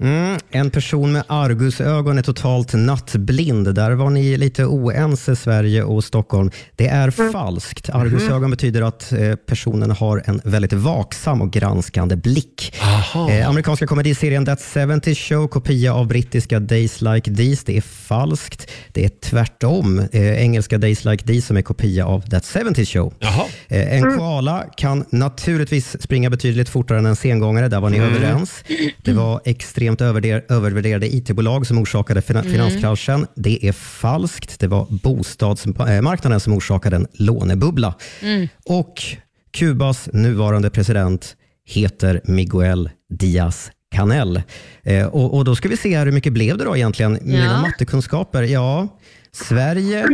[SPEAKER 16] Mm, en person med argusögon är totalt nattblind. Där var ni lite oense, Sverige och Stockholm. Det är falskt. Argusögon betyder att eh, personen har en väldigt vaksam och granskande blick. Eh, amerikanska komediserien That 70 Show, kopia av brittiska Days Like These. Det är falskt. Det är tvärtom. Eh, engelska Days Like These som är kopia av That 70 Show. Eh, en koala kan naturligtvis springa betydligt fortare än en sengångare. Där var ni
[SPEAKER 18] Mm.
[SPEAKER 16] överens. Det var extremt överder- övervärderade IT-bolag som orsakade fina-
[SPEAKER 18] Mm.
[SPEAKER 16] finanskraschen. Det är falskt. Det var bostadsmarknaden som orsakade en lånebubbla.
[SPEAKER 18] Mm.
[SPEAKER 16] Och Kubas nuvarande president heter Miguel Diaz Canel. Eh, och, och då ska vi se här hur mycket blev det då egentligen? Mina mattekunskaper? Ja, Sverige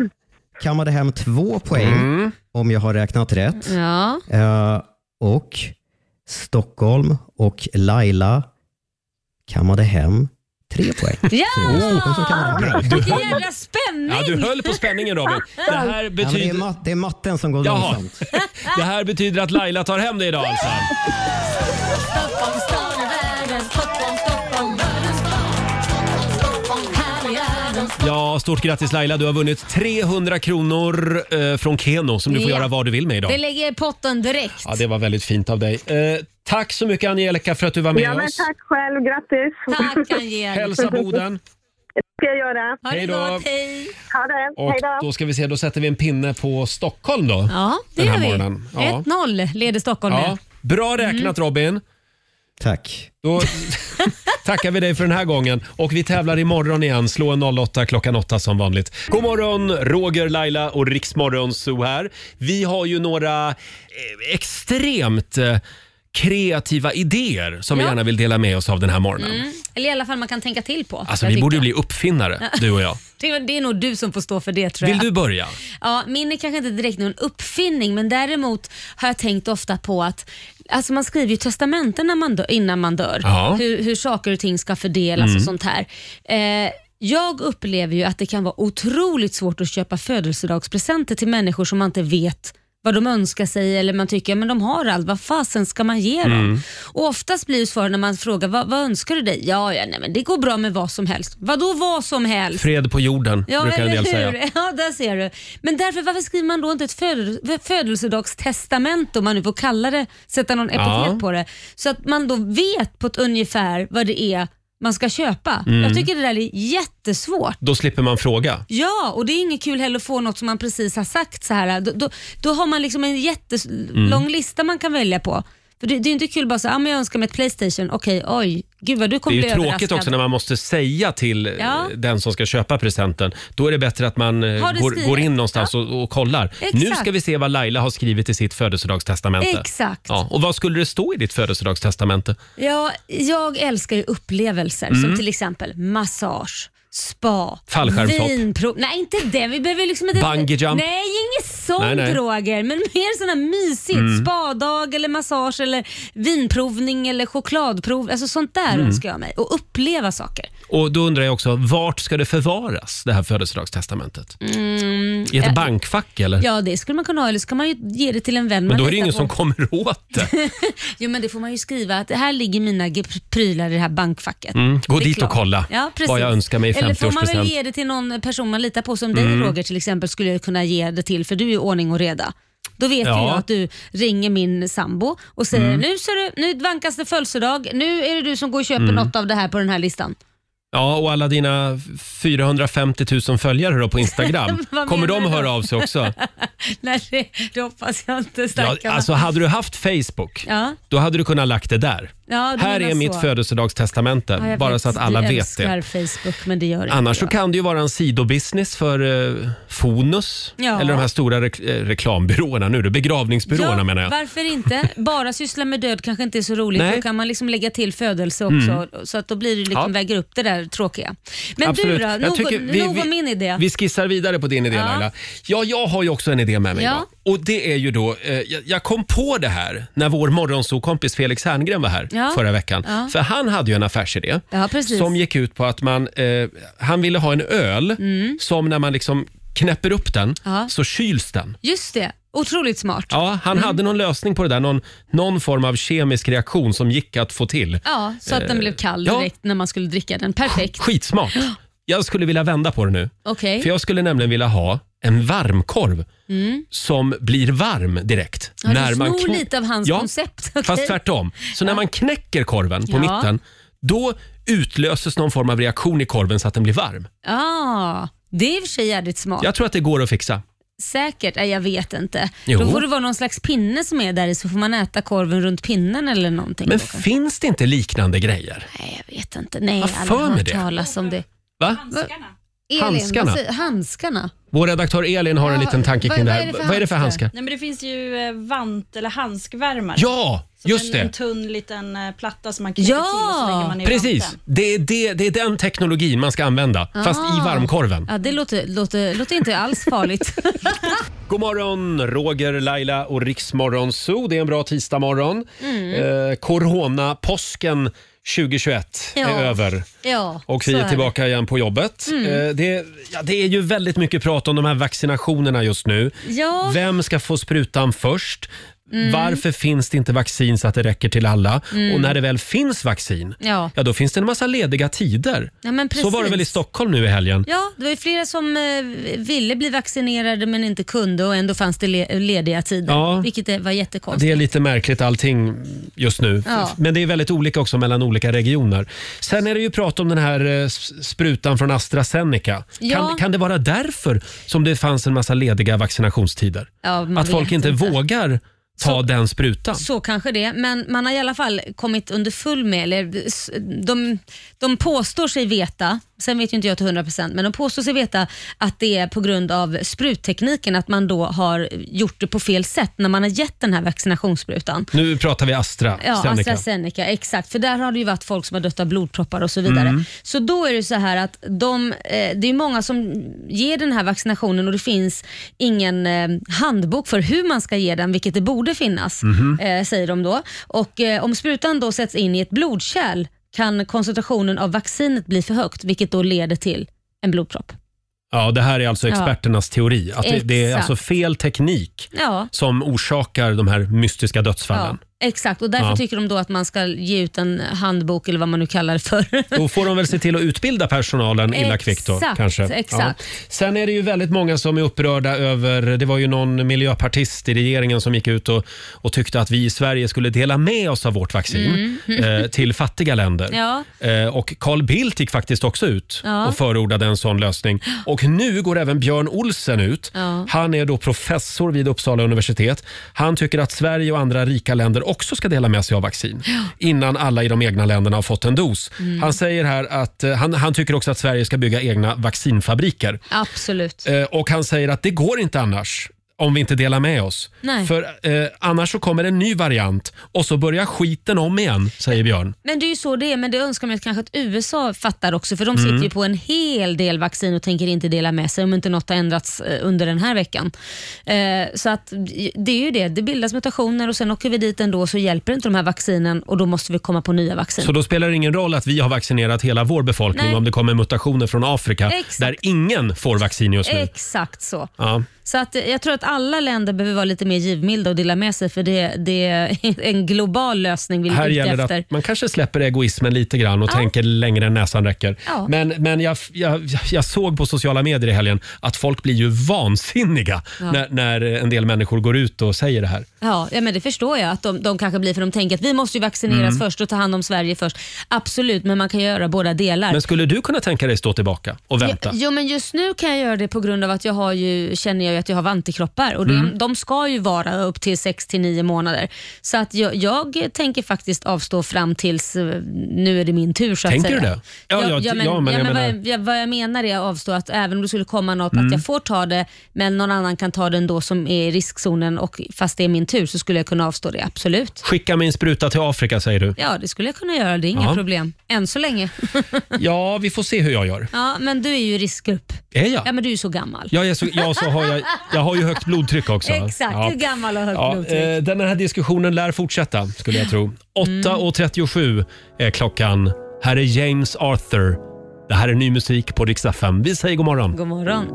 [SPEAKER 16] kammade hem två poäng
[SPEAKER 18] Mm.
[SPEAKER 16] om jag har räknat rätt.
[SPEAKER 3] Ja.
[SPEAKER 16] Eh, och Stockholm och Laila kammade hem tre poäng.
[SPEAKER 3] Ja! Vilken
[SPEAKER 16] höll-
[SPEAKER 3] jävla spänning!
[SPEAKER 1] Ja, du höll på spänningen Robin. Det här
[SPEAKER 16] Ja, men det,
[SPEAKER 1] betyder...
[SPEAKER 16] är mat- det är matten som går
[SPEAKER 1] Jaha.
[SPEAKER 16] långsamt.
[SPEAKER 1] Det här betyder att Laila tar hem det idag alltså.
[SPEAKER 2] Stockholm, stan är världen. Stockholm, Stockholm, världens stad. Här är den.
[SPEAKER 1] Ja, stort grattis Laila. Du har vunnit 300 kronor eh, från Keno som du får
[SPEAKER 3] Ja.
[SPEAKER 1] göra vad du vill med idag.
[SPEAKER 3] Det lägger i potten direkt.
[SPEAKER 1] Ja, det var väldigt fint av dig. Eh, tack så mycket Angelica för att du var med
[SPEAKER 17] ja, men
[SPEAKER 1] oss.
[SPEAKER 17] tack själv. Grattis.
[SPEAKER 3] Tack, Angel.
[SPEAKER 1] Hälsa Boden.
[SPEAKER 17] Det ska jag göra.
[SPEAKER 1] det Hej då. gott,
[SPEAKER 3] hej.
[SPEAKER 17] Ha det.
[SPEAKER 1] Och
[SPEAKER 17] Hej
[SPEAKER 1] då ska vi se, då sätter vi en pinne på Stockholm då.
[SPEAKER 3] Ja, det
[SPEAKER 1] den
[SPEAKER 3] gör
[SPEAKER 1] här
[SPEAKER 3] vi.
[SPEAKER 1] morgonen. Ja.
[SPEAKER 3] 1-0 leder Stockholm
[SPEAKER 1] Ja.
[SPEAKER 3] med.
[SPEAKER 1] Bra räknat Robin.
[SPEAKER 16] Tack.
[SPEAKER 1] Då tackar vi dig för den här gången och vi tävlar imorgon igen. Slå en 08 klockan 8 som vanligt. God morgon, Roger, Laila och Riksmorgon Zoo här. Vi har ju några eh, extremt eh, kreativa idéer som vi
[SPEAKER 3] Ja.
[SPEAKER 1] gärna vill dela med oss av den här morgonen.
[SPEAKER 3] Mm. Eller i alla fall man kan tänka till på.
[SPEAKER 1] Alltså
[SPEAKER 3] jag
[SPEAKER 1] vi borde ju
[SPEAKER 3] tycker.
[SPEAKER 1] bli uppfinnare,
[SPEAKER 3] Ja.
[SPEAKER 1] du och jag.
[SPEAKER 3] Det är- Det är nog du som får stå för det tror
[SPEAKER 1] Vill
[SPEAKER 3] jag.
[SPEAKER 1] du börja?
[SPEAKER 3] Ja, min är kanske inte direkt någon uppfinning men däremot har jag tänkt ofta på att Alltså man skriver ju testamenten när man dö- innan man dör,
[SPEAKER 2] Ja.
[SPEAKER 3] hur, hur saker och ting ska fördelas
[SPEAKER 2] Mm.
[SPEAKER 3] och sånt här. Eh, jag upplever ju att det kan vara otroligt svårt att köpa födelsedagspresenter till människor som man inte vet vad de önskar sig eller man tycker men de har allt, vad fasen ska man ge dem?
[SPEAKER 2] Mm.
[SPEAKER 3] Och oftast blir ju svaret när man frågar vad, vad önskar du dig? Ja, ja nej, men det går bra med vad som helst. Vadå vad som helst?
[SPEAKER 1] Fred på jorden, Mm, brukar en del säga.
[SPEAKER 3] Ja, där ser du. Men därför, varför skriver man då inte ett födel- födelsedagstestament om man nu får kalla det, sätta någon epitet
[SPEAKER 2] Ja.
[SPEAKER 3] på det. Så att man då vet på ett ungefär vad det är man ska köpa.
[SPEAKER 1] Mm.
[SPEAKER 3] Jag tycker det där är jättesvårt.
[SPEAKER 1] Då slipper man fråga.
[SPEAKER 3] Ja, och det är inget kul heller att få något som man precis har sagt. så här. Då, då, då har man liksom en
[SPEAKER 1] Mm.
[SPEAKER 3] jättelång lista man kan välja på. För det, det är inte kul bara så ah, men jag önskar mig ett Playstation. Okej, oj, gud vad du
[SPEAKER 1] Det är
[SPEAKER 3] kommer
[SPEAKER 1] ju
[SPEAKER 3] bli
[SPEAKER 1] tråkigt
[SPEAKER 3] överraskad.
[SPEAKER 1] också när man måste säga till eh,
[SPEAKER 3] Ja.
[SPEAKER 1] den som ska köpa presenten. Då är det bättre att man eh,
[SPEAKER 3] Har du
[SPEAKER 1] går,
[SPEAKER 3] skrivit?
[SPEAKER 1] går in någonstans och, och kollar.
[SPEAKER 3] Exakt.
[SPEAKER 1] Nu ska vi se vad Laila har skrivit i sitt födelsedagstestamente.
[SPEAKER 3] Exakt.
[SPEAKER 1] Ja, och vad skulle det stå i ditt födelsedagstestamente?
[SPEAKER 3] Ja, jag älskar ju upplevelser
[SPEAKER 1] Mm.
[SPEAKER 3] som till exempel massage, spa,
[SPEAKER 1] Fallskärmshopp.
[SPEAKER 3] vinprov. Nej, inte det. Vi behöver liksom inte...
[SPEAKER 1] Bungee jump.
[SPEAKER 3] Nej, inget sånt
[SPEAKER 1] Nej, nej.
[SPEAKER 3] Roger. Men mer sådana mysigt.
[SPEAKER 1] Mm.
[SPEAKER 3] Spadag eller massage eller vinprovning eller chokladprov. Alltså sånt där
[SPEAKER 1] Mm.
[SPEAKER 3] önskar jag mig. Och uppleva saker.
[SPEAKER 1] Och då undrar jag också, vart ska det förvaras, det här födelsedagstestamentet?
[SPEAKER 3] Mm,
[SPEAKER 1] I ett
[SPEAKER 3] ja,
[SPEAKER 1] bankfack eller?
[SPEAKER 3] Ja, det skulle man kunna ha. Eller så kan man ju ge det till en vän
[SPEAKER 1] Men
[SPEAKER 3] man
[SPEAKER 1] då är det
[SPEAKER 3] litar
[SPEAKER 1] ingen
[SPEAKER 3] på.
[SPEAKER 1] som kommer åt det.
[SPEAKER 3] Jo, men det får man ju skriva att här ligger mina g- prylar i det här bankfacket.
[SPEAKER 1] Mm, gå
[SPEAKER 3] Det är
[SPEAKER 1] dit och
[SPEAKER 3] klart.
[SPEAKER 1] kolla
[SPEAKER 3] ja, precis.
[SPEAKER 1] vad jag önskar mig i
[SPEAKER 3] Eller får man väl
[SPEAKER 1] 50-årspresent.
[SPEAKER 3] ge det till någon person man litar på som
[SPEAKER 1] Mm.
[SPEAKER 3] dig Roger till exempel skulle jag kunna ge det till för du är ju ordning och reda. Då vet
[SPEAKER 1] Ja.
[SPEAKER 3] ju jag att du ringer min sambo och säger
[SPEAKER 1] Mm.
[SPEAKER 3] nu, ser du, nu vankas det födelsedag, nu är det du som går och köper
[SPEAKER 1] Mm.
[SPEAKER 3] något av det här på den här listan.
[SPEAKER 1] Ja, och alla dina 450 000 följare då på Instagram.
[SPEAKER 3] Vad
[SPEAKER 1] kommer
[SPEAKER 3] menar
[SPEAKER 1] de
[SPEAKER 3] du då?
[SPEAKER 1] höra av sig också?
[SPEAKER 3] Nej, det, det hoppas jag inte
[SPEAKER 1] Ja,
[SPEAKER 3] stackarna.
[SPEAKER 1] alltså hade du haft Facebook,
[SPEAKER 3] Ja.
[SPEAKER 1] då hade du kunnat lagt det där.
[SPEAKER 3] Ja, du
[SPEAKER 1] Här
[SPEAKER 3] menar
[SPEAKER 1] är mitt
[SPEAKER 3] så.
[SPEAKER 1] födelsedagstestamente,
[SPEAKER 3] Ja, jag
[SPEAKER 1] bara
[SPEAKER 3] vet.
[SPEAKER 1] så att alla
[SPEAKER 3] du
[SPEAKER 1] vet
[SPEAKER 3] älskar
[SPEAKER 1] det.
[SPEAKER 3] Facebook men det gör inte
[SPEAKER 1] Annars så
[SPEAKER 3] jag.
[SPEAKER 1] kan det ju vara en sidobusiness för eh, Fonus
[SPEAKER 3] Ja.
[SPEAKER 1] eller de här stora rek- eh, reklambyråerna nu, då, begravningsbyråerna
[SPEAKER 3] Ja,
[SPEAKER 1] menar jag.
[SPEAKER 3] Varför inte? Bara syssla med död kanske inte är så roligt.
[SPEAKER 1] Nej. Mm.
[SPEAKER 3] Då kan man liksom lägga till födelse också. Så att då blir det liksom
[SPEAKER 1] Ja.
[SPEAKER 3] väger upp det där tråkiga. Men
[SPEAKER 1] Absolut.
[SPEAKER 3] du då?
[SPEAKER 1] Jag
[SPEAKER 3] Nog,
[SPEAKER 1] tycker vi-
[SPEAKER 3] nog om
[SPEAKER 1] vi-
[SPEAKER 3] min idé.
[SPEAKER 1] Vi skissar vidare på din idé
[SPEAKER 3] Ja.
[SPEAKER 1] Laila. Ja, jag har ju också en idé med mig.
[SPEAKER 3] Ja.
[SPEAKER 1] idag. Och det är ju då, eh, jag, jag kom på det här när vår morgonsokompis Felix Herngren var här
[SPEAKER 3] Ja.
[SPEAKER 1] förra veckan.
[SPEAKER 3] Ja.
[SPEAKER 1] För han hade ju en affärsidé
[SPEAKER 3] Ja, precis.
[SPEAKER 1] som gick ut på att man, eh, han ville ha en öl
[SPEAKER 3] Mm.
[SPEAKER 1] som när man liksom knäpper upp den
[SPEAKER 3] Ja.
[SPEAKER 1] så kyls den.
[SPEAKER 3] Just det, otroligt smart.
[SPEAKER 1] Ja, han hade någon lösning på det där, någon, någon form av kemisk reaktion som gick att få till.
[SPEAKER 3] Ja, så att den
[SPEAKER 1] Eh,
[SPEAKER 3] blev kall
[SPEAKER 1] ja.
[SPEAKER 3] direkt när man skulle dricka den. Perfekt.
[SPEAKER 1] Skitsmart. Jag skulle vilja vända på det nu.
[SPEAKER 3] Okej.
[SPEAKER 1] För jag skulle nämligen vilja ha en varmkorv
[SPEAKER 3] Mm.
[SPEAKER 1] som blir varm direkt.
[SPEAKER 3] Ja, du snor
[SPEAKER 1] knä-
[SPEAKER 3] lite av hans
[SPEAKER 1] Ja,
[SPEAKER 3] koncept.
[SPEAKER 1] Fast
[SPEAKER 3] okej?
[SPEAKER 1] tvärtom. Så när man knäcker korven på
[SPEAKER 3] Ja.
[SPEAKER 1] mitten, då utlöses någon form av reaktion i korven så att den blir varm.
[SPEAKER 3] Ja, det är i och för sig jävligt smart.
[SPEAKER 1] Jag tror att det går att fixa.
[SPEAKER 3] Säkert? Nej, jag vet inte.
[SPEAKER 1] Jo.
[SPEAKER 3] Då får det vara någon slags pinne som är där i så får man äta korven runt pinnen eller någonting.
[SPEAKER 1] Men
[SPEAKER 3] då kanske.
[SPEAKER 1] finns det inte liknande grejer?
[SPEAKER 3] Nej, jag vet inte. Nej,
[SPEAKER 1] Vad
[SPEAKER 3] jag har
[SPEAKER 1] för
[SPEAKER 3] aldrig
[SPEAKER 1] med
[SPEAKER 3] hört
[SPEAKER 1] det?
[SPEAKER 3] talas om det.
[SPEAKER 1] Va?
[SPEAKER 3] Elin,
[SPEAKER 1] Handskarna.
[SPEAKER 3] vad säger- handskarna.
[SPEAKER 1] Vår redaktör Elin har en liten tanke kring det här. Vad är det för handskar?
[SPEAKER 10] Nej, men det finns ju eh, vant eller handskvärmare.
[SPEAKER 1] Ja,
[SPEAKER 10] Som
[SPEAKER 1] just
[SPEAKER 10] en,
[SPEAKER 1] det.
[SPEAKER 10] En tunn liten eh, platta som man knyter
[SPEAKER 3] Ja,
[SPEAKER 10] till och så lägger man i
[SPEAKER 1] Precis,
[SPEAKER 10] vanten.
[SPEAKER 1] det är, det, det är den teknologin man ska använda, fast i
[SPEAKER 3] Ah.
[SPEAKER 1] varmkorven.
[SPEAKER 3] Ja, det låter, låter, låter inte alls farligt.
[SPEAKER 1] God morgon, Roger, Laila och Riksmorgon Zoo. Det är en bra tisdagmorgon.
[SPEAKER 3] Mm.
[SPEAKER 1] Eh, Corona-påsken 2021
[SPEAKER 3] Ja.
[SPEAKER 1] är över.
[SPEAKER 3] Ja,
[SPEAKER 1] Och vi
[SPEAKER 3] så
[SPEAKER 1] är
[SPEAKER 3] det.
[SPEAKER 1] tillbaka igen på jobbet.
[SPEAKER 3] Mm.
[SPEAKER 1] Eh, det, ja, det är ju väldigt mycket prat om de här vaccinationerna just nu.
[SPEAKER 3] Ja.
[SPEAKER 1] Vem ska få sprutan först?
[SPEAKER 3] Mm.
[SPEAKER 1] Varför finns det inte vaccin så att det räcker till alla?
[SPEAKER 3] Mm.
[SPEAKER 1] Och när det väl finns vaccin,
[SPEAKER 3] Ja.
[SPEAKER 1] ja då finns det en massa lediga tider.
[SPEAKER 3] Ja, men
[SPEAKER 1] Så var det
[SPEAKER 3] precis.
[SPEAKER 1] väl i Stockholm nu i helgen?
[SPEAKER 3] Ja, det var ju flera som eh, ville bli vaccinerade men inte kunde och ändå fanns det le- lediga tider.
[SPEAKER 1] Ja.
[SPEAKER 3] Vilket eh, var jättekonstigt.
[SPEAKER 1] Det är lite märkligt allting just nu.
[SPEAKER 3] Ja.
[SPEAKER 1] Men det är väldigt olika också mellan olika regioner. Sen är det ju prat om den här eh, s- sprutan från AstraZeneca.
[SPEAKER 3] Ja.
[SPEAKER 1] Kan, kan det vara därför som det fanns en massa lediga vaccinationstider?
[SPEAKER 3] Ja, man
[SPEAKER 1] Att folk
[SPEAKER 3] vet
[SPEAKER 1] inte, vågar ta den sprutan.
[SPEAKER 3] Så kanske det, men man har i alla fall kommit underfull med, eller s- de, de påstår sig veta, sen vet ju inte jag till 100% men de påstår sig veta att det är på grund av spruttekniken, att man då har gjort det på fel sätt när man har gett den här vaccinationssprutan.
[SPEAKER 1] Nu pratar vi Astra.
[SPEAKER 3] Ja,
[SPEAKER 1] Zeneca.
[SPEAKER 3] AstraZeneca, exakt. För där har det ju varit folk som har dött av blodproppar och så vidare.
[SPEAKER 1] Mm.
[SPEAKER 3] Så då är det så här att de, eh, det är många som ger den här vaccinationen och det finns ingen eh, handbok för hur man ska ge den, vilket det borde finnas,
[SPEAKER 2] Mhm.
[SPEAKER 3] eh, säger de då. Och eh, om sprutan då sätts in i ett blodkärl kan koncentrationen av vaccinet bli för högt, vilket då leder till en blodpropp.
[SPEAKER 1] Ja, det här är alltså
[SPEAKER 3] Ja.
[SPEAKER 1] experternas teori. Att det, det är
[SPEAKER 3] Exakt.
[SPEAKER 1] alltså fel teknik
[SPEAKER 3] Ja.
[SPEAKER 1] som orsakar de här mystiska dödsfallen.
[SPEAKER 3] Ja, exakt, och därför
[SPEAKER 1] Ja.
[SPEAKER 3] tycker de då att man ska ge ut en handbok eller vad man nu kallar det för.
[SPEAKER 1] Då får de väl se till att utbilda personalen illa
[SPEAKER 3] Exakt,
[SPEAKER 1] kvickt då, kanske.
[SPEAKER 3] exakt.
[SPEAKER 1] Sen är det ju väldigt många som är upprörda över, det var ju någon miljöpartist i regeringen som gick ut och, och tyckte att vi i Sverige skulle dela med oss av vårt vaccin
[SPEAKER 3] Mm.
[SPEAKER 1] eh, till fattiga länder.
[SPEAKER 3] Ja.
[SPEAKER 1] Eh, och Carl Bildt gick faktiskt också ut
[SPEAKER 3] Ja.
[SPEAKER 1] och förordade en sån lösning. Och nu går även Björn Olsen ut.
[SPEAKER 3] Ja.
[SPEAKER 1] Han är då professor vid Uppsala universitet. Han tycker att Sverige och andra rika länder också ska dela med sig av vaccin innan alla i de egna länderna har fått en dos.
[SPEAKER 3] Mm.
[SPEAKER 1] Han säger här att eh, han, han tycker också att Sverige ska bygga egna vaccinfabriker.
[SPEAKER 3] Absolut.
[SPEAKER 1] Eh, och han säger att det går inte annars om vi inte delar med oss.
[SPEAKER 3] Nej.
[SPEAKER 1] För eh, annars så kommer en ny variant och så börjar skiten om igen, säger Björn.
[SPEAKER 3] Men det är ju så det är, men det önskar man ju kanske att USA fattar också, för de
[SPEAKER 1] Mm.
[SPEAKER 3] sitter ju på en hel del vaccin och tänker inte dela med sig om inte något har ändrats eh, under den här veckan. Eh, Så att j- det är ju det, det bildas mutationer och sen åker vi dit ändå så hjälper inte de här vaccinen och då måste vi komma på nya vaccin.
[SPEAKER 1] Så då spelar det ingen roll att vi har vaccinerat hela vår befolkning
[SPEAKER 3] Nej.
[SPEAKER 1] om det kommer mutationer från Afrika
[SPEAKER 3] Exakt.
[SPEAKER 1] där ingen får vaccin just nu.
[SPEAKER 3] Exakt så.
[SPEAKER 1] Ja.
[SPEAKER 3] Så att eh, jag tror att alla länder behöver vara lite mer givmilda och dela med sig för det, det är en global lösning vi är
[SPEAKER 1] Här
[SPEAKER 3] ute
[SPEAKER 1] gäller det
[SPEAKER 3] efter.
[SPEAKER 1] att man kanske släpper egoismen lite grann och tänker längre än näsan räcker.
[SPEAKER 3] Ja.
[SPEAKER 1] Men, men jag, jag, jag såg på sociala medier i helgen att folk blir ju vansinniga
[SPEAKER 3] Ja.
[SPEAKER 1] när, när en del människor går ut och säger det här.
[SPEAKER 3] Ja, ja men det förstår jag att de, de kanske blir för de tänker att vi måste ju vaccineras
[SPEAKER 1] Mm.
[SPEAKER 3] först och ta hand om Sverige först. Absolut, men man kan göra båda delar.
[SPEAKER 1] Men skulle du kunna tänka dig stå tillbaka och vänta?
[SPEAKER 3] Jo, men just nu kan jag göra det på grund av att jag har ju, känner jag ju att jag har antikroppar och det,
[SPEAKER 1] Mm.
[SPEAKER 3] de ska ju vara upp till 6 till 9 månader. Så att jag, jag tänker faktiskt avstå fram tills eh, nu är det min tur så att
[SPEAKER 1] Tänker
[SPEAKER 3] säga.
[SPEAKER 1] du det? Ja, ja,
[SPEAKER 3] men,
[SPEAKER 1] ja, men jag
[SPEAKER 3] vad,
[SPEAKER 1] menar-
[SPEAKER 3] jag, ja, vad jag menar är att avstå att även om det skulle komma något
[SPEAKER 1] Mm.
[SPEAKER 3] att jag får ta det men någon annan kan ta det ändå som är i riskzonen och fast det är min tur så skulle jag kunna avstå det, absolut.
[SPEAKER 1] Skicka min spruta till Afrika säger du?
[SPEAKER 3] Ja, det skulle jag kunna göra. Det är inga
[SPEAKER 1] Ja.
[SPEAKER 3] problem. Än så länge.
[SPEAKER 1] Ja, vi får se hur jag gör.
[SPEAKER 3] ja, men du är ju i riskgrupp.
[SPEAKER 1] Är jag?
[SPEAKER 3] Ja, men du är ju så gammal.
[SPEAKER 1] Jag, är så, ja, så har jag, jag har ju högt blodtryck också.
[SPEAKER 3] Exakt,
[SPEAKER 1] Ja.
[SPEAKER 3] du är gammal och högt
[SPEAKER 1] Ja,
[SPEAKER 3] blodtryck.
[SPEAKER 1] eh, den här diskussionen lär fortsätta skulle jag tro.
[SPEAKER 3] Mm.
[SPEAKER 1] 8.37 är klockan. Här är James Arthur. Det här är ny musik på Rix FM. Vi säger god morgon.
[SPEAKER 3] God morgon.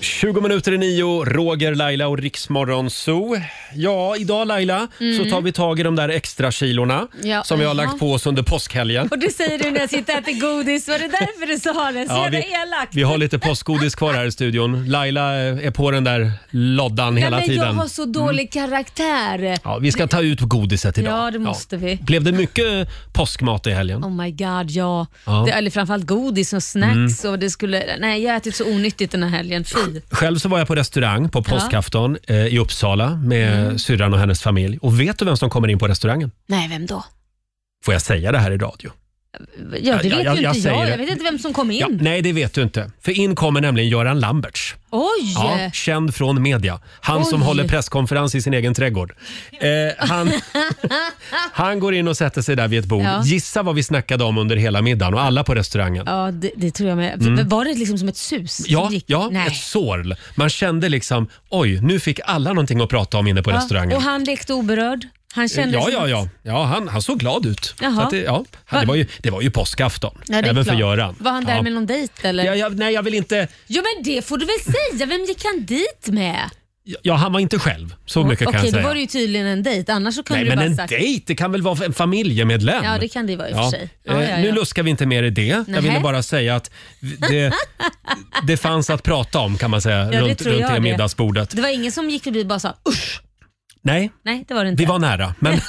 [SPEAKER 1] 20 minuter i nio, Roger, Laila och Rix Morgon Zoo. Ja, idag Laila så
[SPEAKER 3] Mm.
[SPEAKER 1] tar vi tag i de där extra kilorna
[SPEAKER 3] Ja,
[SPEAKER 1] som vi har
[SPEAKER 3] aha.
[SPEAKER 1] lagt på oss under påskhelgen.
[SPEAKER 3] Och det säger du när jag sitter och äter godis. Var det därför du sa det? Så
[SPEAKER 1] Ja,
[SPEAKER 3] jävla
[SPEAKER 1] vi-
[SPEAKER 3] elakt.
[SPEAKER 1] Vi har lite påskgodis kvar här i studion. Laila eh, är på den där loddan
[SPEAKER 3] Nej,
[SPEAKER 1] hela
[SPEAKER 3] men
[SPEAKER 1] tiden. Mm.
[SPEAKER 3] Jag har så dålig karaktär.
[SPEAKER 1] Ja, vi ska ta ut godiset idag.
[SPEAKER 3] Ja, det måste vi.
[SPEAKER 1] Blev det mycket påskmat i helgen?
[SPEAKER 3] Oh my god, ja.
[SPEAKER 1] Ja. Mm.
[SPEAKER 3] Det, eller framförallt godis och snacks. Och det skulle, nej, jag har ätit så onyttigt den här helgen. Fy.
[SPEAKER 1] Själv så var jag på restaurang på
[SPEAKER 3] Ja. Mm.
[SPEAKER 1] påskafton eh, i Uppsala med syrran och hennes familj. Och vet du vem som kommer in på restaurangen?
[SPEAKER 3] Nej, vem då?
[SPEAKER 1] Får jag säga det här i radio?
[SPEAKER 3] Ja, det
[SPEAKER 1] Ja,
[SPEAKER 3] vet
[SPEAKER 1] jag-
[SPEAKER 3] ju
[SPEAKER 1] jag
[SPEAKER 3] inte
[SPEAKER 1] säger
[SPEAKER 3] jag.
[SPEAKER 1] det.
[SPEAKER 3] Jag vet inte vem som kom in.
[SPEAKER 1] Ja, nej, det vet du inte. För in kommer nämligen Göran Lamberts.
[SPEAKER 3] Oj!
[SPEAKER 1] Ja, känd från media. Han som
[SPEAKER 3] Oj.
[SPEAKER 1] håller presskonferens i sin egen trädgård. Eh, han, han går in och sätter sig där vid ett bord.
[SPEAKER 3] Ja.
[SPEAKER 1] Gissa vad vi snackade om under hela middagen och alla på restaurangen.
[SPEAKER 3] Ja, det, det tror jag med.
[SPEAKER 1] Mm.
[SPEAKER 3] Var det liksom som ett sus? som
[SPEAKER 1] Ja,
[SPEAKER 3] gick?
[SPEAKER 1] ja
[SPEAKER 3] Nej.
[SPEAKER 1] ett sorl. Man kände liksom, oj, nu fick alla någonting att prata om inne på
[SPEAKER 3] Ja,
[SPEAKER 1] restaurangen.
[SPEAKER 3] Och han lekte oberörd? Han kände
[SPEAKER 1] ja,
[SPEAKER 3] sig-
[SPEAKER 1] ja, ja, ja. Han, han såg glad ut.
[SPEAKER 3] Jaha.
[SPEAKER 1] Så att det, ja, han, det, var ju, det var ju påskafton,
[SPEAKER 3] Ja, det är
[SPEAKER 1] även för
[SPEAKER 3] klart.
[SPEAKER 1] Göran.
[SPEAKER 3] Var han där
[SPEAKER 1] ja.
[SPEAKER 3] med någon dejt eller?
[SPEAKER 1] Ja, ja, nej, jag vill inte...
[SPEAKER 3] Jo men det får du väl säga. Vem gick han dit med?
[SPEAKER 1] Ja, han var inte själv, så mycket kan
[SPEAKER 3] Okej,
[SPEAKER 1] jag
[SPEAKER 3] då
[SPEAKER 1] säga.
[SPEAKER 3] var det ju tydligen en dejt. Annars så kunde
[SPEAKER 1] Nej, men
[SPEAKER 3] du bara
[SPEAKER 1] en
[SPEAKER 3] sagt...
[SPEAKER 1] dejt, det kan väl vara en familjemedlem?
[SPEAKER 3] Ja, det kan det ju vara i och för
[SPEAKER 1] Ja.
[SPEAKER 3] sig.
[SPEAKER 1] Eh,
[SPEAKER 3] Ja, ja,
[SPEAKER 1] Nu
[SPEAKER 3] ja.
[SPEAKER 1] luskar vi inte mer i det. Jag
[SPEAKER 3] Nähä.
[SPEAKER 1] ville bara säga att vi- det, det fanns att prata om kan man säga
[SPEAKER 3] Ja, det
[SPEAKER 1] runt,
[SPEAKER 3] tror
[SPEAKER 1] runt
[SPEAKER 3] jag
[SPEAKER 1] det
[SPEAKER 3] det.
[SPEAKER 1] middagsbordet.
[SPEAKER 3] Det var ingen som gick förbi och bara sa usch.
[SPEAKER 1] Nej,
[SPEAKER 3] Nej, det var det inte.
[SPEAKER 1] vi var nära men,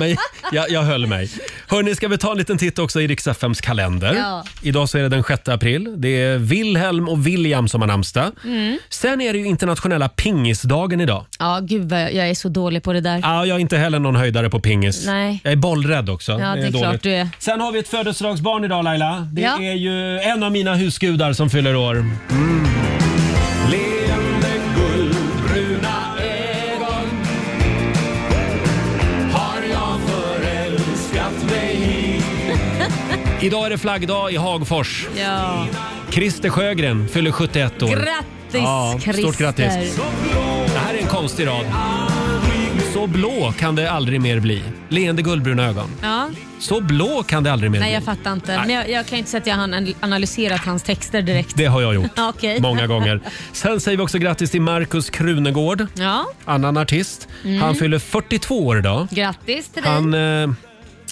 [SPEAKER 1] men jag, jag höll mig. Hörni, ska vi ta en liten titt också i riks kalender?
[SPEAKER 2] Ja.
[SPEAKER 1] Idag så är det den 6 april. Det är Wilhelm och William som har namnsdag.
[SPEAKER 3] Mm.
[SPEAKER 1] Sen är det ju internationella pingisdagen idag.
[SPEAKER 3] Ja, gud vad jag, jag är så dålig på det där.
[SPEAKER 1] Ja, jag är inte heller någon höjdare på pingis.
[SPEAKER 3] Nej.
[SPEAKER 1] Jag är bollrädd också.
[SPEAKER 3] Ja, det är,
[SPEAKER 1] dåligt.
[SPEAKER 3] klart du är.
[SPEAKER 1] Sen har vi ett födelsedagsbarn idag Laila. Det
[SPEAKER 3] Ja.
[SPEAKER 1] är ju en av mina husgudar som fyller år. Mm. Leende guldbruna ögon
[SPEAKER 2] har jag förälskat mig i.
[SPEAKER 1] Idag är det flaggdag i Hagfors.
[SPEAKER 3] Ja.
[SPEAKER 1] Christer Sjögren fyller 71 år.
[SPEAKER 3] Grattis
[SPEAKER 1] ja, Stort
[SPEAKER 3] Christer.
[SPEAKER 1] grattis. Det här är en konstig rad. Så blå kan det aldrig mer bli. Leende guldbruna ögon.
[SPEAKER 3] Ja.
[SPEAKER 1] Så blå kan det aldrig mer
[SPEAKER 3] Nej,
[SPEAKER 1] bli.
[SPEAKER 3] jag fattar inte.
[SPEAKER 1] Nej.
[SPEAKER 3] Men jag, jag kan ju inte säga att jag har an- analyserat hans texter direkt.
[SPEAKER 1] Det har jag gjort.
[SPEAKER 3] Okej.
[SPEAKER 1] Många gånger. Sen säger vi också grattis till Markus Krunegård,
[SPEAKER 3] Ja,
[SPEAKER 1] annan artist.
[SPEAKER 3] Mm.
[SPEAKER 1] Han fyller 42 år idag.
[SPEAKER 3] grattis till dig.
[SPEAKER 1] Han, eh,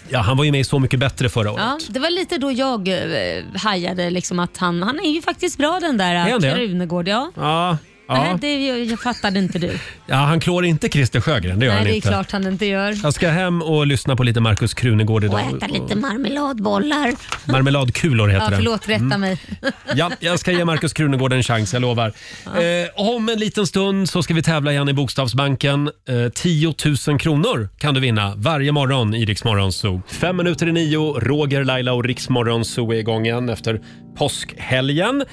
[SPEAKER 1] ja, han var ju med i Så mycket bättre förra året.
[SPEAKER 3] Ja, det var lite då jag eh, hajade liksom att han, han är ju faktiskt bra den
[SPEAKER 1] Är han
[SPEAKER 3] där
[SPEAKER 1] det?
[SPEAKER 3] eh, Krunegård. Ja.
[SPEAKER 1] Ja,
[SPEAKER 3] Nej,
[SPEAKER 1] ja.
[SPEAKER 3] det jag, jag fattade inte du.
[SPEAKER 1] ja han klår inte Christer Sjögren, det gör
[SPEAKER 3] Nej,
[SPEAKER 1] han
[SPEAKER 3] det är
[SPEAKER 1] inte.
[SPEAKER 3] klart han inte gör.
[SPEAKER 1] Jag ska hem och lyssna på lite Markus Krunegård
[SPEAKER 3] Och
[SPEAKER 1] idag.
[SPEAKER 3] äta lite marmeladbollar.
[SPEAKER 1] Marmeladkulor heter
[SPEAKER 3] Ja,
[SPEAKER 1] den.
[SPEAKER 3] förlåt, rätta
[SPEAKER 1] Mm.
[SPEAKER 3] mig.
[SPEAKER 1] Ja, jag ska ge Markus Krunegård en chans, jag lovar. Eh, om en liten stund så ska vi tävla igen i Bokstavsbanken. Eh, 10 000 kronor kan du vinna varje morgon i Rix Morgon Zoo. Fem minuter i nio, Roger, Laila och Rix Morgon Zoo är igång igen efter påskhelgen.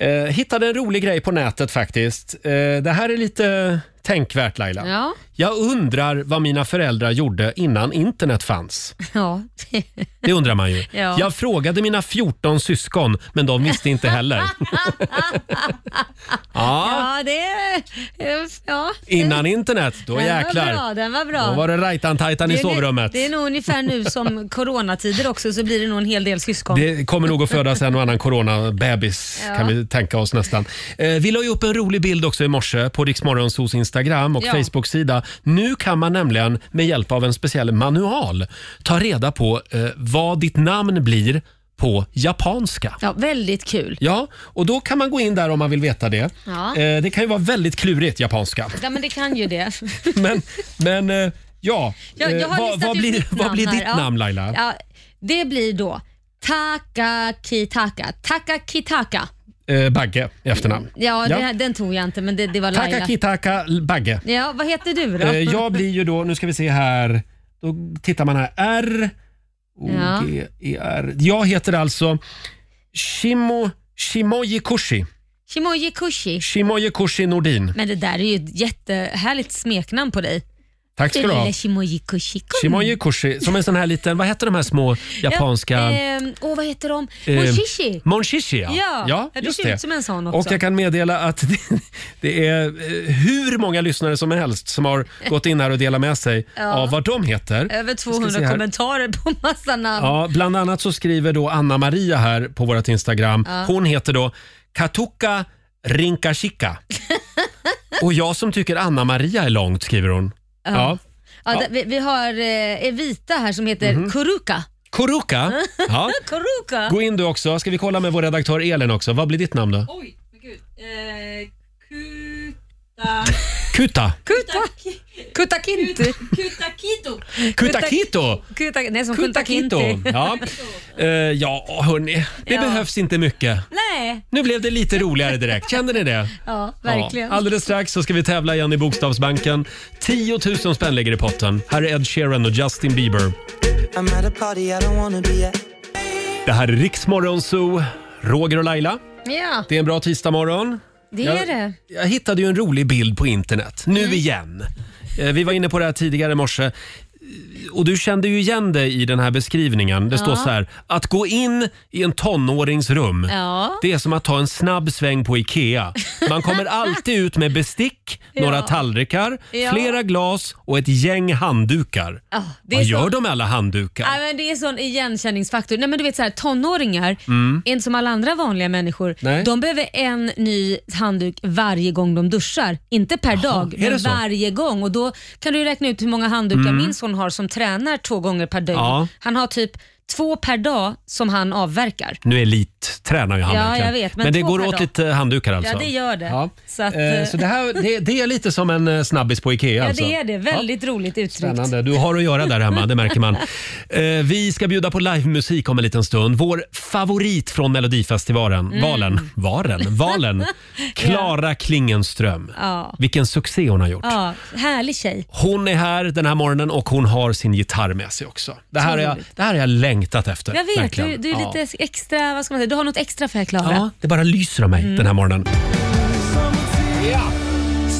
[SPEAKER 1] Eh, hittade en rolig grej på nätet faktiskt. Eh, det här är lite tänkvärt Laila.
[SPEAKER 3] Ja.
[SPEAKER 1] Jag undrar vad mina föräldrar gjorde innan internet fanns.
[SPEAKER 3] Ja.
[SPEAKER 1] Det undrar man ju.
[SPEAKER 3] Ja.
[SPEAKER 1] Jag frågade mina 14 syskon, men de visste inte heller. ja,
[SPEAKER 3] ja, det... eh, Ja.
[SPEAKER 1] innan internet, då
[SPEAKER 3] den
[SPEAKER 1] jäklar.
[SPEAKER 3] Var bra, den var bra.
[SPEAKER 1] Då var det rajtan-tajtan
[SPEAKER 3] Det
[SPEAKER 1] i
[SPEAKER 3] är nog-
[SPEAKER 1] sovrummet.
[SPEAKER 3] Det är nog ungefär nu som coronatider också så blir det nog en hel del syskon.
[SPEAKER 1] Det kommer nog att födas en och annan coronabebis
[SPEAKER 3] Ja.
[SPEAKER 1] kan vi tänka oss nästan. Eh, vi la ju upp en rolig bild också i morse på Riksmorgonsos Instagram och
[SPEAKER 3] Ja.
[SPEAKER 1] Facebook-sida. Nu kan man nämligen med hjälp av en speciell manual ta reda på eh, vad ditt namn blir på japanska.
[SPEAKER 3] Ja, väldigt kul.
[SPEAKER 1] Ja, och då kan man gå in där om man vill veta det.
[SPEAKER 3] Ja.
[SPEAKER 1] Eh, det kan ju vara väldigt klurigt japanska.
[SPEAKER 3] Ja, men det kan ju det.
[SPEAKER 1] Men, men eh, ja,
[SPEAKER 3] Jag, jag
[SPEAKER 1] Eh,
[SPEAKER 3] har
[SPEAKER 1] vad,
[SPEAKER 3] listat
[SPEAKER 1] vad,
[SPEAKER 3] ut
[SPEAKER 1] blir,
[SPEAKER 3] mitt
[SPEAKER 1] vad blir
[SPEAKER 3] namn
[SPEAKER 1] ditt
[SPEAKER 3] här.
[SPEAKER 1] namn
[SPEAKER 3] ja.
[SPEAKER 1] Laila?
[SPEAKER 3] Ja, det blir då Takakitaka. Takakitaka.
[SPEAKER 1] Eh, Bagge i efternamn.
[SPEAKER 3] Ja, ja. Det, den tog jag inte men det, det var Laila.
[SPEAKER 1] Takakitaka Bagge.
[SPEAKER 3] Ja, vad heter du då?
[SPEAKER 1] Eh, jag blir ju då, nu ska vi se här, då tittar man här, R, O,
[SPEAKER 3] Ja.
[SPEAKER 1] G, E, R. Jag heter alltså Shimo, Shimoji Kushi.
[SPEAKER 3] Shimoji Kushi.
[SPEAKER 1] Shimoji Kushi Nordin.
[SPEAKER 3] Men det där är ju ett jättehärligt smeknamn på dig.
[SPEAKER 1] Tack ska du ha.
[SPEAKER 3] Lilla Shimoji Kushi. Kom.
[SPEAKER 1] Shimoji Kushi, som en sån här liten, vad heter de här små japanska...
[SPEAKER 3] Ja, ehm, åh, vad heter de?
[SPEAKER 1] Eh,
[SPEAKER 3] Monchishi.
[SPEAKER 1] Monchishi, ja.
[SPEAKER 3] Ja,
[SPEAKER 1] ja
[SPEAKER 3] det
[SPEAKER 1] just
[SPEAKER 3] ser ut som en sån också.
[SPEAKER 1] Och jag kan meddela att det, det är eh, hur många lyssnare som helst som har gått in här och delat med sig
[SPEAKER 3] Ja.
[SPEAKER 1] av vad de heter.
[SPEAKER 3] Över
[SPEAKER 1] Vi ska se
[SPEAKER 3] 200
[SPEAKER 1] här.
[SPEAKER 3] kommentarer på massa namn.
[SPEAKER 1] Ja, bland annat så skriver då Anna-Maria här på vårt Instagram.
[SPEAKER 3] Ja.
[SPEAKER 1] Hon heter då Katuka Rinkashika. och jag som tycker Anna-Maria är långt, skriver hon.
[SPEAKER 3] Ja.
[SPEAKER 1] Ja.
[SPEAKER 3] Ja,
[SPEAKER 1] Ja.
[SPEAKER 3] där- Vi, vi har eh, Evita här som heter Kuruka.
[SPEAKER 1] Koruka. Ja.
[SPEAKER 3] Kuruka.
[SPEAKER 1] Gå in du också. Ska vi kolla med vår redaktör Elin också. Vad blir ditt namn då?
[SPEAKER 10] Oj, men gud. Eh, kuta...
[SPEAKER 1] Kuta.
[SPEAKER 3] Kuta. Kutakinti.
[SPEAKER 10] Kutakito.
[SPEAKER 1] Kutakito.
[SPEAKER 3] Kuta, nej, som
[SPEAKER 1] Kutakito.
[SPEAKER 3] Kutakinti.
[SPEAKER 1] Ja, Eh, ja hörni. Det
[SPEAKER 3] Ja.
[SPEAKER 1] behövs inte mycket.
[SPEAKER 3] Nej.
[SPEAKER 1] Nu blev det lite roligare direkt. Kände ni det?
[SPEAKER 3] Ja, verkligen.
[SPEAKER 1] Ja, alldeles strax så ska vi tävla igen i Bokstavsbanken. 10 000 spänn ligger i potten. Här är Ed Sheeran och Justin Bieber.
[SPEAKER 2] I'm at a party I don't wanna be at.
[SPEAKER 1] Det här är Riksmorgon Zoo, Roger och Laila.
[SPEAKER 3] Ja,
[SPEAKER 1] Det är en bra tisdagmorgon.
[SPEAKER 3] det
[SPEAKER 1] Jag-
[SPEAKER 3] är det.
[SPEAKER 1] Jag hittade ju en rolig bild på internet, nu
[SPEAKER 3] Mm.
[SPEAKER 1] igen. Eh, Vi var inne på det här tidigare i morse. Eh, Och du kände ju igen dig i den här beskrivningen. Det
[SPEAKER 3] Ja.
[SPEAKER 1] står så här, att gå in i en tonårings rum,
[SPEAKER 3] Ja.
[SPEAKER 1] det är som att ta en snabb sväng på IKEA. Man kommer alltid ut med bestick, några tallrikar,
[SPEAKER 3] Ja.
[SPEAKER 1] flera glas och ett gäng handdukar.
[SPEAKER 3] Ja, Ah, det är
[SPEAKER 1] Vad
[SPEAKER 3] så-
[SPEAKER 1] gör de med alla handdukar?
[SPEAKER 3] Nej, men det är sån igenkänningsfaktor. Nej, men du vet så här, tonåringar
[SPEAKER 1] Mm.
[SPEAKER 3] är inte som alla andra vanliga människor.
[SPEAKER 1] Nej.
[SPEAKER 3] De behöver en ny handduk varje gång de duschar. Inte per dag,
[SPEAKER 1] är det
[SPEAKER 3] men
[SPEAKER 1] så?
[SPEAKER 3] varje gång. Och Då kan du ju räkna ut hur många handdukar
[SPEAKER 1] Mm.
[SPEAKER 3] min son har som tränar två gånger per dygn.
[SPEAKER 1] Ja.
[SPEAKER 3] Han har typ två per dag som han avverkar.
[SPEAKER 1] Nu är elit tränar ju han
[SPEAKER 3] Ja,
[SPEAKER 1] verkligen.
[SPEAKER 3] jag vet,
[SPEAKER 1] Men,
[SPEAKER 3] men
[SPEAKER 1] det
[SPEAKER 3] två
[SPEAKER 1] går
[SPEAKER 3] per
[SPEAKER 1] åt
[SPEAKER 3] dag.
[SPEAKER 1] lite handdukar alltså?
[SPEAKER 3] Ja, det gör det.
[SPEAKER 1] Ja.
[SPEAKER 3] Så, att,
[SPEAKER 1] Eh, Så det, här, det, det är lite som en eh, snabbis på Ikea
[SPEAKER 3] ja,
[SPEAKER 1] alltså?
[SPEAKER 3] det är det. Väldigt roligt uttryckt.
[SPEAKER 1] Spännande. Du har att göra där hemma, det märker man. Eh, vi ska bjuda på livemusik om en liten stund. Vår favorit från Melodifestivalen,
[SPEAKER 3] Mm.
[SPEAKER 1] valen, varen, valen, Klara Klingenström.
[SPEAKER 3] Ja.
[SPEAKER 1] Vilken succé hon har gjort.
[SPEAKER 3] ja, härlig tjej.
[SPEAKER 1] Hon är här den här morgonen och hon har sin gitarr med sig också. Det här har jag, det här har jag längtat efter.
[SPEAKER 3] Jag vet,
[SPEAKER 1] verkligen.
[SPEAKER 3] du, du är
[SPEAKER 1] Ja.
[SPEAKER 3] lite extra, vad ska man säga, du har något extra för här Klara.
[SPEAKER 1] Ja, det bara lyser om mig
[SPEAKER 3] Mm.
[SPEAKER 1] den här morgonen.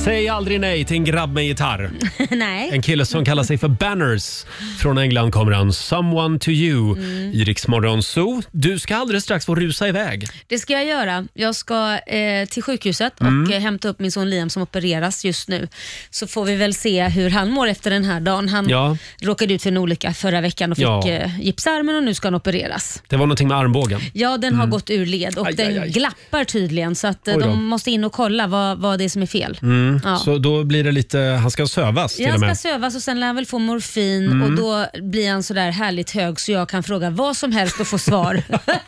[SPEAKER 1] Säg aldrig nej till en grabb med gitarr.
[SPEAKER 3] Nej.
[SPEAKER 1] En kille som kallar sig för Banners. Från England kommer han. Someone to you
[SPEAKER 3] Mm.
[SPEAKER 1] i Rix Morgon Zoo. Du ska alldeles strax få rusa iväg.
[SPEAKER 3] Det ska jag göra. Jag ska eh, till sjukhuset
[SPEAKER 1] Mm.
[SPEAKER 3] och eh, hämta upp min son Liam som opereras just nu. Så får vi väl se hur han mår efter den här dagen. Han
[SPEAKER 1] Ja.
[SPEAKER 3] råkade ut för en olycka förra veckan och fick
[SPEAKER 1] Ja.
[SPEAKER 3] eh, gipsarmen och nu ska han opereras.
[SPEAKER 1] Det var någonting med armbågen.
[SPEAKER 3] Ja, den har
[SPEAKER 1] Mm.
[SPEAKER 3] gått ur led och
[SPEAKER 1] Aj,
[SPEAKER 3] den
[SPEAKER 1] aj, aj.
[SPEAKER 3] glappar tydligen så att eh,
[SPEAKER 1] Oj då.
[SPEAKER 3] de måste in och kolla vad, vad det är som är fel.
[SPEAKER 1] Mm.
[SPEAKER 3] Ja.
[SPEAKER 1] Så då blir det lite... Han ska sövas till
[SPEAKER 3] Jag
[SPEAKER 1] och
[SPEAKER 3] ska
[SPEAKER 1] med.
[SPEAKER 3] sövas och sen lär han väl få morfin
[SPEAKER 1] Mm.
[SPEAKER 3] och då blir han sådär härligt hög så jag kan fråga vad som helst och få svar.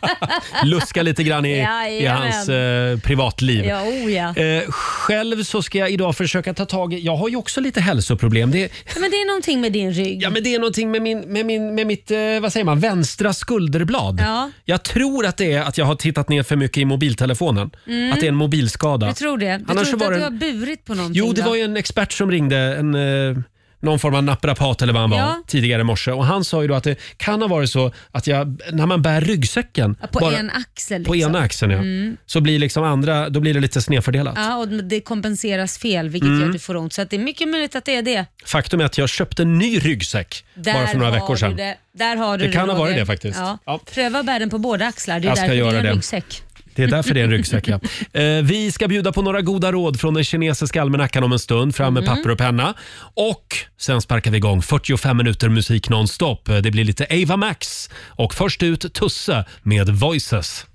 [SPEAKER 1] Luska lite grann i, i
[SPEAKER 3] Jajamän.
[SPEAKER 1] hans eh, privatliv.
[SPEAKER 3] ja, oh ja.
[SPEAKER 1] Eh, själv så ska jag idag försöka ta tag i... Jag har ju också lite hälsoproblem. Det,
[SPEAKER 3] Men det är någonting med din rygg.
[SPEAKER 1] Ja, men det är någonting med, min, med, min, med mitt eh, vad säger man, vänstra skulderblad.
[SPEAKER 3] Ja.
[SPEAKER 1] Jag tror att det är att jag har tittat ner för mycket i mobiltelefonen.
[SPEAKER 3] Mm.
[SPEAKER 1] Att det är en mobilskada.
[SPEAKER 3] Du tror det? Du
[SPEAKER 1] Annars
[SPEAKER 3] tror inte
[SPEAKER 1] var
[SPEAKER 3] att
[SPEAKER 1] det
[SPEAKER 3] du har
[SPEAKER 1] en-
[SPEAKER 3] burit på någonting?
[SPEAKER 1] Jo, det
[SPEAKER 3] va?
[SPEAKER 1] var ju en expert som ringde, en, eh, någon form av naprapat eller vad han var,
[SPEAKER 3] Ja.
[SPEAKER 1] tidigare i morse. Och han sa ju då att det kan ha varit så att jag, när man bär ryggsäcken
[SPEAKER 3] Ja, På en axel?
[SPEAKER 1] på
[SPEAKER 3] liksom.
[SPEAKER 1] ena axeln, ja,
[SPEAKER 3] Mm.
[SPEAKER 1] så blir liksom andra, då blir det lite snedfördelat.
[SPEAKER 3] Ja, och det kompenseras fel vilket
[SPEAKER 1] Mm.
[SPEAKER 3] gör att du får ont. Så att det är mycket möjligt att det är det.
[SPEAKER 1] Faktum är att jag köpte en ny ryggsäck
[SPEAKER 3] Där
[SPEAKER 1] bara för några
[SPEAKER 3] har
[SPEAKER 1] veckor
[SPEAKER 3] du
[SPEAKER 1] sedan.
[SPEAKER 3] Det. Där har du
[SPEAKER 1] Det kan ha
[SPEAKER 3] Roger.
[SPEAKER 1] varit det faktiskt.
[SPEAKER 3] Ja. Pröva att bära den på båda axlar. Det är
[SPEAKER 1] Jag ska
[SPEAKER 3] därför
[SPEAKER 1] göra
[SPEAKER 3] det. är
[SPEAKER 1] det.
[SPEAKER 3] en ryggsäck.
[SPEAKER 1] Det är därför det är en ryggsäck. Ja. Eh, vi ska bjuda på några goda råd från den kinesiska almanackan om en stund. Fram med
[SPEAKER 3] Mm.
[SPEAKER 1] papper och penna. Och sen sparkar vi igång 45 minuter musik nonstop. Eh, Det blir lite Ava Max och först ut Tusse med Voices.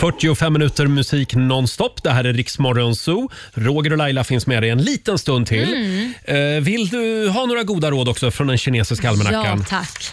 [SPEAKER 1] 45 minuter musik nonstop. Det här är Riksmorgon Zoo. Roger och Laila finns med dig en liten stund till.
[SPEAKER 3] Mm.
[SPEAKER 1] Eh, vill du ha några goda råd också från den kinesiska almanackan?
[SPEAKER 3] Ja, tack.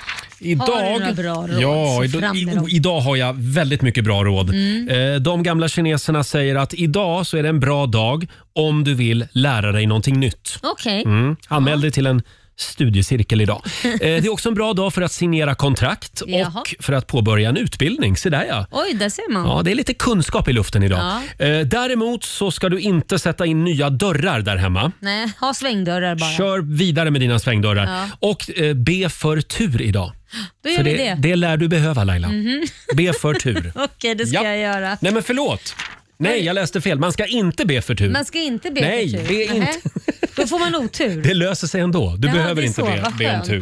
[SPEAKER 3] Har du
[SPEAKER 1] Idag,
[SPEAKER 3] några bra råd?
[SPEAKER 1] ja,
[SPEAKER 3] Se
[SPEAKER 1] idag,
[SPEAKER 3] fram med
[SPEAKER 1] i,
[SPEAKER 3] dem.
[SPEAKER 1] idag har jag väldigt mycket bra råd.
[SPEAKER 3] Mm.
[SPEAKER 1] Eh, De gamla kineserna säger att idag så är det en bra dag om du vill lära dig någonting nytt.
[SPEAKER 3] Okej.
[SPEAKER 1] Mm. Anmäl dig till en studiecirkel idag. Eh, Det är också en bra dag för att signera kontrakt
[SPEAKER 3] Jaha.
[SPEAKER 1] och för att påbörja en utbildning. Se där ja.
[SPEAKER 3] Oj, där ser man.
[SPEAKER 1] Ja, det är lite kunskap i luften idag.
[SPEAKER 3] Ja.
[SPEAKER 1] Eh, Däremot så ska du inte sätta in nya dörrar där hemma.
[SPEAKER 3] Nej, ha svängdörrar bara.
[SPEAKER 1] Kör vidare med dina svängdörrar
[SPEAKER 3] Ja.
[SPEAKER 1] och eh, be för tur idag.
[SPEAKER 3] Då gör
[SPEAKER 1] för
[SPEAKER 3] vi
[SPEAKER 1] det,
[SPEAKER 3] det.
[SPEAKER 1] det lär du behöva Laila.
[SPEAKER 3] Mhm.
[SPEAKER 1] Be för tur.
[SPEAKER 3] Okej, det
[SPEAKER 1] Ja.
[SPEAKER 3] ska jag göra.
[SPEAKER 1] Nej men förlåt. Nej, jag läste fel. Man ska inte be för tur.
[SPEAKER 3] Man ska inte be
[SPEAKER 1] Nej,
[SPEAKER 3] för tur.
[SPEAKER 1] be
[SPEAKER 3] Nähä.
[SPEAKER 1] inte.
[SPEAKER 3] Då får man otur.
[SPEAKER 1] Det löser sig ändå. Du
[SPEAKER 3] Ja,
[SPEAKER 1] behöver
[SPEAKER 3] det är
[SPEAKER 1] inte
[SPEAKER 3] så.
[SPEAKER 1] be,
[SPEAKER 3] Vad
[SPEAKER 1] be om tur.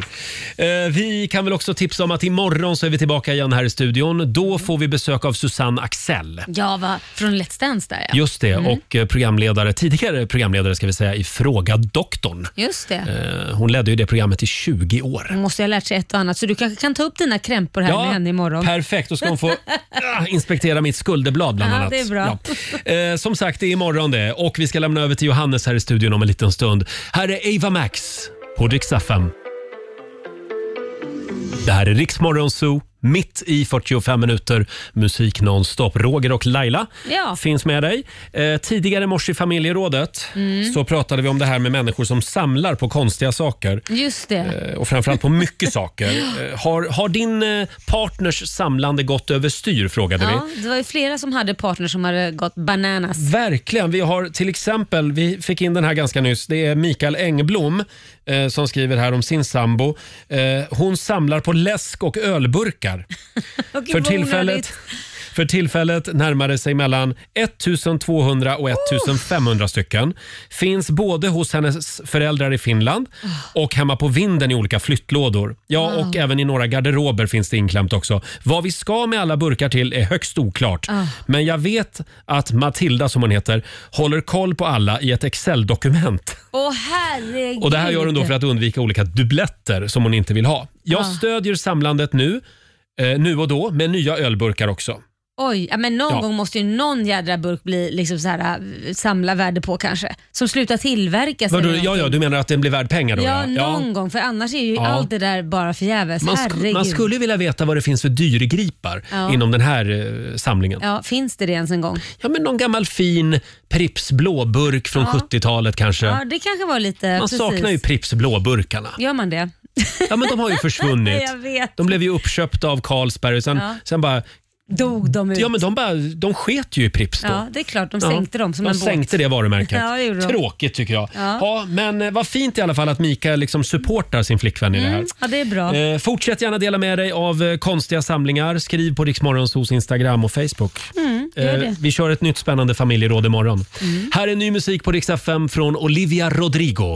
[SPEAKER 1] Eh,
[SPEAKER 3] skönt.
[SPEAKER 1] vi kan väl också tipsa om att imorgon så är vi tillbaka igen här i studion.
[SPEAKER 3] Mm.
[SPEAKER 1] Då får vi besök av Susanne Axel.
[SPEAKER 3] Ja, va? från Let's Dance där ja.
[SPEAKER 1] Just det,
[SPEAKER 3] Mm.
[SPEAKER 1] och eh, programledare, tidigare programledare ska vi säga i Fråga doktorn.
[SPEAKER 3] Just det.
[SPEAKER 1] Eh, Hon ledde ju det programmet i 20 år.
[SPEAKER 3] Hon måste ju ha lärt sig ett och annat, så du kanske kan ta upp dina krämpor här
[SPEAKER 1] Ja,
[SPEAKER 3] med henne imorgon.
[SPEAKER 1] Perfekt, då ska hon få ah, inspektera mitt skulderblad bland
[SPEAKER 3] Ja,
[SPEAKER 1] annat.
[SPEAKER 3] det är bra.
[SPEAKER 1] Ja. Eh, som sagt, det är imorgon det och vi ska lämna över till Johannes här i studion om en liten stund. Här är Ava Max på Rix FM. Det här är Rix Morgon Zoo, mitt i 45 minuter musik nonstop. Roger och Laila
[SPEAKER 3] Ja.
[SPEAKER 1] finns med dig. Eh, tidigare i morse i familjerådet
[SPEAKER 3] Mm.
[SPEAKER 1] så pratade vi om det här med människor som samlar på konstiga saker.
[SPEAKER 3] Just det.
[SPEAKER 1] Eh, och framförallt på mycket saker. Eh, Har, har din eh, partners samlande gått överstyr frågade
[SPEAKER 3] Ja,
[SPEAKER 1] vi.
[SPEAKER 3] det var ju flera som hade partner som hade gått bananas.
[SPEAKER 1] Verkligen. Vi har till exempel, vi fick in den här ganska nyss, det är Mikael Engblom eh, som skriver här om sin sambo. Eh, hon samlar på läsk och ölburkar.
[SPEAKER 3] Okej,
[SPEAKER 1] för,
[SPEAKER 3] vad
[SPEAKER 1] tillfället,
[SPEAKER 3] onödigt.
[SPEAKER 1] för tillfället närmar det sig mellan 1200 och 1500 stycken. Finns både hos hennes föräldrar i Finland och hemma på vinden i olika flyttlådor. Ja,
[SPEAKER 3] Wow.
[SPEAKER 1] och även i några garderober finns det inklämt också. Vad vi ska med alla burkar till är högst oklart.
[SPEAKER 3] Ah.
[SPEAKER 1] Men jag vet att Matilda, som hon heter, håller koll på alla i ett Excel-dokument.
[SPEAKER 3] Åh herregud.
[SPEAKER 1] Och Det här gör hon då för att undvika olika dubbletter som hon inte vill ha. Jag
[SPEAKER 3] Ah.
[SPEAKER 1] stödjer samlandet nu, eh, nu och då med nya ölburkar också.
[SPEAKER 3] Oj, ja, men någon
[SPEAKER 1] Ja.
[SPEAKER 3] gång måste ju någon jädra burk bli liksom så här, äh, samla värde på kanske. Som slutar tillverkas.
[SPEAKER 1] Vadå,
[SPEAKER 3] eller
[SPEAKER 1] ja, ja, du menar att den blir värd pengar då?
[SPEAKER 3] Ja,
[SPEAKER 1] ja.
[SPEAKER 3] någon gång. För annars är ju
[SPEAKER 1] Ja.
[SPEAKER 3] allt det där bara förgäves.
[SPEAKER 1] Man, sk-
[SPEAKER 3] Herregud.
[SPEAKER 1] man skulle ju vilja veta vad det finns för dyrgripar
[SPEAKER 3] Ja.
[SPEAKER 1] inom den här eh, samlingen. Ja.
[SPEAKER 3] Ja, finns det det ens en gång?
[SPEAKER 1] men någon gammal fin Pripps blåburk från
[SPEAKER 3] Ja.
[SPEAKER 1] 70-talet kanske.
[SPEAKER 3] Ja, det kanske var lite...
[SPEAKER 1] man
[SPEAKER 3] precis.
[SPEAKER 1] saknar ju Pripps blåburkarna.
[SPEAKER 3] Gör man det?
[SPEAKER 1] Ja, men de har ju försvunnit.
[SPEAKER 3] Jag vet.
[SPEAKER 1] De blev ju uppköpta av Carlsberg och sen,
[SPEAKER 3] Ja.
[SPEAKER 1] sen bara...
[SPEAKER 3] Dog de ut?
[SPEAKER 1] Ja, men de, bara, de sket ju i Pripps då.
[SPEAKER 3] Ja, det är klart. De sänkte dem som
[SPEAKER 1] de
[SPEAKER 3] en båt.
[SPEAKER 1] sänkte det varumärket.
[SPEAKER 3] Ja, det gjorde de.
[SPEAKER 1] Tråkigt tycker jag. Ja.
[SPEAKER 3] Ja.
[SPEAKER 1] men eh, vad fint i alla fall att Mika liksom supportar sin flickvän i det här.
[SPEAKER 3] Mm, ja, det är bra.
[SPEAKER 1] Eh, fortsätt gärna dela med dig av eh, konstiga samlingar. Skriv på Riksmorgonsos Instagram och Facebook.
[SPEAKER 2] Mm, gör
[SPEAKER 1] Eh,
[SPEAKER 2] det.
[SPEAKER 1] vi kör ett nytt spännande familjeråd imorgon.
[SPEAKER 3] Mm.
[SPEAKER 1] Här är ny musik på Rix FM från Olivia Rodrigo.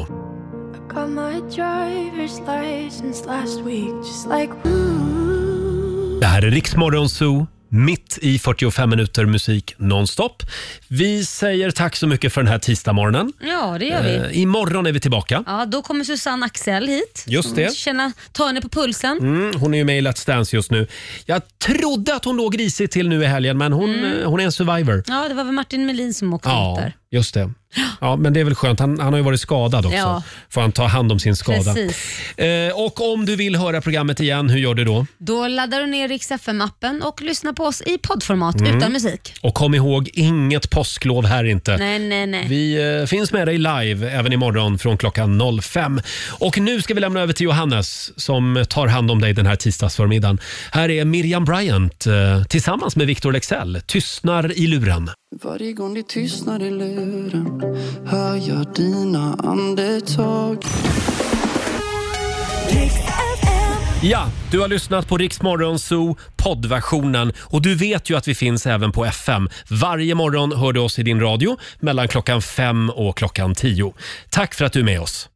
[SPEAKER 2] Got my driver's license last week, just like ooh.
[SPEAKER 1] Det här är Riksmorgon Zoo. Mitt i 45 minuter musik nonstop. Vi säger tack så mycket för den här tisdagsmorgonen.
[SPEAKER 3] Ja, det gör vi.
[SPEAKER 1] Eh, imorgon är vi tillbaka.
[SPEAKER 3] Ja, då kommer Susanne Axel hit.
[SPEAKER 1] Just det.
[SPEAKER 3] Känna, ta henne på pulsen.
[SPEAKER 1] Mm, hon är ju med i Let's Dance just nu. Jag trodde att hon låg risigt till nu i helgen, men hon,
[SPEAKER 3] Mm.
[SPEAKER 1] eh, hon är en survivor.
[SPEAKER 3] Ja, det var väl Martin Melin som åkte ut
[SPEAKER 1] Ja,
[SPEAKER 3] där.
[SPEAKER 1] just det. Ja, men det är väl skönt. Han, han har ju varit skadad också.
[SPEAKER 3] Ja.
[SPEAKER 1] Får han ta hand om sin skada.
[SPEAKER 3] Precis.
[SPEAKER 1] Eh, och om du vill höra programmet igen, hur gör du då?
[SPEAKER 3] Då laddar du ner Rix FM-appen och lyssnar på oss i poddformat
[SPEAKER 1] Mm.
[SPEAKER 3] utan musik.
[SPEAKER 1] Och kom ihåg, inget påsklov här inte.
[SPEAKER 3] Nej, nej, nej.
[SPEAKER 1] Vi eh, finns med dig live även imorgon från klockan 05. Och nu ska vi lämna över till Johannes som tar hand om dig den här tisdagsförmiddagen. Här är Miriam Bryant eh, tillsammans med Victor Lexell. Tystnar i luren.
[SPEAKER 18] Varje gång det tystnar i luren hör jag dina andetag
[SPEAKER 1] Ja, du har lyssnat på Rix Morgon Zoo poddversionen och du vet ju att vi finns även på FM. Varje morgon hör du oss i din radio mellan klockan fem och klockan tio. Tack för att du är med oss.